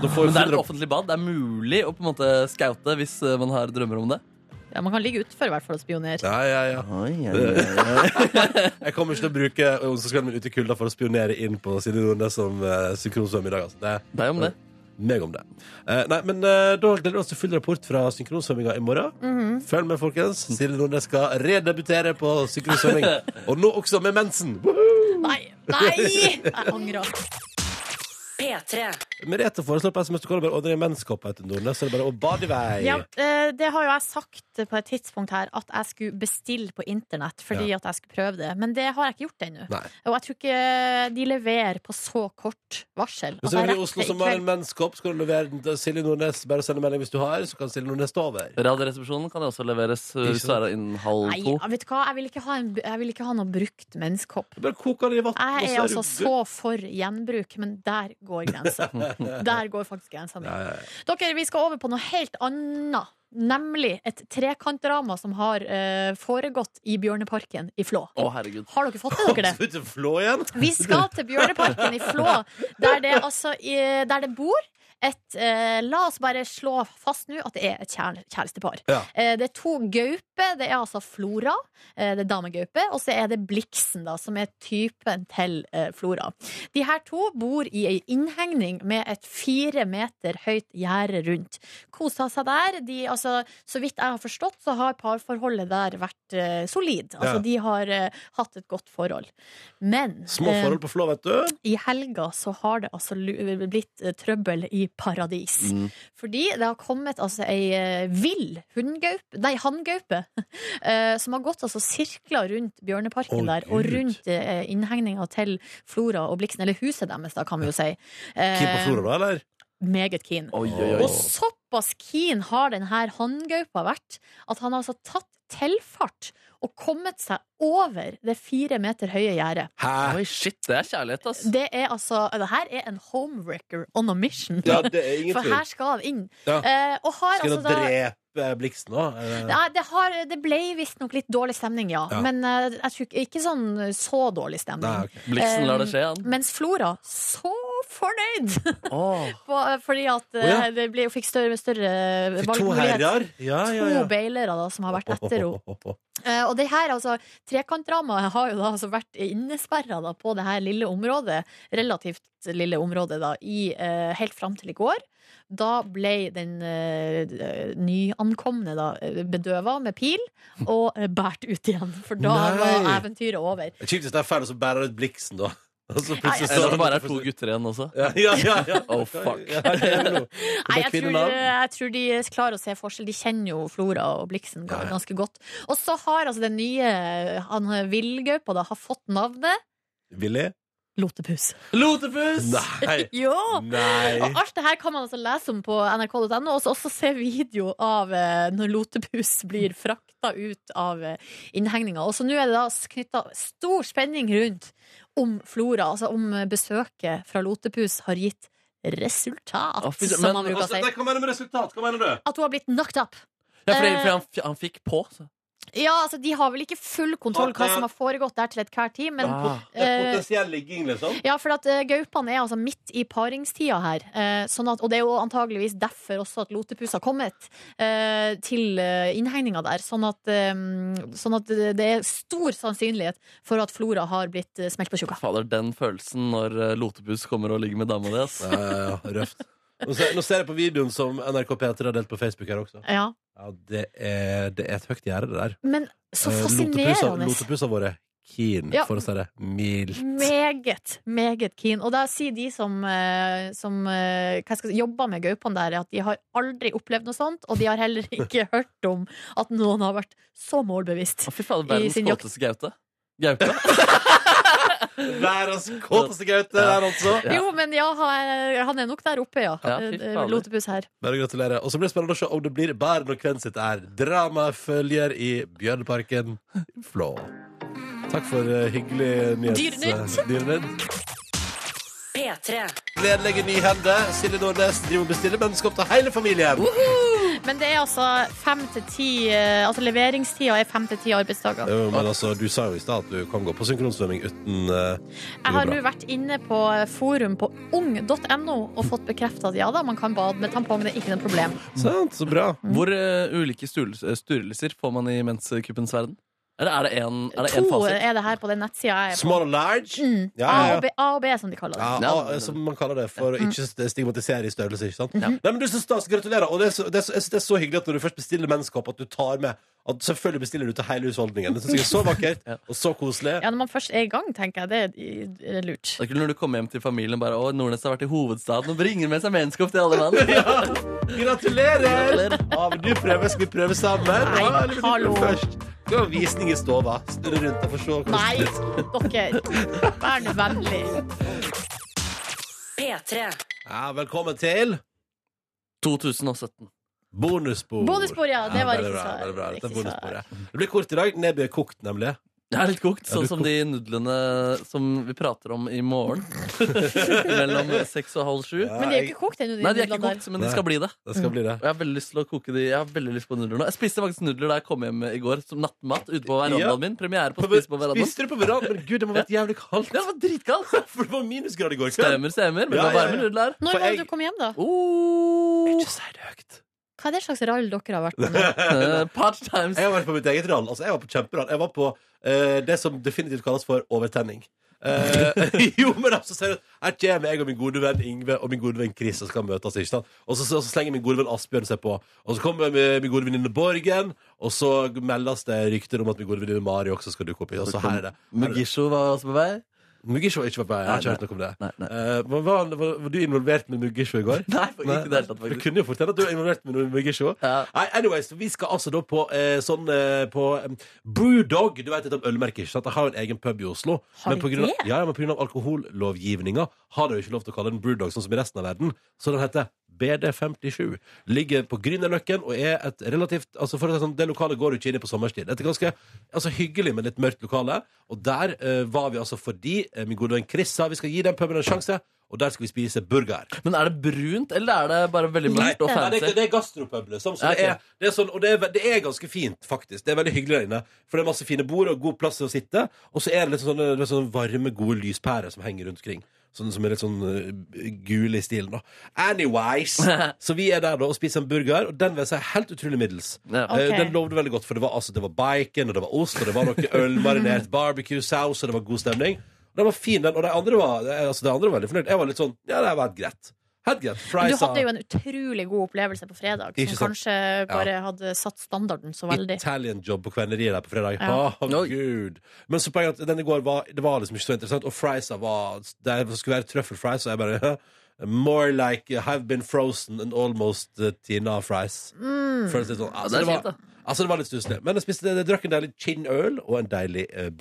Speaker 2: Da får
Speaker 4: Men
Speaker 2: vi
Speaker 4: det er et
Speaker 2: full
Speaker 4: offentlig bad. Det er mulig å på en måte skaute hvis eh, man har drømmer om det.
Speaker 3: Ja, man kan ligge utenfor i hvert fall og spionere.
Speaker 2: Ja, ja, ja. *laughs* Jeg kommer ikke til å bruke onsdagskvelden min ute i kulda for å spionere inn på Silje Nordnes som uh, synkronsvømmer i dag. Altså. Det er
Speaker 4: Det er jo om det.
Speaker 2: meg om det. Eh, nei, men eh, da gleder vi oss til full rapport fra synkronsvømminga i morgen.
Speaker 3: Mhm.
Speaker 2: Følg med, folkens. Silje Nordnes skal redebutere på synkronsvømming.
Speaker 3: *laughs*
Speaker 2: og nå også med mensen!
Speaker 3: Nei! Nei! Jeg angrer.
Speaker 1: P3.
Speaker 2: Merete foreslår på SMS du kan bare ordne deg en menskopp etter Nordnes, så er det bare å bade i vei.
Speaker 3: Ja, eh, det har jo jeg sagt på et tidspunkt her, at jeg skulle bestille på internett fordi at jeg skulle prøve det. Men det har jeg ikke gjort ennå.
Speaker 2: Nei.
Speaker 3: Og jeg tror ikke de leverer på så kort varsel.
Speaker 2: Hvis du
Speaker 3: At jeg
Speaker 2: er i
Speaker 3: rekker
Speaker 2: Oslo
Speaker 3: det i
Speaker 2: som har en
Speaker 3: kveld.
Speaker 2: menskopp, skal du levere den til Silje Nordnes. Bare send en melding hvis du har, så kan Silje Nordnes stå over.
Speaker 4: Radioresepsjonen kan også leveres eh, hvis det er innen halv
Speaker 3: Nei, altså,
Speaker 4: to.
Speaker 3: ja, vet du hva? Jeg vil ikke ha, en, jeg vil ikke ha noe brukt menskopp.
Speaker 2: Du Bare koker den i vann. og
Speaker 3: Jeg
Speaker 2: så
Speaker 3: er
Speaker 2: det
Speaker 3: altså
Speaker 2: jo-
Speaker 3: så for gjenbruk, men der går grensa.
Speaker 2: *laughs*
Speaker 3: Der går faktisk grensa mi.
Speaker 2: Ja, ja, ja.
Speaker 3: Dere, vi skal over på noe helt annet. Nemlig et trekantdrama som har eh, foregått i Bjørneparken i Flå.
Speaker 4: Å, herregud.
Speaker 3: Har dere fått med dere det?
Speaker 2: Skal du til Flå igjen?
Speaker 3: Vi skal til Bjørneparken i Flå, der det, altså, i- der det bor et eh, La oss bare slå fast nå at det er et kjære- kjærestepar.
Speaker 2: Ja.
Speaker 3: Eh, det er to gauper. Det er altså Flora, eh, det er damegaupe, og så er det Bliksen, da, som er typen til eh, Flora. De her to bor i ei innhegning med et fire meter høyt gjerde rundt. Kosa seg der. De, altså, så vidt jeg har forstått, så har parforholdet der vært eh, solid. Altså,
Speaker 2: Ja.
Speaker 3: De har eh, hatt et godt forhold. Men
Speaker 2: Små
Speaker 3: eh,
Speaker 2: forhold på Flå, vet du.
Speaker 3: i helga så har det altså lu- blitt eh, trøbbel i paradis.
Speaker 2: Mm.
Speaker 3: Fordi det har kommet altså ei eh, vill hundgaupe, nei, hanngaupe, *laughs* eh, som har gått altså sirkla rundt Bjørneparken
Speaker 2: Å,
Speaker 3: der, og
Speaker 2: Gud.
Speaker 3: rundt eh, innhegninga til Flora og Bliksen, eller huset deres, da, kan vi jo si. Eh,
Speaker 2: Kim på Flora, da, eller?
Speaker 3: meget keen.
Speaker 4: Oi, oi, oi.
Speaker 3: Og såpass keen har denne hanngaupa vært at han har altså tatt tilfart og kommet seg over det fire meter høye gjerdet.
Speaker 2: Hæ?
Speaker 4: Oi, shit, det er kjærlighet, ass.
Speaker 3: Det er altså Det her er en homewrecker on a mission.
Speaker 2: Ja, det er ingen
Speaker 3: *laughs* For
Speaker 2: tvil.
Speaker 3: her skal han inn.
Speaker 2: Ja.
Speaker 3: Eh, og har
Speaker 2: Skal
Speaker 3: altså
Speaker 2: du
Speaker 3: da
Speaker 2: drepe Bliksen nå? Eh,
Speaker 3: Nei, det, har, det ble visstnok litt dårlig stemning, ja.
Speaker 2: Ja.
Speaker 3: Men eh, jeg tror ikke, ikke sånn så dårlig
Speaker 2: Nei,
Speaker 3: stemning.
Speaker 2: ok.
Speaker 4: Bliksen lar det skje, han.
Speaker 3: Mens Flora så fornøyd!
Speaker 4: Åh.
Speaker 3: *laughs* på- Fordi at
Speaker 2: Å,
Speaker 3: eh,
Speaker 2: ja.
Speaker 3: det ble, fikk større, større
Speaker 2: Fikk to
Speaker 3: valgmulighet.
Speaker 2: herrer. Ja, ja, ja.
Speaker 3: To beilere da, som har vært etter henne.
Speaker 2: henne.
Speaker 3: Eh, og det her, altså, Trekantdramaet har jo da altså vært innesperra da, på det her lille området, relativt lille området, da, i, eh, helt fram til i går. Da ble den eh, nyankomne da, bedøva med pil og eh, båret ut igjen. For da var
Speaker 2: Nei.
Speaker 3: eventyret over.
Speaker 2: Kjipt hvis *laughs* det er feil, og så bærer ut Bliksen, da. *laughs* Og så
Speaker 3: Nei,
Speaker 2: plutselig
Speaker 4: Eller
Speaker 2: så
Speaker 4: at det bare er to gutter igjen også.
Speaker 2: Ja, ja, ja. ja.
Speaker 4: *laughs* Oh, fuck.
Speaker 2: Ja, hva gjør vi nå?
Speaker 3: *laughs* Nei, jeg tror, eh,
Speaker 2: kvinnenavn.
Speaker 3: jeg tror de klarer å se forskjell. De kjenner jo Flora og Bliksen
Speaker 2: Ja, ja.
Speaker 3: ganske godt. Og så har altså den nye han villgaupa da, har fått navnet
Speaker 2: Willy?
Speaker 3: Lotepus.
Speaker 4: Lotepus!
Speaker 3: *laughs*
Speaker 2: Nei.
Speaker 3: Jo!
Speaker 2: Nei.
Speaker 3: Og alt det her kan man altså lese om på nrk.no, og så også se video av eh, når lotepus blir frakta ut av eh, innhegninga. Og så nå er det da knytta stor spenning rundt om Flora, altså om eh, besøket fra lotepus har gitt resultat,
Speaker 4: Å, fy søren,
Speaker 3: som
Speaker 4: men-
Speaker 3: man bruker å
Speaker 2: Altså,
Speaker 3: si.
Speaker 2: nei, Hva mener du med resultat? Hva mener du?
Speaker 3: At hun har blitt knocked up.
Speaker 4: Ja, fordi,
Speaker 3: Eh,
Speaker 4: fordi han, f- han fikk på. Så.
Speaker 3: Ja, altså De har vel ikke full kontroll hva som har foregått der til ethvert tid, men
Speaker 4: Ah.
Speaker 2: Det er
Speaker 3: Eh.
Speaker 2: Potensiell ligging,
Speaker 3: *laughs*
Speaker 2: liksom?
Speaker 3: Ja, for at eh, gaupene er altså midt i paringstida her. eh, sånn at, og det er jo antageligvis derfor også at lotepus har kommet eh, til uh, innhegninga der. Sånn at, eh, sånn at det det er stor sannsynlighet for at Flora har blitt eh, smelt på tjukka.
Speaker 4: Fader, den følelsen når eh, Lotepus kommer og ligger med dama di, ass.
Speaker 2: Ja, ja, ja, røft. Nå ser, nå ser jeg på videoen som NRK P3 har delt på Facebook her også.
Speaker 3: Ja.
Speaker 2: Ja, det er, det er et høyt gjerde, det der.
Speaker 3: Men så
Speaker 2: Eh,
Speaker 3: fascinerende.
Speaker 2: Lotepus har vært keen,
Speaker 3: Ja.
Speaker 2: for å si det mildt.
Speaker 3: *laughs* Meget, meget keen. Og da sier de som, eh, som eh, hva skal jeg si, jobber med gaupene der, at de har aldri opplevd noe sånt, og de har heller ikke *laughs* hørt om at noen har vært så målbevisst.
Speaker 4: Å, fy fader,
Speaker 3: I
Speaker 4: verdens
Speaker 3: sin jakt.
Speaker 4: kåteste gaute. Gaute?
Speaker 2: Verdens kåteste gaute der, altså.
Speaker 4: Ja.
Speaker 3: Jo, men ja, han han er nok der oppe, ja.
Speaker 4: Ja, fy fader.
Speaker 3: Lotepus her.
Speaker 2: Bare gratulerer. Og så blir det spennende å se om det blir bæren og kven sitt er. Drama følger i Bjørneparken Flå. Takk for eh, hyggelig nyhet.
Speaker 3: Dyrenytt.
Speaker 2: eh, Dyrenytt.
Speaker 1: P3.
Speaker 2: Gledelige nyhender. Silje Nordnes driver og bestiller mennesker opp til hele familien.
Speaker 3: Men det er altså fem til ti eh, Altså leveringstida er fem til ti arbeidsdager.
Speaker 2: Jo, men altså, du sa jo i stad at du kan gå på synkronsvømming uten eh, det
Speaker 3: Jeg
Speaker 2: går
Speaker 3: har
Speaker 2: bra.
Speaker 3: nå vært inne på forum på ung.no og fått bekrefta at ja da, man kan bade med tampong, det er ikke noe problem.
Speaker 2: Sant, så bra.
Speaker 3: Mm.
Speaker 4: Hvor eh, ulike stul- eh, sturelser får man i menskuppens verden? Eller er det en- er det én
Speaker 3: To
Speaker 4: fasit?
Speaker 3: er det her på den nettsida jeg er på.
Speaker 2: Small and large.
Speaker 3: Mm.
Speaker 2: Ja,
Speaker 3: A,
Speaker 2: ja, ja.
Speaker 3: og B, A og B, som de kaller det.
Speaker 2: Ja,
Speaker 4: Ja.
Speaker 2: ah, som man kaller det, for å
Speaker 3: Mm.
Speaker 2: ikke st- stigmatisere i størrelse. ikke sant?
Speaker 4: Ja.
Speaker 2: Nei, men du så stas, Gratulerer. Og det er, så, det, er så, jeg synes det er så hyggelig at når du først bestiller menneskehopp, at du tar med at Selvfølgelig bestiller du til hele husholdningen. Det synes jeg er så vakkert
Speaker 4: Ja.
Speaker 2: og så koselig.
Speaker 3: Ja, når man først er i gang, tenker jeg, det er i- er lurt.
Speaker 4: Det er ikke når du kommer hjem til familien bare, å, Nordnes har vært i hovedstaden og bringer med seg menneskehopp til alle *laughs* mann.
Speaker 2: Gratulerer!
Speaker 4: Gratulerer.
Speaker 2: Ja, vil du prøve? Skal vi prøve sammen?
Speaker 3: Nei,
Speaker 2: Ja, eller vil du prøve
Speaker 3: hallo.
Speaker 2: Først? Skal vi ha visning i stova. Snurre rundt og få se hvordan
Speaker 3: Nei,
Speaker 2: det ser ut.
Speaker 3: dere. Vær nå vennlig.
Speaker 1: P3.
Speaker 2: Ja, velkommen til
Speaker 4: 2017.
Speaker 2: bonusbord.
Speaker 3: Bonusbord, ja. Det var
Speaker 2: veldig
Speaker 3: riktig
Speaker 2: bra,
Speaker 3: svar.
Speaker 2: veldig bra. Dette er
Speaker 3: Riktig svar.
Speaker 2: bonusbordet. Det blir kort i dag. Nebby er kokt, nemlig.
Speaker 4: Jeg er litt kokt,
Speaker 2: du
Speaker 4: sånn som de nudlene som vi prater om i morgen. *laughs* Mellom seks og halv sju.
Speaker 2: Ja,
Speaker 3: Men de er jo
Speaker 2: jeg-
Speaker 3: ikke kokt ennå, de
Speaker 4: Nei, de er ikke
Speaker 3: nudlene der.
Speaker 4: kokt, men de skal bli det.
Speaker 2: Det skal bli det.
Speaker 4: Og jeg har veldig lyst til å koke de Jeg har veldig lyst på nudler nå. Jeg spiste faktisk nudler da jeg kom hjem i går, som nattmat ute på verandaen
Speaker 2: Ja.
Speaker 4: min. Premiere på
Speaker 2: På ver-
Speaker 4: Spise på verandaen.
Speaker 2: Spiste du på verandaen? Men gud, det må ha vært jævlig kaldt.
Speaker 4: *laughs* Ja, det var dritkaldt!
Speaker 2: For det var minusgrad i går kveld.
Speaker 4: Stemmer, stemmer. Men det
Speaker 2: Ja,
Speaker 4: var
Speaker 2: ja,
Speaker 4: varme
Speaker 2: ja.
Speaker 4: nudler.
Speaker 3: Når
Speaker 2: For
Speaker 3: var
Speaker 2: jeg-
Speaker 3: det du kom hjem, da?
Speaker 4: Oh.
Speaker 2: Ikke si det høyt.
Speaker 3: Hva er det slags rall dere har vært med?
Speaker 4: Eh, Part times.
Speaker 2: Jeg har vært på mitt eget rall. Altså, jeg var på kjemperall. Jeg var på eh, det som definitivt kalles for overtenning. Eh, *laughs* jo, men altså, seriøst. Her kommer jeg og min gode venn Ingve og min gode venn Chris og skal møtes. ikke sant? Og så, så, så slenger min gode venn Asbjørn seg på. Og så kommer min, min gode venninne Borgen, og så meldes det rykter om at min gode venninne Mari også skal dukke opp. i, Og så her er det. Her er det.
Speaker 4: Mugisho var også på vei.
Speaker 2: Mugisho er ikke på vei. Jeg har ikke hørt noe om det.
Speaker 4: Nei, nei.
Speaker 2: Eh, men var, var, var du involvert med Mugisho i går?
Speaker 4: Nei, ikke i det hele tatt,
Speaker 2: Du
Speaker 4: faktisk.
Speaker 2: kunne jo fortelle at du er involvert med noe Mugisho.
Speaker 4: Ja.
Speaker 2: Nei, anyways, vi skal altså da på eh, sånn eh, på em, Brewdog. Du vet et av ølmerket, ikke sant? Jeg har jo en egen pub i Oslo.
Speaker 3: Har de
Speaker 2: på grunn av,
Speaker 3: det?
Speaker 2: Ja, ja, men på grunn av alkohollovgivninga har de jo ikke lov til å kalle den Brewdog sånn som i resten av verden. Så den heter BD57. Ligger på Grünerløkken og er et relativt Altså for å si det sånn, Det lokalet går jo ikke inn i på sommerstid. Det er ganske altså, hyggelig, men litt mørkt lokale. Og der eh, var vi altså fordi eh, min gode venn Chris sa vi skal gi den puben en sjanse, og der skal vi spise burger.
Speaker 4: Men er det brunt, eller er det bare veldig mørkt og
Speaker 2: Nei, det,
Speaker 4: fancy?
Speaker 2: er- det er gastropub, liksom. Så
Speaker 4: Ja,
Speaker 2: det,
Speaker 4: ok.
Speaker 2: er, det er sånn, og det er, ve- det er ganske fint, faktisk. Det er veldig hyggelig der inne. For det er masse fine bord og god plass til å sitte. Og så er det litt sånn, det er sånn varme, gode lyspærer som henger rundt omkring. Sånn, som er litt sånn eh, gule i stilen, da. Anyways! *laughs* Så vi er der da og spiser en burger, og den vil jeg si er helt utrolig middels.
Speaker 4: Ja.
Speaker 2: Eh,
Speaker 3: Ok.
Speaker 2: Den lovde veldig godt, for det var, altså, det var bacon, og det var ost, og det var noe øl, marinert barbecue, saus, og det var god stemning. Den var fin, den. Og de andre var, altså, de andre var veldig fornøyd. Jeg var litt sånn Ja, det var helt greit. Helt greit.
Speaker 3: Men du
Speaker 2: Fries,
Speaker 3: hadde
Speaker 2: da.
Speaker 3: jo en utrolig god opplevelse på fredag,
Speaker 2: Ikke
Speaker 3: som
Speaker 2: sant?
Speaker 3: kanskje bare hadde satt standarden så veldig.
Speaker 2: Italian job på kverneriet der på fredag.
Speaker 3: Ja.
Speaker 2: Å, Gud. Men så poenget er at den i går var, det var liksom ikke så interessant, og friesa var Det skulle være trøffelfries, og jeg bare More like have been frozen and almost uh, Tina fries.
Speaker 3: Mm.
Speaker 2: Føles litt sånn. Altså,
Speaker 4: det er
Speaker 2: det,
Speaker 4: kjipt,
Speaker 2: var, altså, det var litt stusslig. Men jeg, spiste, jeg drakk en deilig gin-øl og en deilig uh,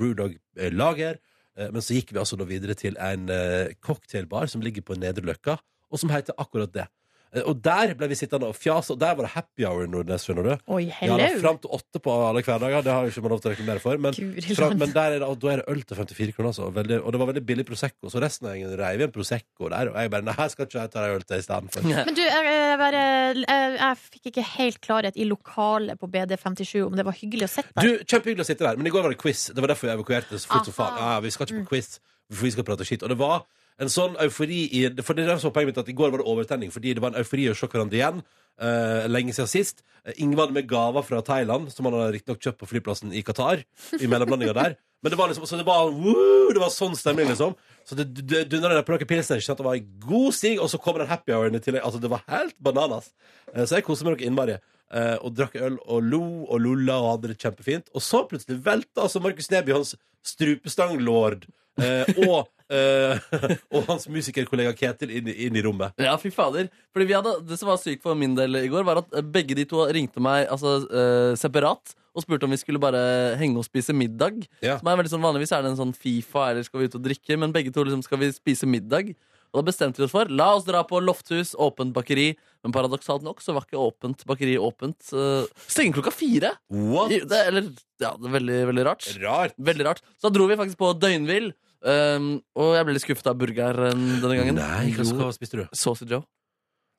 Speaker 2: Brewdog-lager. men så gikk vi altså da videre til en eh, cocktailbar som ligger på Nedre Løkka, og som heter akkurat det. Eh, og der ble vi sittende og fjase, og der var det happy hour, Nordnes, skjønner du.
Speaker 3: Oi,
Speaker 2: Ja, da,
Speaker 3: hello!
Speaker 2: fram til åtte på alle hverdager. Det har jo ikke man lov til å reklamere for. Men,
Speaker 3: Guri
Speaker 2: fra,
Speaker 3: land.
Speaker 2: men der er det, og da er det øl til 54 kroner, altså. Veldig, og det var veldig billig Prosecco. Så resten av gjengen reiv igjen Prosecco der. Og jeg bare Nei, skal ikke jeg ta deg øl til istedenfor?
Speaker 3: Men du, jeg, jeg, bare, jeg, jeg fikk ikke helt klarhet i lokalet på BD57, om det var hyggelig å sitte
Speaker 2: Du,
Speaker 3: der.
Speaker 2: kjempehyggelig å sitte der, men i går var det quiz. Det var derfor jeg evakuerte så fort som
Speaker 3: Aha.
Speaker 2: faen. Ja, ja, vi skal ikke på quiz, for vi skal prate skitt. Og det var en sånn eufori i For det er der som var poenget mitt at i går var det overtenning, fordi det var en eufori å se hverandre igjen. eh, lenge siden sist. Eh, Ingve hadde med gaver fra Thailand, som han hadde riktignok kjøpt på flyplassen i Qatar. I mellomlandinga der. Men det var liksom Så det var, woo, det var sånn stemning, liksom. Så det dundra der på noen pilsner. ikke sant? Det var en god stig, og så kommer den happy houren i tillegg. Altså, det var helt bananas. Eh, Så jeg koste meg noe innmari. eh, Og drakk øl og lo og lolla og hadde det kjempefint. Og så plutselig velta altså Markus Neby, hans strupestanglord, eh, og, eh, *laughs* og hans musikerkollega Ketil inn, i- inn i rommet.
Speaker 4: Ja, fy fader. Fordi vi hadde, Det som var sykt for min del i går, var at eh, begge de to ringte meg altså, eh, separat og spurte om vi skulle bare henge og spise middag.
Speaker 2: Ja.
Speaker 4: Som er veldig sånn Vanligvis er det en sånn Fifa eller skal vi ut og drikke, men begge to liksom skal vi spise middag. Og da bestemte vi oss for la oss dra på Lofthus, åpent bakeri. Men paradoksalt nok så var ikke åpent bakeri åpent. Uh, Stenger klokka fire!
Speaker 2: What?
Speaker 4: I- Det, eller, ja, det er veldig, veldig rart.
Speaker 2: Rart.
Speaker 4: Veldig rart. Så da dro vi faktisk på døgnvill, ehm, um, og jeg ble litt skuffet av burgeren denne gangen.
Speaker 2: Nei, hva
Speaker 4: Jo,
Speaker 2: skal- spiste du?
Speaker 4: Sausage Joe.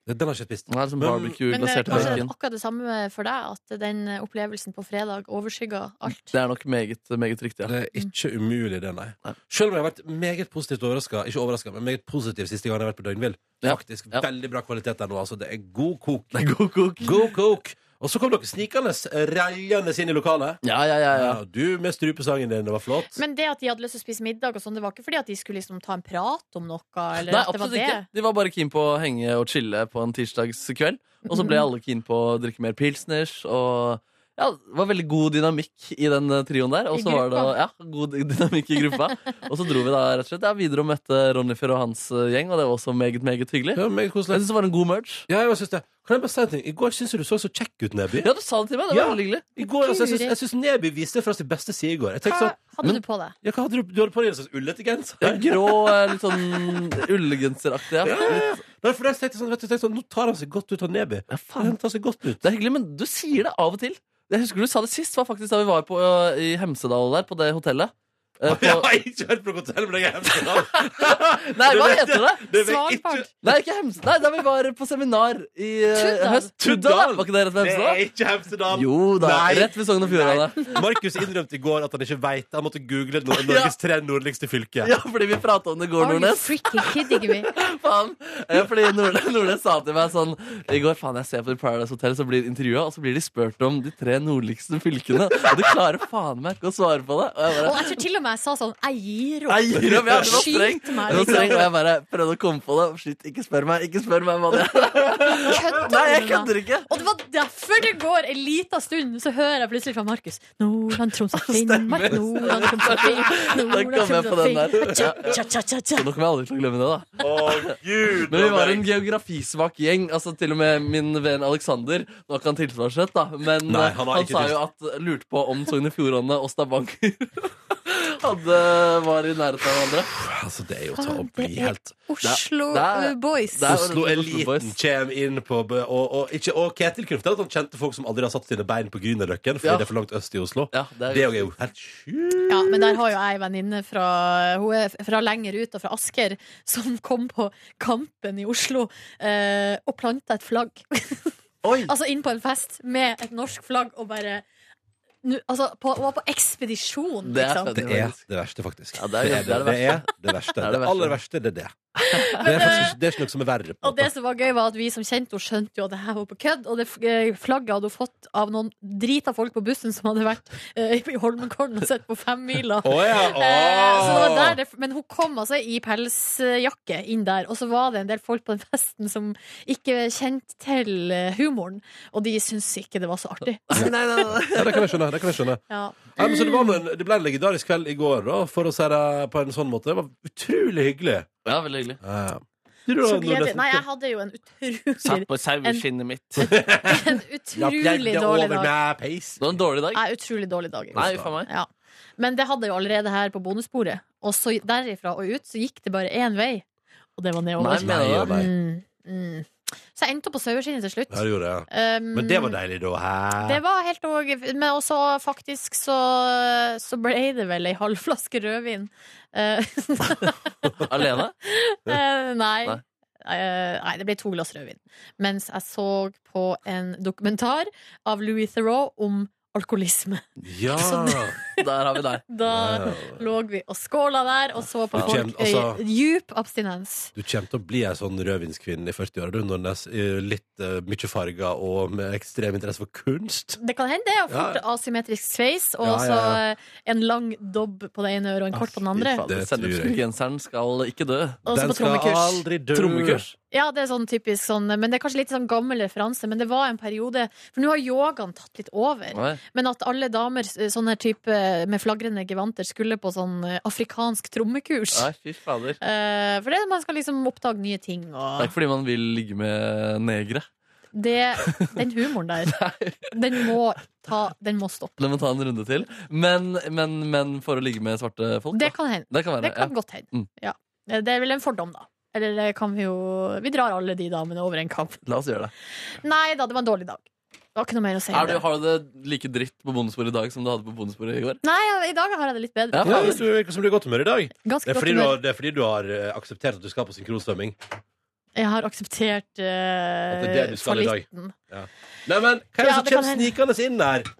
Speaker 2: Den har jeg ikke spist.
Speaker 4: Det er sånn
Speaker 2: Men-
Speaker 3: Men eh,
Speaker 4: barbecue-basert
Speaker 3: kanskje det
Speaker 4: bacon.
Speaker 3: er akkurat det samme for deg, at den eh, opplevelsen på fredag overskygger alt.
Speaker 4: Det er nok meget, meget riktig. Ja.
Speaker 2: Det er ikke umulig, det, nei.
Speaker 4: Nei.
Speaker 2: Selv om jeg har vært meget positivt overraska. Ikke overraska, men meget positiv siste gang jeg har vært på døgnvill.
Speaker 4: Ja.
Speaker 2: Faktisk
Speaker 4: Ja.
Speaker 2: veldig bra kvalitet der nå. Altså, det er god kok.
Speaker 4: Det er god kok.
Speaker 2: God kok. Og så kom dere snikende, reiende inn i lokalet.
Speaker 4: Ja, ja, ja, ja.
Speaker 2: Ja, du med strupesangen din, det var flott.
Speaker 3: Men det at de hadde lyst til å spise middag, og sånn, det var ikke fordi at de skulle liksom ta en prat om noe? Eller
Speaker 4: Nei,
Speaker 3: at det var
Speaker 4: absolutt
Speaker 3: det.
Speaker 4: ikke. De var bare keen på å henge og chille på en tirsdagskveld. Og så ble alle keen på å drikke mer pilsners. Og ja, det var veldig god dynamikk i den eh, trioen der. Og
Speaker 3: I
Speaker 4: så var det
Speaker 3: gruppa.
Speaker 4: ja, god dynamikk i gruppa. og så dro vi da rett og slett ja, videre og møtte Ronnifer og hans eh, gjeng, og det var også meget, meget hyggelig.
Speaker 2: Ja, meget
Speaker 4: Jeg
Speaker 2: koselig.
Speaker 4: synes det var en god merge.
Speaker 2: Ja, jeg synes det. Kan jeg bare si en ting? I går syns jeg du så så kjekk ut, Neby.
Speaker 4: Ja, du sa det til meg. Det var
Speaker 2: Ja.
Speaker 4: veldig hyggelig.
Speaker 2: I går, altså, jeg synes- jeg syns Neby viste fra sin beste side i går. Jeg tenkte
Speaker 3: Hva
Speaker 2: sånn,
Speaker 3: hadde du på deg?
Speaker 2: ja, hva hadde du, du hadde på deg en slags ullete genser?
Speaker 4: En grå, eh, litt sånn ullgenseraktig. Ja. Litt-
Speaker 2: Nei, for jeg tenkte sånn, vet du, jeg tenkte sånn, Nå tar han seg godt ut av Neby.
Speaker 4: Ja, faen.
Speaker 2: Han tar seg godt
Speaker 4: *laughs*
Speaker 2: ut.
Speaker 4: Det er hyggelig, men du sier det av og til. Jeg husker du sa det sist, var faktisk da vi var på, ø, i Hemsedal der, på det hotellet. Eh, på,
Speaker 2: Jeg har ikke hørt på noe hotell, men jeg er
Speaker 4: *laughs*
Speaker 2: hjemme.
Speaker 4: Nei, hva heter det?
Speaker 2: det vet jeg
Speaker 3: Svalbard.
Speaker 2: ikke.
Speaker 4: Nei, ikke Hems... Nei, da vi var på seminar i ø,
Speaker 3: Tuddal.
Speaker 4: høst. Tuddal! ja. Var ikke det rett ved
Speaker 2: Det er
Speaker 4: Hemsedal?
Speaker 2: ikke Hemsedal.
Speaker 4: Jo da,
Speaker 2: Nei.
Speaker 4: rett ved Sogn og Fjordane.
Speaker 2: Markus innrømte i går at han ikke veit. Han måtte google Nor-
Speaker 4: Ja.
Speaker 2: Norges tre nordligste fylker.
Speaker 4: Ja, fordi vi prata om det i går,
Speaker 3: Are you
Speaker 4: Nordnes.
Speaker 3: freaking kidding me?
Speaker 4: Faen. Eh, Fordi Nordnes, Nordnes sa til meg sånn I går faen, jeg ser på Paradise Hotel, så blir intervjua, og så blir de spurt om de tre nordligste fylkene. Og de klarer faen meg ikke å svare på det. Og jeg bare,
Speaker 3: Og jeg tror til og med jeg sa sånn Jeg gir opp.
Speaker 4: Nei, gir opp, ja, det var
Speaker 3: Skyt
Speaker 4: streng.
Speaker 3: meg,
Speaker 4: Det var
Speaker 3: liksom.
Speaker 4: streng, og jeg bare prøvde å komme på det. Shit, ikke spør meg, ikke spør meg, mann.
Speaker 3: Kødder
Speaker 4: Nei, jeg
Speaker 3: du med meg?
Speaker 4: kødder ikke.
Speaker 3: Og det var derfor det går en liten stund, så hører jeg plutselig fra Markus Nordland, Troms og Finnmark,
Speaker 4: Stemmer.
Speaker 3: Nordland, Troms og Finnmark Nordland,
Speaker 4: Da kom jeg
Speaker 3: Troms
Speaker 4: på
Speaker 3: og
Speaker 4: den der.
Speaker 3: Finnmark Tja, tja, tja, tja, tja.
Speaker 4: Så nå kommer jeg aldri til å glemme det, da.
Speaker 2: Å, gud!
Speaker 4: Men vi var
Speaker 2: meg.
Speaker 4: en geografisvak gjeng. Altså Til og med min venn Aleksander. Nå er ikke han tilsvarskjøtt, da, men
Speaker 2: Nei,
Speaker 4: eh,
Speaker 2: han
Speaker 4: han,
Speaker 2: har ikke
Speaker 4: sa jo at lurte på om Sogn og Fjordane og Stavanger *laughs* hadde, var i nærheten av hverandre.
Speaker 2: altså, det er jo til å
Speaker 3: Faen,
Speaker 2: bli
Speaker 3: det er-
Speaker 2: helt
Speaker 3: Oslo
Speaker 4: Der-
Speaker 3: uh, Boys.
Speaker 4: der-
Speaker 2: Oslo-eliten kommer inn på b- Og, og, ikke, og Ketil kunne fortelle at han kjente folk som aldri har satt sine bein på Grünerløkken fordi
Speaker 4: Ja.
Speaker 2: det er for langt øst i Oslo.
Speaker 4: Ja, det er
Speaker 2: Det er jo helt sjukt.
Speaker 3: Ja, men der har jo jeg en venninne fra, hun er fra lenger ut og fra Asker, som kom på Kampen i Oslo eh, og planta et flagg.
Speaker 4: *laughs* Oi!
Speaker 3: altså inn på en fest med et norsk flagg og bare nu, Altså, på, hun var på ekspedisjon,
Speaker 4: Det er
Speaker 3: liksom.
Speaker 4: fett.
Speaker 2: Det er det verste, faktisk.
Speaker 4: Ja, det er- det er det
Speaker 2: det, er det verste.
Speaker 4: er det
Speaker 2: Det aller verste, det er
Speaker 4: *laughs*
Speaker 2: det. Det er, faktisk, ikke- det er ikke noe som er verre. på en
Speaker 3: Og det
Speaker 2: måte.
Speaker 3: som var gøy, var at vi som kjente henne, skjønte jo at det her var på kødd. Og det f- eh, flagget hadde hun fått av noen drita folk på bussen som hadde vært eh, i Holmenkollen og sett på femmila.
Speaker 2: Å ja, å.
Speaker 3: *laughs* Eh, Så det var der det, men hun kom altså i pelsjakke inn der, og så var det en del folk på den festen som ikke kjente til eh, humoren, og de syntes ikke det var så artig.
Speaker 4: Nei, nei, nei, nei.
Speaker 2: Ja, det kan jeg skjønne. Det kan jeg skjønne.
Speaker 3: Ja.
Speaker 2: Ja, men så det, var nå en, det ble en legendarisk kveld i går, da, for å si det på en sånn måte. Det var utrolig hyggelig. Eh,
Speaker 4: Ja, veldig hyggelig.
Speaker 2: Ja.
Speaker 3: Så gledelig. Nei, jeg hadde jo en utrolig, *laughs*
Speaker 4: på saueskinnet mitt. Det
Speaker 3: en utrolig dårlig dag.
Speaker 2: Med peis.
Speaker 4: var en dårlig dag.
Speaker 3: Nei, utrolig dårlig dag.
Speaker 4: Nei, faen meg.
Speaker 3: Ja. Men det hadde jo allerede her på bonusbordet. Og så derifra og ut så gikk det bare én vei, og det var
Speaker 4: Nei,
Speaker 3: nedover.
Speaker 4: mener du det?
Speaker 2: nei.
Speaker 3: Mm, mm. Så jeg endte opp på saueskinnet til slutt.
Speaker 2: Ja, det gjorde jeg.
Speaker 3: Um,
Speaker 2: Men det var deilig, da. Hæ?
Speaker 3: det var helt og, Men også faktisk så, så ble det vel ei halv flaske rødvin. Eh, *laughs*
Speaker 4: Alene?
Speaker 3: eh, nei.
Speaker 4: Nei.
Speaker 3: Eh, nei, det ble to glass rødvin. Mens jeg så på en dokumentar av Louis Theroux om alkoholisme. *laughs*
Speaker 2: Ja.
Speaker 4: Der har vi deg.
Speaker 3: Da lå vi og skåla der og så på
Speaker 2: Du kjem-
Speaker 3: folk
Speaker 2: altså-
Speaker 3: i djup abstinens.
Speaker 2: Du kommer til å bli ei sånn rødvinskvinne i 40-åra, du, Nordnes. I Litt eh, mye farger og med ekstrem interesse for kunst.
Speaker 3: Det kan hende, og fort
Speaker 2: Ja.
Speaker 3: asymmetrisk sveis, og
Speaker 2: Ja, ja,
Speaker 3: så
Speaker 2: ja. Ah,
Speaker 3: eh, en lang dobb på det ene øret og en kort på den andre.
Speaker 2: Det tror jeg.
Speaker 4: Sennepsgenseren skal ikke dø.
Speaker 3: Og så
Speaker 2: Den
Speaker 3: på
Speaker 2: skal
Speaker 3: trommekurs.
Speaker 2: aldri dø.
Speaker 4: Trommekurs?
Speaker 3: Ja, det er sånn typisk sånn, men det er kanskje litt sånn gammel referanse, men det var en periode For nå har yogaen tatt litt over.
Speaker 4: Nei.
Speaker 3: Men at alle damer sånn her type med flagrende gevanter skulle på sånn eh, afrikansk trommekurs.
Speaker 4: Nei, fy fader.
Speaker 3: Eh, for det man skal liksom oppdage nye ting
Speaker 4: Det er
Speaker 3: og
Speaker 4: ikke fordi man vil ligge med negre.
Speaker 3: det, Den humoren der, den må, ta, den må stoppe.
Speaker 4: La meg ta en runde til. Men, men, men for å ligge med svarte folk?
Speaker 3: Det
Speaker 4: da.
Speaker 3: kan hende.
Speaker 4: det kan være.
Speaker 3: Det kan
Speaker 4: ja.
Speaker 3: godt hende.
Speaker 4: Mm.
Speaker 3: Ja. Eh, Det er vel en fordom, da. Eller det kan vi jo Vi drar alle de damene over en kamp.
Speaker 4: La oss gjøre det.
Speaker 3: *laughs* Nei da, det var en dårlig dag. Det var ikke noe mer å si. om
Speaker 4: Er du,
Speaker 3: det.
Speaker 4: har du det like dritt på bondesporet i dag som du hadde på bondesporet i går?
Speaker 3: Nei, i dag har jeg det litt bedre.
Speaker 4: Ja,
Speaker 2: Ja,
Speaker 4: faen.
Speaker 2: du virker som du er i godt humør i dag.
Speaker 3: Ganske
Speaker 2: Det er
Speaker 3: godt
Speaker 2: fordi du
Speaker 3: humør.
Speaker 2: har, det er fordi du har eh, akseptert at du skal på synkronsvømming.
Speaker 3: Jeg har akseptert eh,
Speaker 2: At det er det du skal i dag.
Speaker 3: fallitten.
Speaker 2: Nei, men hva er det
Speaker 3: Ja,
Speaker 2: som
Speaker 3: det kan
Speaker 2: kommer
Speaker 3: hende.
Speaker 2: snikende inn der?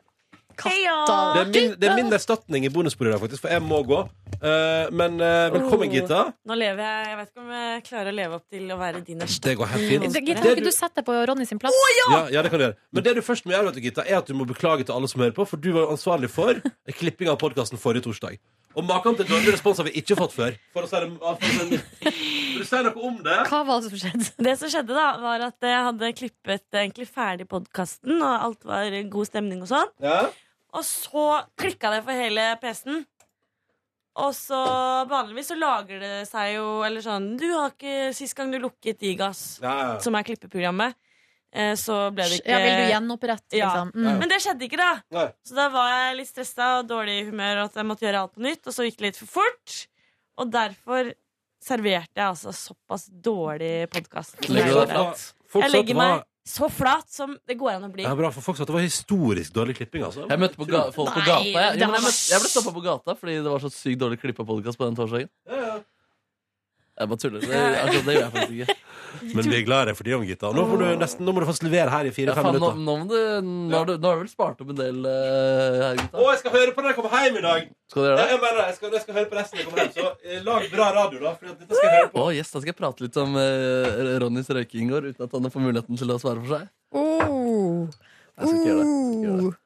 Speaker 2: Det
Speaker 3: Katta.
Speaker 2: er min, det er min erstatning i bonussporet i dag, faktisk, for jeg må gå. Eh, men eh, velkommen,
Speaker 9: Oh.
Speaker 2: Gita.
Speaker 9: Nå lever jeg Jeg vet ikke om jeg klarer å leve opp til å være din erstatning.
Speaker 2: Det går helt fint.
Speaker 3: Det- Gitte,
Speaker 2: Det
Speaker 3: kan ikke
Speaker 2: du-
Speaker 3: du sette deg på Ronny sin plass?
Speaker 2: Ja, ja, det kan du gjøre. Men det du først må gjøre, vet du, Gitta, er at du må beklage til alle som hører på, for du var jo ansvarlig for klipping av podkasten forrige torsdag. Og maken til dårlig respons har vi ikke fått før. For å si det, for å si det. Vil du si noe om det?
Speaker 3: Hva var det som skjedde?
Speaker 9: Det som skjedde, da, var at jeg hadde klippet egentlig ferdig podkasten, og alt var god stemning og sånn.
Speaker 2: Ja?
Speaker 9: Og så klikka det for hele PC-en. Og så vanligvis så lager det seg jo Eller sånn Du har ikke Sist gang du lukket Digas,
Speaker 2: Ja, ja.
Speaker 9: som er klippeprogrammet, eh, så ble det
Speaker 3: *laughs*
Speaker 9: ikke
Speaker 3: Ja,
Speaker 1: eh,
Speaker 3: vil du gjenopprette,
Speaker 9: Ja.
Speaker 3: liksom? Mm.
Speaker 9: Men det skjedde ikke, da.
Speaker 2: Nei.
Speaker 9: Så da var jeg litt stressa og dårlig i humør, og at jeg måtte gjøre alt på nytt. Og så gikk det litt for fort. Og derfor serverte jeg altså såpass dårlig podkast.
Speaker 4: Legger du deg
Speaker 9: Jeg
Speaker 4: flat?
Speaker 2: Folk sa at det
Speaker 9: legger meg
Speaker 2: var,
Speaker 9: så flat som det går an å bli.
Speaker 2: ja, bra, for folk sa at det var historisk dårlig klipping, altså.
Speaker 4: Jeg møtte på ga folk på
Speaker 3: Nei,
Speaker 4: gata. Jeg,
Speaker 3: det
Speaker 4: jo, men
Speaker 3: har
Speaker 4: jeg, møtte, jeg ble stoppa på gata fordi det var så sykt dårlig klippa podkast på den torsdagen. Jeg bare tuller. Det, altså, det gjør jeg faktisk ikke.
Speaker 2: Men vi er glad i deg for det, Gitta. Nå må du, nesten, nå må du faktisk levere her i
Speaker 4: Ja,
Speaker 2: fire-fem
Speaker 4: faen, nå,
Speaker 2: minutter.
Speaker 4: nå, må du, nå, har du, nå har du vel spart opp en del eh, her,
Speaker 2: Å,
Speaker 4: gutta.
Speaker 2: jeg skal høre på når jeg kommer hjem i dag!
Speaker 4: Skal du gjøre
Speaker 2: Ja,
Speaker 4: det?
Speaker 2: jeg mener det. Jeg skal, jeg skal høre på resten når jeg kommer hjem. Så eh, lag bra radio, da. For dette skal jeg høre
Speaker 4: Å,
Speaker 2: på.
Speaker 4: yes, Da skal jeg prate litt om eh, Ronnys røyking i går, uten at han får muligheten til å svare for seg.
Speaker 3: Oh.
Speaker 4: Jeg skal ikke gjøre det. Jeg skal ikke gjøre det.
Speaker 3: Oh.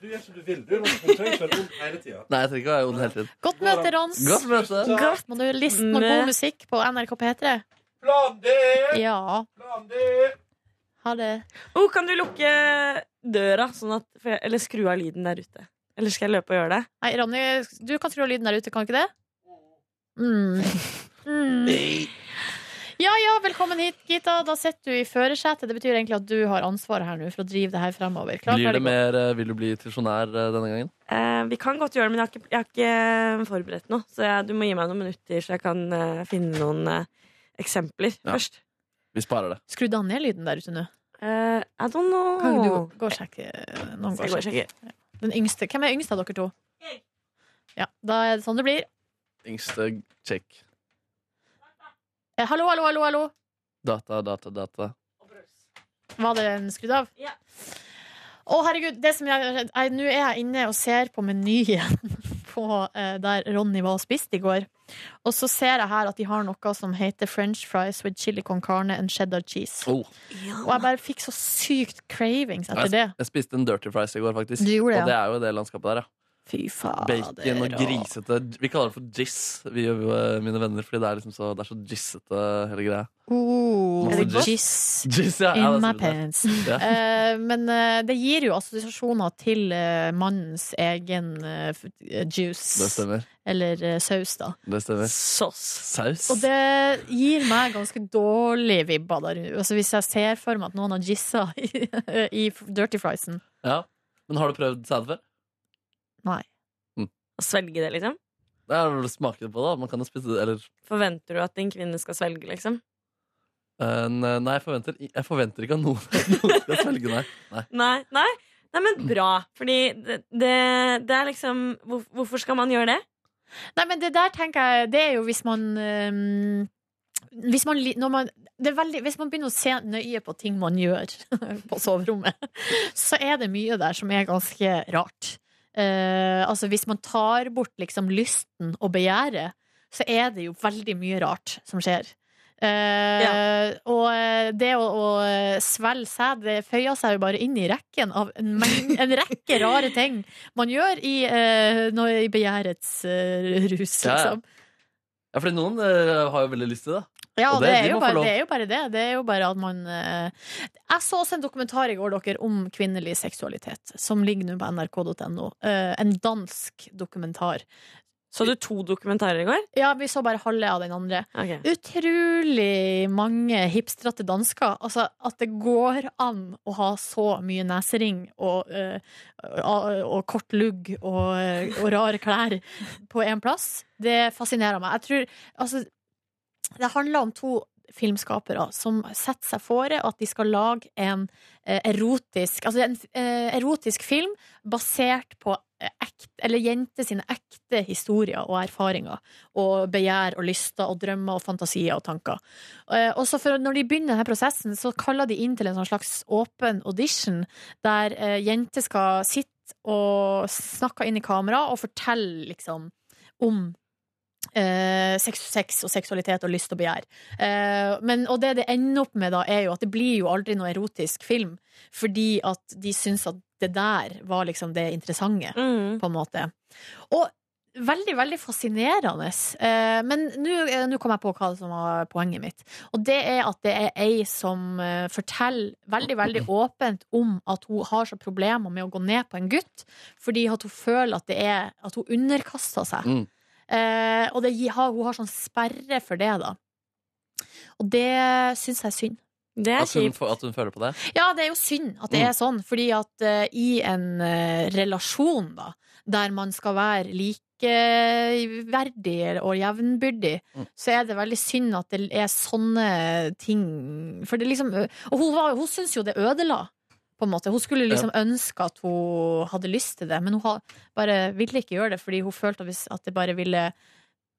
Speaker 2: Du gjør som du vil. Du, men du trenger ikke være ond hele tida.
Speaker 4: Nei, jeg trenger ikke å være ond hele tiden.
Speaker 3: Godt møte, Rons.
Speaker 4: Godt møte.
Speaker 3: Må du liste noe god musikk på NRK P3?
Speaker 2: Plan D!
Speaker 3: Ja.
Speaker 2: Plan D!
Speaker 3: Ha det.
Speaker 9: Oh, kan du lukke døra, sånn at, for jeg, eller skru av lyden der ute? Eller skal jeg løpe og gjøre det?
Speaker 3: Nei, Ronny, du kan tro lyden der ute, kan ikke det? Mm.
Speaker 4: *laughs*
Speaker 3: Mm. Ja ja, velkommen hit, Gita. Da sitter du i førersetet. Det betyr egentlig at du har ansvaret her nå for å drive det her fremover. Klar,
Speaker 4: Blir det
Speaker 3: ferdig,
Speaker 4: mer eh, 'vil du bli tisjonær' eh, denne gangen?
Speaker 9: Eh, vi kan godt gjøre det, men jeg har ikke, jeg har ikke eh, forberedt noe. Så jeg, du må gi meg noen minutter, så jeg kan eh, finne noen eh, eksempler
Speaker 4: Ja.
Speaker 9: først.
Speaker 4: Vi sparer det.
Speaker 3: gå. Skru da ned lyden der ute nå.
Speaker 9: Eh, I don't know.
Speaker 3: Kan ikke du gå- gå og sjekke? Noen går
Speaker 9: Skal jeg gå
Speaker 3: og
Speaker 9: og
Speaker 3: sjekke.
Speaker 9: sjekke?
Speaker 3: Den yngste. Hvem er yngst av dere to?
Speaker 9: Jeg.
Speaker 3: Ja, da er det sånn det blir.
Speaker 4: Yngste check.
Speaker 3: Eh, hallo, hallo, hallo, hallo.
Speaker 4: Data, data, data.
Speaker 3: Var det en skrudd av?
Speaker 9: Ja.
Speaker 3: Å, herregud. Det som jeg, jeg, nå er jeg inne og ser på menyen *laughs* på, eh, der Ronny var og spiste i går. Og så ser jeg her at de har noe som heter french fries with chili con carne and cheddar cheese.
Speaker 4: Oh,
Speaker 3: Og jeg bare fikk så sykt cravings etter det.
Speaker 4: jeg spiste en dirty fries i går, faktisk.
Speaker 3: Du gjorde det,
Speaker 4: Og det er jo det landskapet der, ja.
Speaker 3: Fy fader.
Speaker 4: Bacon og grisete Vi kaller det for jizz, vi gjør jo eh, mine venner, fordi det er liksom så, det er så jizzete, hele greia.
Speaker 3: Oh,
Speaker 4: Er det godt?
Speaker 3: jizz
Speaker 4: Jizz, ja. ja,
Speaker 3: in my
Speaker 4: det er selvfølgelig
Speaker 3: pants.
Speaker 4: det. Ja.
Speaker 3: Eh, men eh, det gir jo assosiasjoner til eh, mannens egen eh, f- eh,
Speaker 4: Det
Speaker 3: juice.
Speaker 4: stemmer.
Speaker 3: Eller eh, saus, da.
Speaker 4: Det stemmer.
Speaker 9: Sås.
Speaker 4: Saus.
Speaker 3: Og det gir meg ganske dårlige vibber der. Altså hvis jeg ser for meg at noen har jizza i, *laughs* i Dirty Friesen.
Speaker 4: Ja. Men har du prøvd sæd før?
Speaker 9: Å svelge det, liksom?
Speaker 4: Det er vel å smake det på, da. Man kan jo spise det, eller
Speaker 9: Forventer du at en kvinne skal svelge, liksom?
Speaker 4: Eh, Nei, jeg forventer, jeg forventer ikke at noen, *laughs* noen skal svelge, nei. nei.
Speaker 9: Nei, nei. nei men bra. Fordi det, det, det er liksom hvor, Hvorfor skal man gjøre det?
Speaker 3: Nei, men det der tenker jeg Det er jo hvis man øhm, hvis man, li- når man, det er veldig, hvis man begynner å se nøye på ting man gjør *laughs* på soverommet, så er det mye der som er ganske rart. Eh, altså Hvis man tar bort liksom lysten og begjæret, så er det jo veldig mye rart som skjer. Eh, Og eh, det å, å svelge sæd det føyer seg jo bare inn i rekken av en, meng- en rekke rare ting man gjør i, eh, når, i begjærets eh, rus,
Speaker 4: Ja, ja.
Speaker 3: liksom.
Speaker 4: Ja, fordi noen eh, har jo veldig lyst til det.
Speaker 3: Ja,
Speaker 4: Og
Speaker 3: det,
Speaker 4: det-
Speaker 3: er
Speaker 4: de
Speaker 3: jo
Speaker 4: må få
Speaker 3: bare,
Speaker 4: lov.
Speaker 3: det er jo bare det. Det er jo bare at man eh, Jeg så også en dokumentar i går dere, om kvinnelig seksualitet, som ligger nå på nrk.no. Eh, en dansk dokumentar.
Speaker 9: Så du to dokumentarer i går?
Speaker 3: Ja, vi så bare halve av den andre.
Speaker 9: Ok.
Speaker 3: Utrolig mange hipstrete dansker. Altså, at det går an å ha så mye nesering og, eh, og, og kort lugg og, og rare klær på én plass, det fascinerer meg. Jeg tror Altså, det handler om to filmskapere som setter seg fore at de skal lage en eh, erotisk Altså en eh, erotisk film basert på eh, ekte, eller jenter sine ekte historier og erfaringer. Og begjær og lyster og drømmer og fantasier og tanker. Eh, Og så for når de begynner denne prosessen, så kaller de inn til en sånn slags åpen audition, der eh, jenter skal sitte og snakke inn i kamera og fortelle liksom om Eh, sex, sex og seksualitet og lyst og begjær. Eh, men, og det det ender opp med, da, er jo at det blir jo aldri noe erotisk film. Fordi at de syns at det der var liksom det interessante,
Speaker 9: Mm.
Speaker 3: på en måte. Og veldig, veldig fascinerende. Eh, men nå eh, nå kom jeg på hva som var poenget mitt. Og det er at det er ei som eh, forteller veldig, veldig åpent om at hun har så problemer med å gå ned på en gutt, fordi at hun føler at, det er, at hun underkaster seg.
Speaker 4: Mm.
Speaker 3: Eh, og det, gi- har, hun har sånn sperre for det, da. Og det syns jeg er synd.
Speaker 9: Det er
Speaker 3: Altså,
Speaker 4: At hun,
Speaker 9: kjipt.
Speaker 4: f- at hun føler på det?
Speaker 3: Ja, det er jo synd at det
Speaker 4: Mm.
Speaker 3: er sånn, fordi at eh, i en eh, relasjon, da, der man skal være likeverdig og jevnbyrdig,
Speaker 4: Mm.
Speaker 3: så er det veldig synd at det er sånne ting For det liksom ø- Og hun, var- hun syns jo det ødela, på en måte. Hun skulle liksom ønske at hun hadde lyst til det, men hun ha, bare ville ikke gjøre det fordi hun følte at hvis- at det bare ville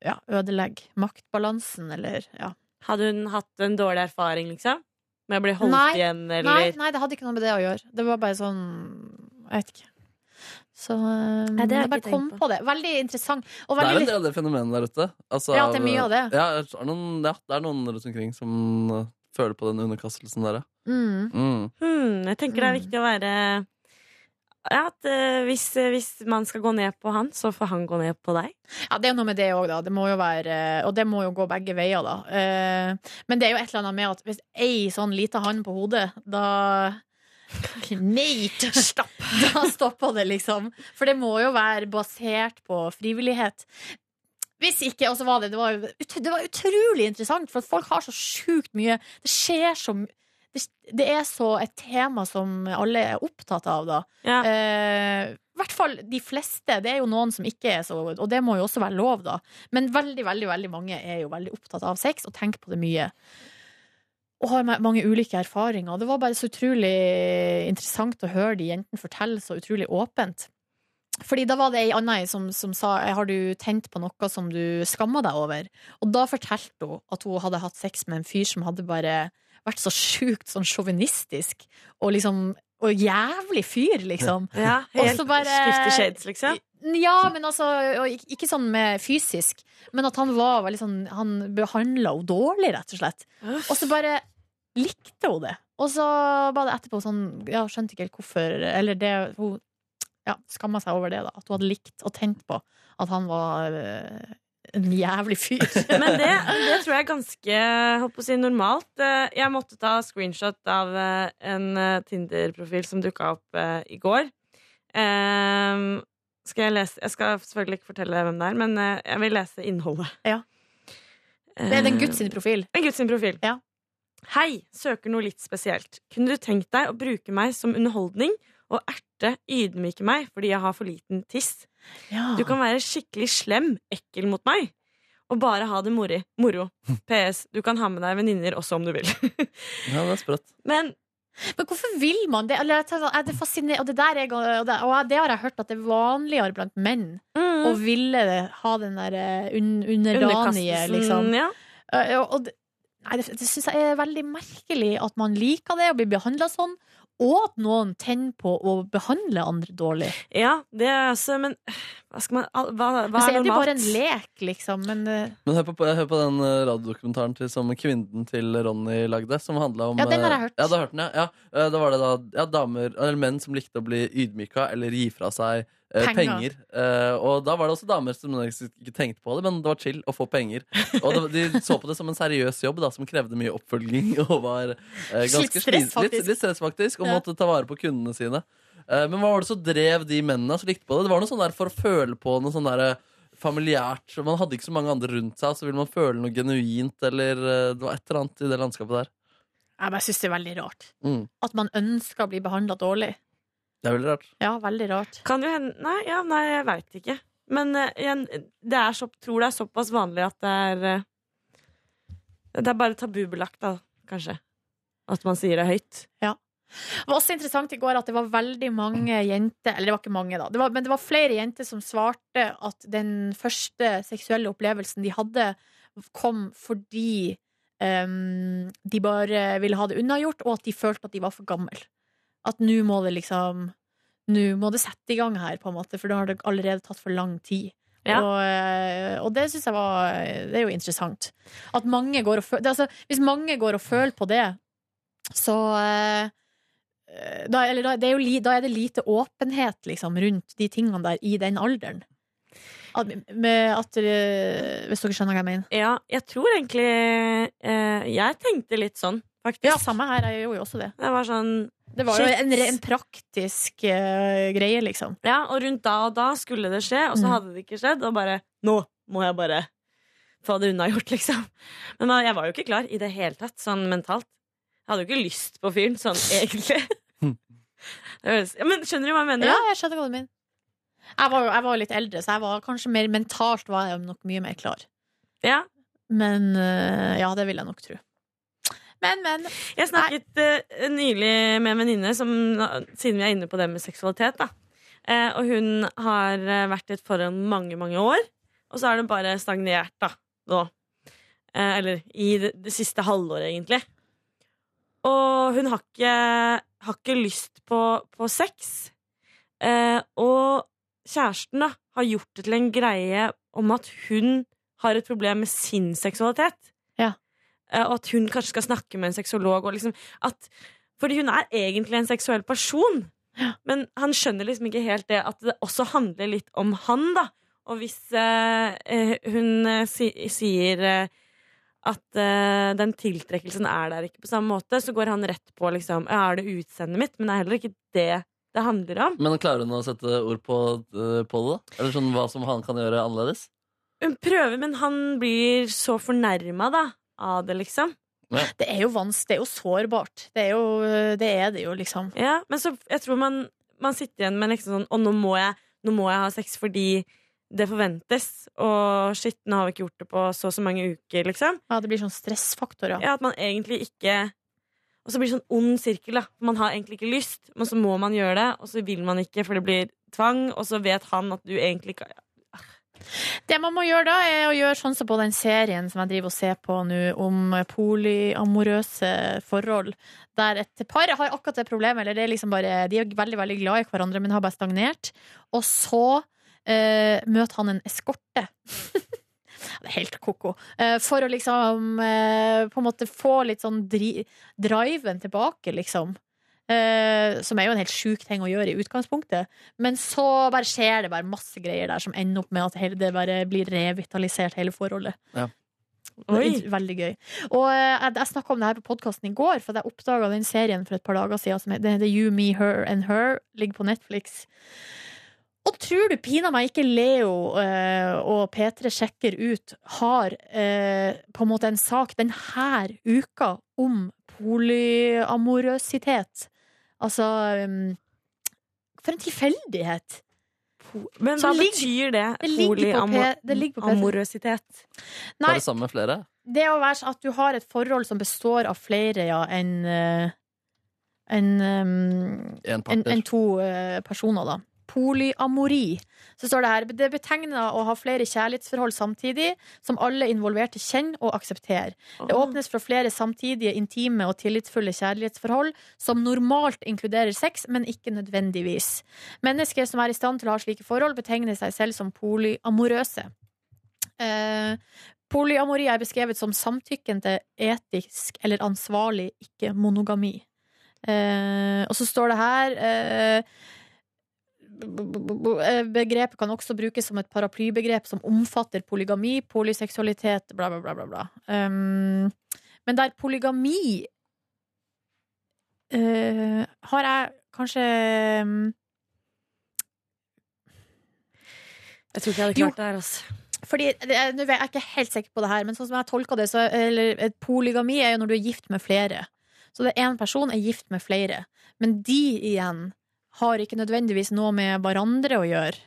Speaker 3: ja, ødelegge maktbalansen, eller ja.
Speaker 9: Hadde hun hatt en dårlig erfaring, liksom? Med å bli holdt
Speaker 3: Nei.
Speaker 9: igjen, eller
Speaker 3: Nei, nei, det hadde ikke noe med det å gjøre. Det var bare sånn Jeg vet ikke. Så
Speaker 9: har
Speaker 3: nei, det
Speaker 9: jeg
Speaker 3: jeg bare
Speaker 9: ikke
Speaker 3: kom
Speaker 9: tenkt
Speaker 3: på det. Veldig interessant. Og
Speaker 4: Det er
Speaker 3: veldig
Speaker 4: en del av det fenomenet der ute. Altså,
Speaker 3: Ja, det er mye av det.
Speaker 4: Ja, det er noen, ja, det er noen rundt omkring som uh, føler på den underkastelsen der, ja.
Speaker 3: mm.
Speaker 4: Mm.
Speaker 9: hmm, Jeg tenker det er
Speaker 3: Mm.
Speaker 9: viktig å være ja, at eh, hvis, eh, hvis man skal gå ned på han, så får han gå ned på deg.
Speaker 3: Ja, det er noe med det òg, da. Det må jo være, og det må jo gå begge veier, da. Eh, Men det er jo et eller annet med at hvis ei sånn lita hand på hodet, da *laughs* Nei, stopp! *laughs* Da stopper det, liksom. For det må jo være basert på frivillighet. Hvis ikke, og så var det det var, jo- ut- det var utrolig interessant, for at folk har så sjukt mye Det skjer så mye det, det er så et tema som alle er opptatt av, da.
Speaker 9: Ja.
Speaker 3: Eh, I hvert fall de fleste. Det er jo noen som ikke er så Og det må jo også være lov, da. Men veldig, veldig veldig mange er jo veldig opptatt av sex og tenker på det mye. Og har ma- mange ulike erfaringer. Det var bare så utrolig interessant å høre de jentene fortelle så utrolig åpent. Fordi da var det ei anna ei som, som sa Har du tent på noe som du skammer deg over? Og da fortalte hun at hun hadde hatt sex med en fyr som hadde bare vært så sjukt sånn sjåvinistisk og liksom Og jævlig fyr, liksom.
Speaker 9: Ja, helt
Speaker 3: så bare-
Speaker 9: Fifty Shades, liksom.
Speaker 3: Ja, men altså og ik- Ikke sånn med fysisk, men at han var veldig sånn Han behandla henne dårlig, rett og slett. Og så bare likte hun det. Og så var det etterpå sånn Ja, skjønte ikke helt hvorfor Eller det Hun ja, skamma seg over det, da. At hun hadde likt og tent på at han var eh, en jævlig fyr.
Speaker 9: *laughs* Men det, det tror jeg er ganske holdt på å si, normalt. Eh, Jeg måtte ta screenshot av eh, en eh, Tinder-profil som dukka opp eh, i går. Ehm, skal jeg, lese? jeg skal selvfølgelig ikke fortelle hvem det er, men eh, jeg vil lese innholdet.
Speaker 3: Ja.
Speaker 9: Eh,
Speaker 3: Det er den gutt sin profil.
Speaker 9: en gutt sin profil.
Speaker 3: Ja.
Speaker 9: Hei, søker noe litt spesielt. Kunne du tenkt deg å bruke meg som underholdning og erte, ydmyke meg fordi jeg har for liten tiss?
Speaker 3: Ja.
Speaker 9: Du kan være skikkelig slem, ekkel mot meg. Og bare ha det mori. moro. PS. Du kan ha med deg venninner også om du vil. *laughs*
Speaker 4: Ja, det er sprøtt.
Speaker 9: Men
Speaker 3: Men hvorfor vil man det? Eller, jeg tenker sånn, er det fasciner- og det, der er, og det, og det har jeg hørt at det er vanligere blant menn å
Speaker 9: og
Speaker 3: ville ha den der eh, un, underdanige,
Speaker 9: underkastelsen
Speaker 3: liksom.
Speaker 9: ja.
Speaker 3: Eh, Og, og det- nei, det, det syns jeg er veldig merkelig at man liker det og blir behandla sånn. Og at noen tenner på å behandle andre dårlig.
Speaker 9: ja, det er altså Men hva, skal man, al- hva, hva
Speaker 3: Men så er det
Speaker 9: er
Speaker 3: jo Altså, bare en
Speaker 9: normalt?
Speaker 3: lek, liksom. Men eh,
Speaker 4: Men hør på, hør på den eh, radiodokumentaren til, som kvinnen til Ronny lagde. Som handla om
Speaker 3: Ja, den har jeg
Speaker 4: eh,
Speaker 3: hørt.
Speaker 4: Ja, du har hørt den, ja. ja. eh, Da var det da ja, damer, eller menn som likte å bli ydmyka eller gi fra seg eh,
Speaker 3: Penger.
Speaker 4: penger. Eh, og da var det også damer som ikke tenkte på det, men det var chill å få penger. Og det, var- de så på det som en seriøs jobb da, som krevde mye oppfølging *laughs* og var eh, ganske
Speaker 3: Litt stress,
Speaker 4: sliten-
Speaker 3: faktisk.
Speaker 4: Litt, litt stress, faktisk. Og
Speaker 3: Ja.
Speaker 4: måtte ta vare på kundene sine. Eh, Men hva var det som drev de mennene som likte på det? Det var noe sånn der for å føle på noe sånn der familiært. så Man hadde ikke så mange andre rundt seg, så ville man føle noe genuint, eller eh, det var et eller annet i det landskapet der.
Speaker 3: jeg bare syns det er veldig rart.
Speaker 4: Mm.
Speaker 3: At man ønsker å bli behandla dårlig.
Speaker 4: Det er veldig rart.
Speaker 3: Ja, veldig rart.
Speaker 9: Kan jo hende Nei, ja, nei jeg veit ikke. Men eh, igjen, det er så, tror det er såpass vanlig at det er eh, Det er bare tabubelagt, da, kanskje. At man sier det høyt.
Speaker 3: Det var også interessant i går at det var veldig mange jenter Eller det var ikke mange, da. Det var, men det var flere jenter som svarte at den første seksuelle opplevelsen de hadde, kom fordi ehm, de bare ville ha det unnagjort, og at de følte at de var for gammel. At nå må det liksom Nå må det sette i gang her, på en måte, for da har det allerede tatt for lang tid.
Speaker 9: Ja.
Speaker 3: Og, eh, og det syns jeg var Det er jo interessant. At mange går og føler det, er altså, Hvis mange går og føler på det, så eh, da, eller da, det er jo, li- da er det lite åpenhet liksom, rundt de tingene der i den alderen. At, med, at, eh, hvis dere skjønner hva jeg mener.
Speaker 9: Ja, jeg tror egentlig eh, Jeg tenkte litt sånn, faktisk.
Speaker 3: Ja, samme her. Jeg gjorde jo også det.
Speaker 9: Det var sånn
Speaker 3: Det var jo
Speaker 9: Shit.
Speaker 3: en, re- en praktisk eh, greie, liksom.
Speaker 9: Ja, og rundt da og da skulle det skje, og så
Speaker 3: Mm.
Speaker 9: hadde det ikke skjedd, og bare Nå må jeg bare få det unnagjort, *laughs* liksom. Men da- jeg var jo ikke klar i det hele tatt, sånn mentalt. Jeg hadde jo ikke lyst på fyren,
Speaker 3: *laughs*
Speaker 9: sånn egentlig. Det høres- ja, men skjønner du hva jeg mener?
Speaker 3: Hmm. Ja, jeg skjønner hva du mener. Jeg var jo jeg var jo litt eldre, så jeg var kanskje mer mentalt var jeg nok mye mer klar.
Speaker 9: Ja.
Speaker 3: Men eh, ja, det vil jeg nok tro. Men, men.
Speaker 9: Jeg snakket eh, nylig med en venninne, som- siden vi er inne på det med seksualitet. Da. Eh, og hun har eh, vært i et forhold mange, mange år, og så har det bare stagnert da, nå. Eh, eller i det, det siste halvåret, egentlig. Og hun har ikke, har ikke lyst på, på sex. Eh, og kjæresten da, har gjort det til en greie om at hun har et problem med sin seksualitet. Eh, Og at hun kanskje skal snakke med en sexolog. Og liksom at, fordi hun er egentlig en seksuell person. Men han skjønner liksom ikke helt det at det også handler litt om han, da. Og hvis eh, eh, hun eh, si, sier eh, at eh, den tiltrekkelsen er der ikke på samme måte, så går han rett på liksom Ja, er det utseendet mitt? Men det er heller ikke det det handler om.
Speaker 4: Men klarer hun å sette ord på, eh, på det? da? Eller sånn hva som han kan gjøre annerledes?
Speaker 9: Hun prøver, men han blir så fornærma, da, av det, liksom.
Speaker 3: Det er jo vanskelig. Det er jo sårbart. Det er jo eh, det, er det jo, liksom.
Speaker 9: Ja, men så jeg tror man, man sitter igjen med liksom sånn Og nå må, jeg, nå må jeg ha sex fordi det forventes. Og shit, nå har vi ikke gjort det på så og så mange uker, liksom.
Speaker 3: Ja, det blir sånn stressfaktor, ja.
Speaker 9: Ja, At man egentlig ikke Og så blir det sånn ond sirkel. da Man har egentlig ikke lyst, men så må man gjøre det, og så vil man ikke, for det blir tvang, og så vet han at du egentlig ikke
Speaker 3: Det man må gjøre da, er å gjøre sånn som på den serien som jeg driver og ser på nå, om polyamorøse forhold, der et par har akkurat det problemet, eller det er liksom bare De er veldig, veldig glad i hverandre, men har bare stagnert. Og så eh, møter han en eskorte. *laughs* Det er helt ko-ko. Eh, for å liksom eh, på en måte få litt sånn dri driven tilbake, liksom. Eh, som er jo en helt sjuk ting å gjøre i utgangspunktet. Men så bare skjer det bare masse greier der som ender opp med at hele, det bare blir revitalisert, hele forholdet.
Speaker 4: Ja.
Speaker 3: Det er int- Veldig gøy. Og eh, jeg, jeg snakka om det her på podkasten i går, for at jeg oppdaga den serien for et par dager siden som heter You, Me, Her and Her. Ligger på Netflix. Og tror du pinadø meg ikke Leo eh, og P3 sjekker ut har eh, på en måte en sak denne uka om polyamorøsitet? Altså um, For en tilfeldighet!
Speaker 9: Men hva
Speaker 3: Så ligg-
Speaker 9: betyr det?
Speaker 3: det ligger på P- det ligger på P3.
Speaker 9: Polyamorøsitet.
Speaker 3: Nei,
Speaker 4: Bare sammen med flere?
Speaker 3: det å være at du har et forhold som består av flere ja, enn eh, enn em,
Speaker 4: En
Speaker 3: enn
Speaker 4: partner?
Speaker 3: enn to eh, personer, da. Polyamori. Så står det her det betegner å ha flere kjærlighetsforhold samtidig, som alle involverte kjenner og aksepterer. Det åpnes for flere samtidige intime og tillitsfulle kjærlighetsforhold, som normalt inkluderer sex, men ikke nødvendigvis. Mennesker som er i stand til å ha slike forhold, betegner seg selv som polyamorøse. Eh, polyamori er beskrevet som samtykken til etisk eller ansvarlig ikke-monogami. Eh, og så står det her eh, b- b- b- eh, Begrepet kan også brukes som et paraplybegrep som omfatter polygami, polyseksualitet, bla, bla, bla. bla, bla. Um, men der polygami eh, har jeg kanskje um,
Speaker 9: Jeg tror ikke jeg hadde
Speaker 3: Jo.
Speaker 9: klart det her, altså.
Speaker 3: Fordi, det er- nå er jeg ikke helt sikker på det her, men sånn som jeg tolker det, så eller, et polygami er jo når du er gift med flere. Så det er én person er gift med flere. Men de igjen har ikke nødvendigvis noe med hverandre å gjøre.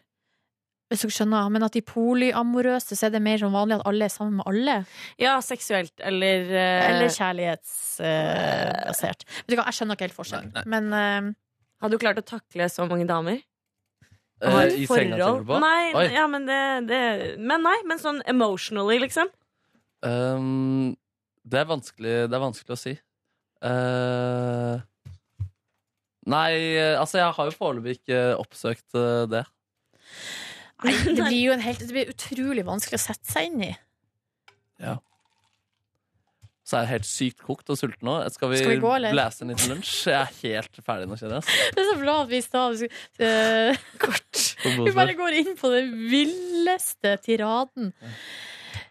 Speaker 3: Hvis dere skjønner, men at de polyamorøse, så er det mer som vanlig at alle er sammen med alle?
Speaker 9: Ja, seksuelt eller eh,
Speaker 3: Eller kjærlighetsbasert? Vet du hva, jeg skjønner ikke helt forskjellen. Men eh,
Speaker 9: Har du klart å takle så mange damer?
Speaker 4: Eh, I
Speaker 3: forhold?
Speaker 4: senga tenker du på?
Speaker 9: Nei,
Speaker 4: Oi.
Speaker 9: ja, men det, det Men nei, men sånn emotionally, liksom.
Speaker 4: Um, det, er vanskelig, det er vanskelig å si. Eh, nei, eh, altså jeg har jo foreløpig ikke oppsøkt eh, det.
Speaker 3: nei, det blir jo en helt, det blir utrolig vanskelig å sette seg inn i.
Speaker 4: Så jeg er helt sykt kokt og sulten nå. Skal vi,
Speaker 3: Skal vi gå, eller?
Speaker 4: blæse en liten lunsj? Jeg er helt ferdig nå, kjenner jeg. altså.
Speaker 3: Det er så bra at vi i stad eh, Kort.
Speaker 4: På
Speaker 3: *laughs* Vi bare
Speaker 4: bordet.
Speaker 3: går inn på den villeste tiraden.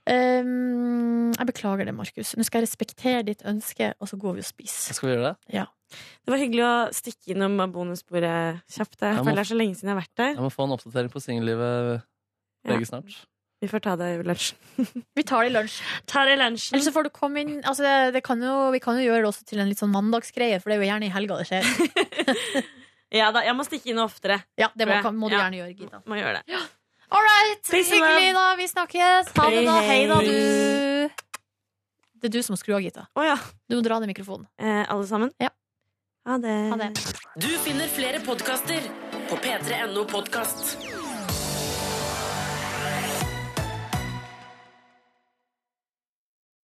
Speaker 3: Um, jeg beklager det, Markus. Nå skal jeg respektere ditt ønske, og så går vi og spiser.
Speaker 4: Skal vi gjøre det?
Speaker 9: Det var hyggelig å stikke innom bonusbordet kjapt. Jeg
Speaker 4: Jeg må-
Speaker 9: føler det er så lenge siden jeg har vært der.
Speaker 4: Jeg må få en oppdatering på singellivet eh,
Speaker 9: Ja.
Speaker 4: begge snart.
Speaker 9: Vi får ta det i lunsjen.
Speaker 3: Vi tar det i lunsj.
Speaker 9: Ta det i lunsjen.
Speaker 3: Eller så får du komme inn altså det, det kan jo, Vi kan jo gjøre det også til en litt sånn mandagsgreie, for det er jo gjerne i helga det skjer.
Speaker 9: Ja da, jeg må stikke inn oftere.
Speaker 3: Ja, det må,
Speaker 9: Tror jeg.
Speaker 3: må du
Speaker 9: Ja.
Speaker 3: gjerne gjøre, Gita.
Speaker 9: Må gjøre det.
Speaker 3: All right!
Speaker 9: Peace and
Speaker 3: Hyggelig, da. Vi snakkes. Ha det, da.
Speaker 9: Hei,
Speaker 3: Hei, da,
Speaker 9: hei.
Speaker 3: du. Det er du som må skru av, Gita.
Speaker 9: Å ja.
Speaker 3: Du må dra ned mikrofonen.
Speaker 9: Eh, alle sammen?
Speaker 3: Ja.
Speaker 9: Ha det.
Speaker 3: Ha det.
Speaker 1: Du finner flere podkaster på p3.no podkast.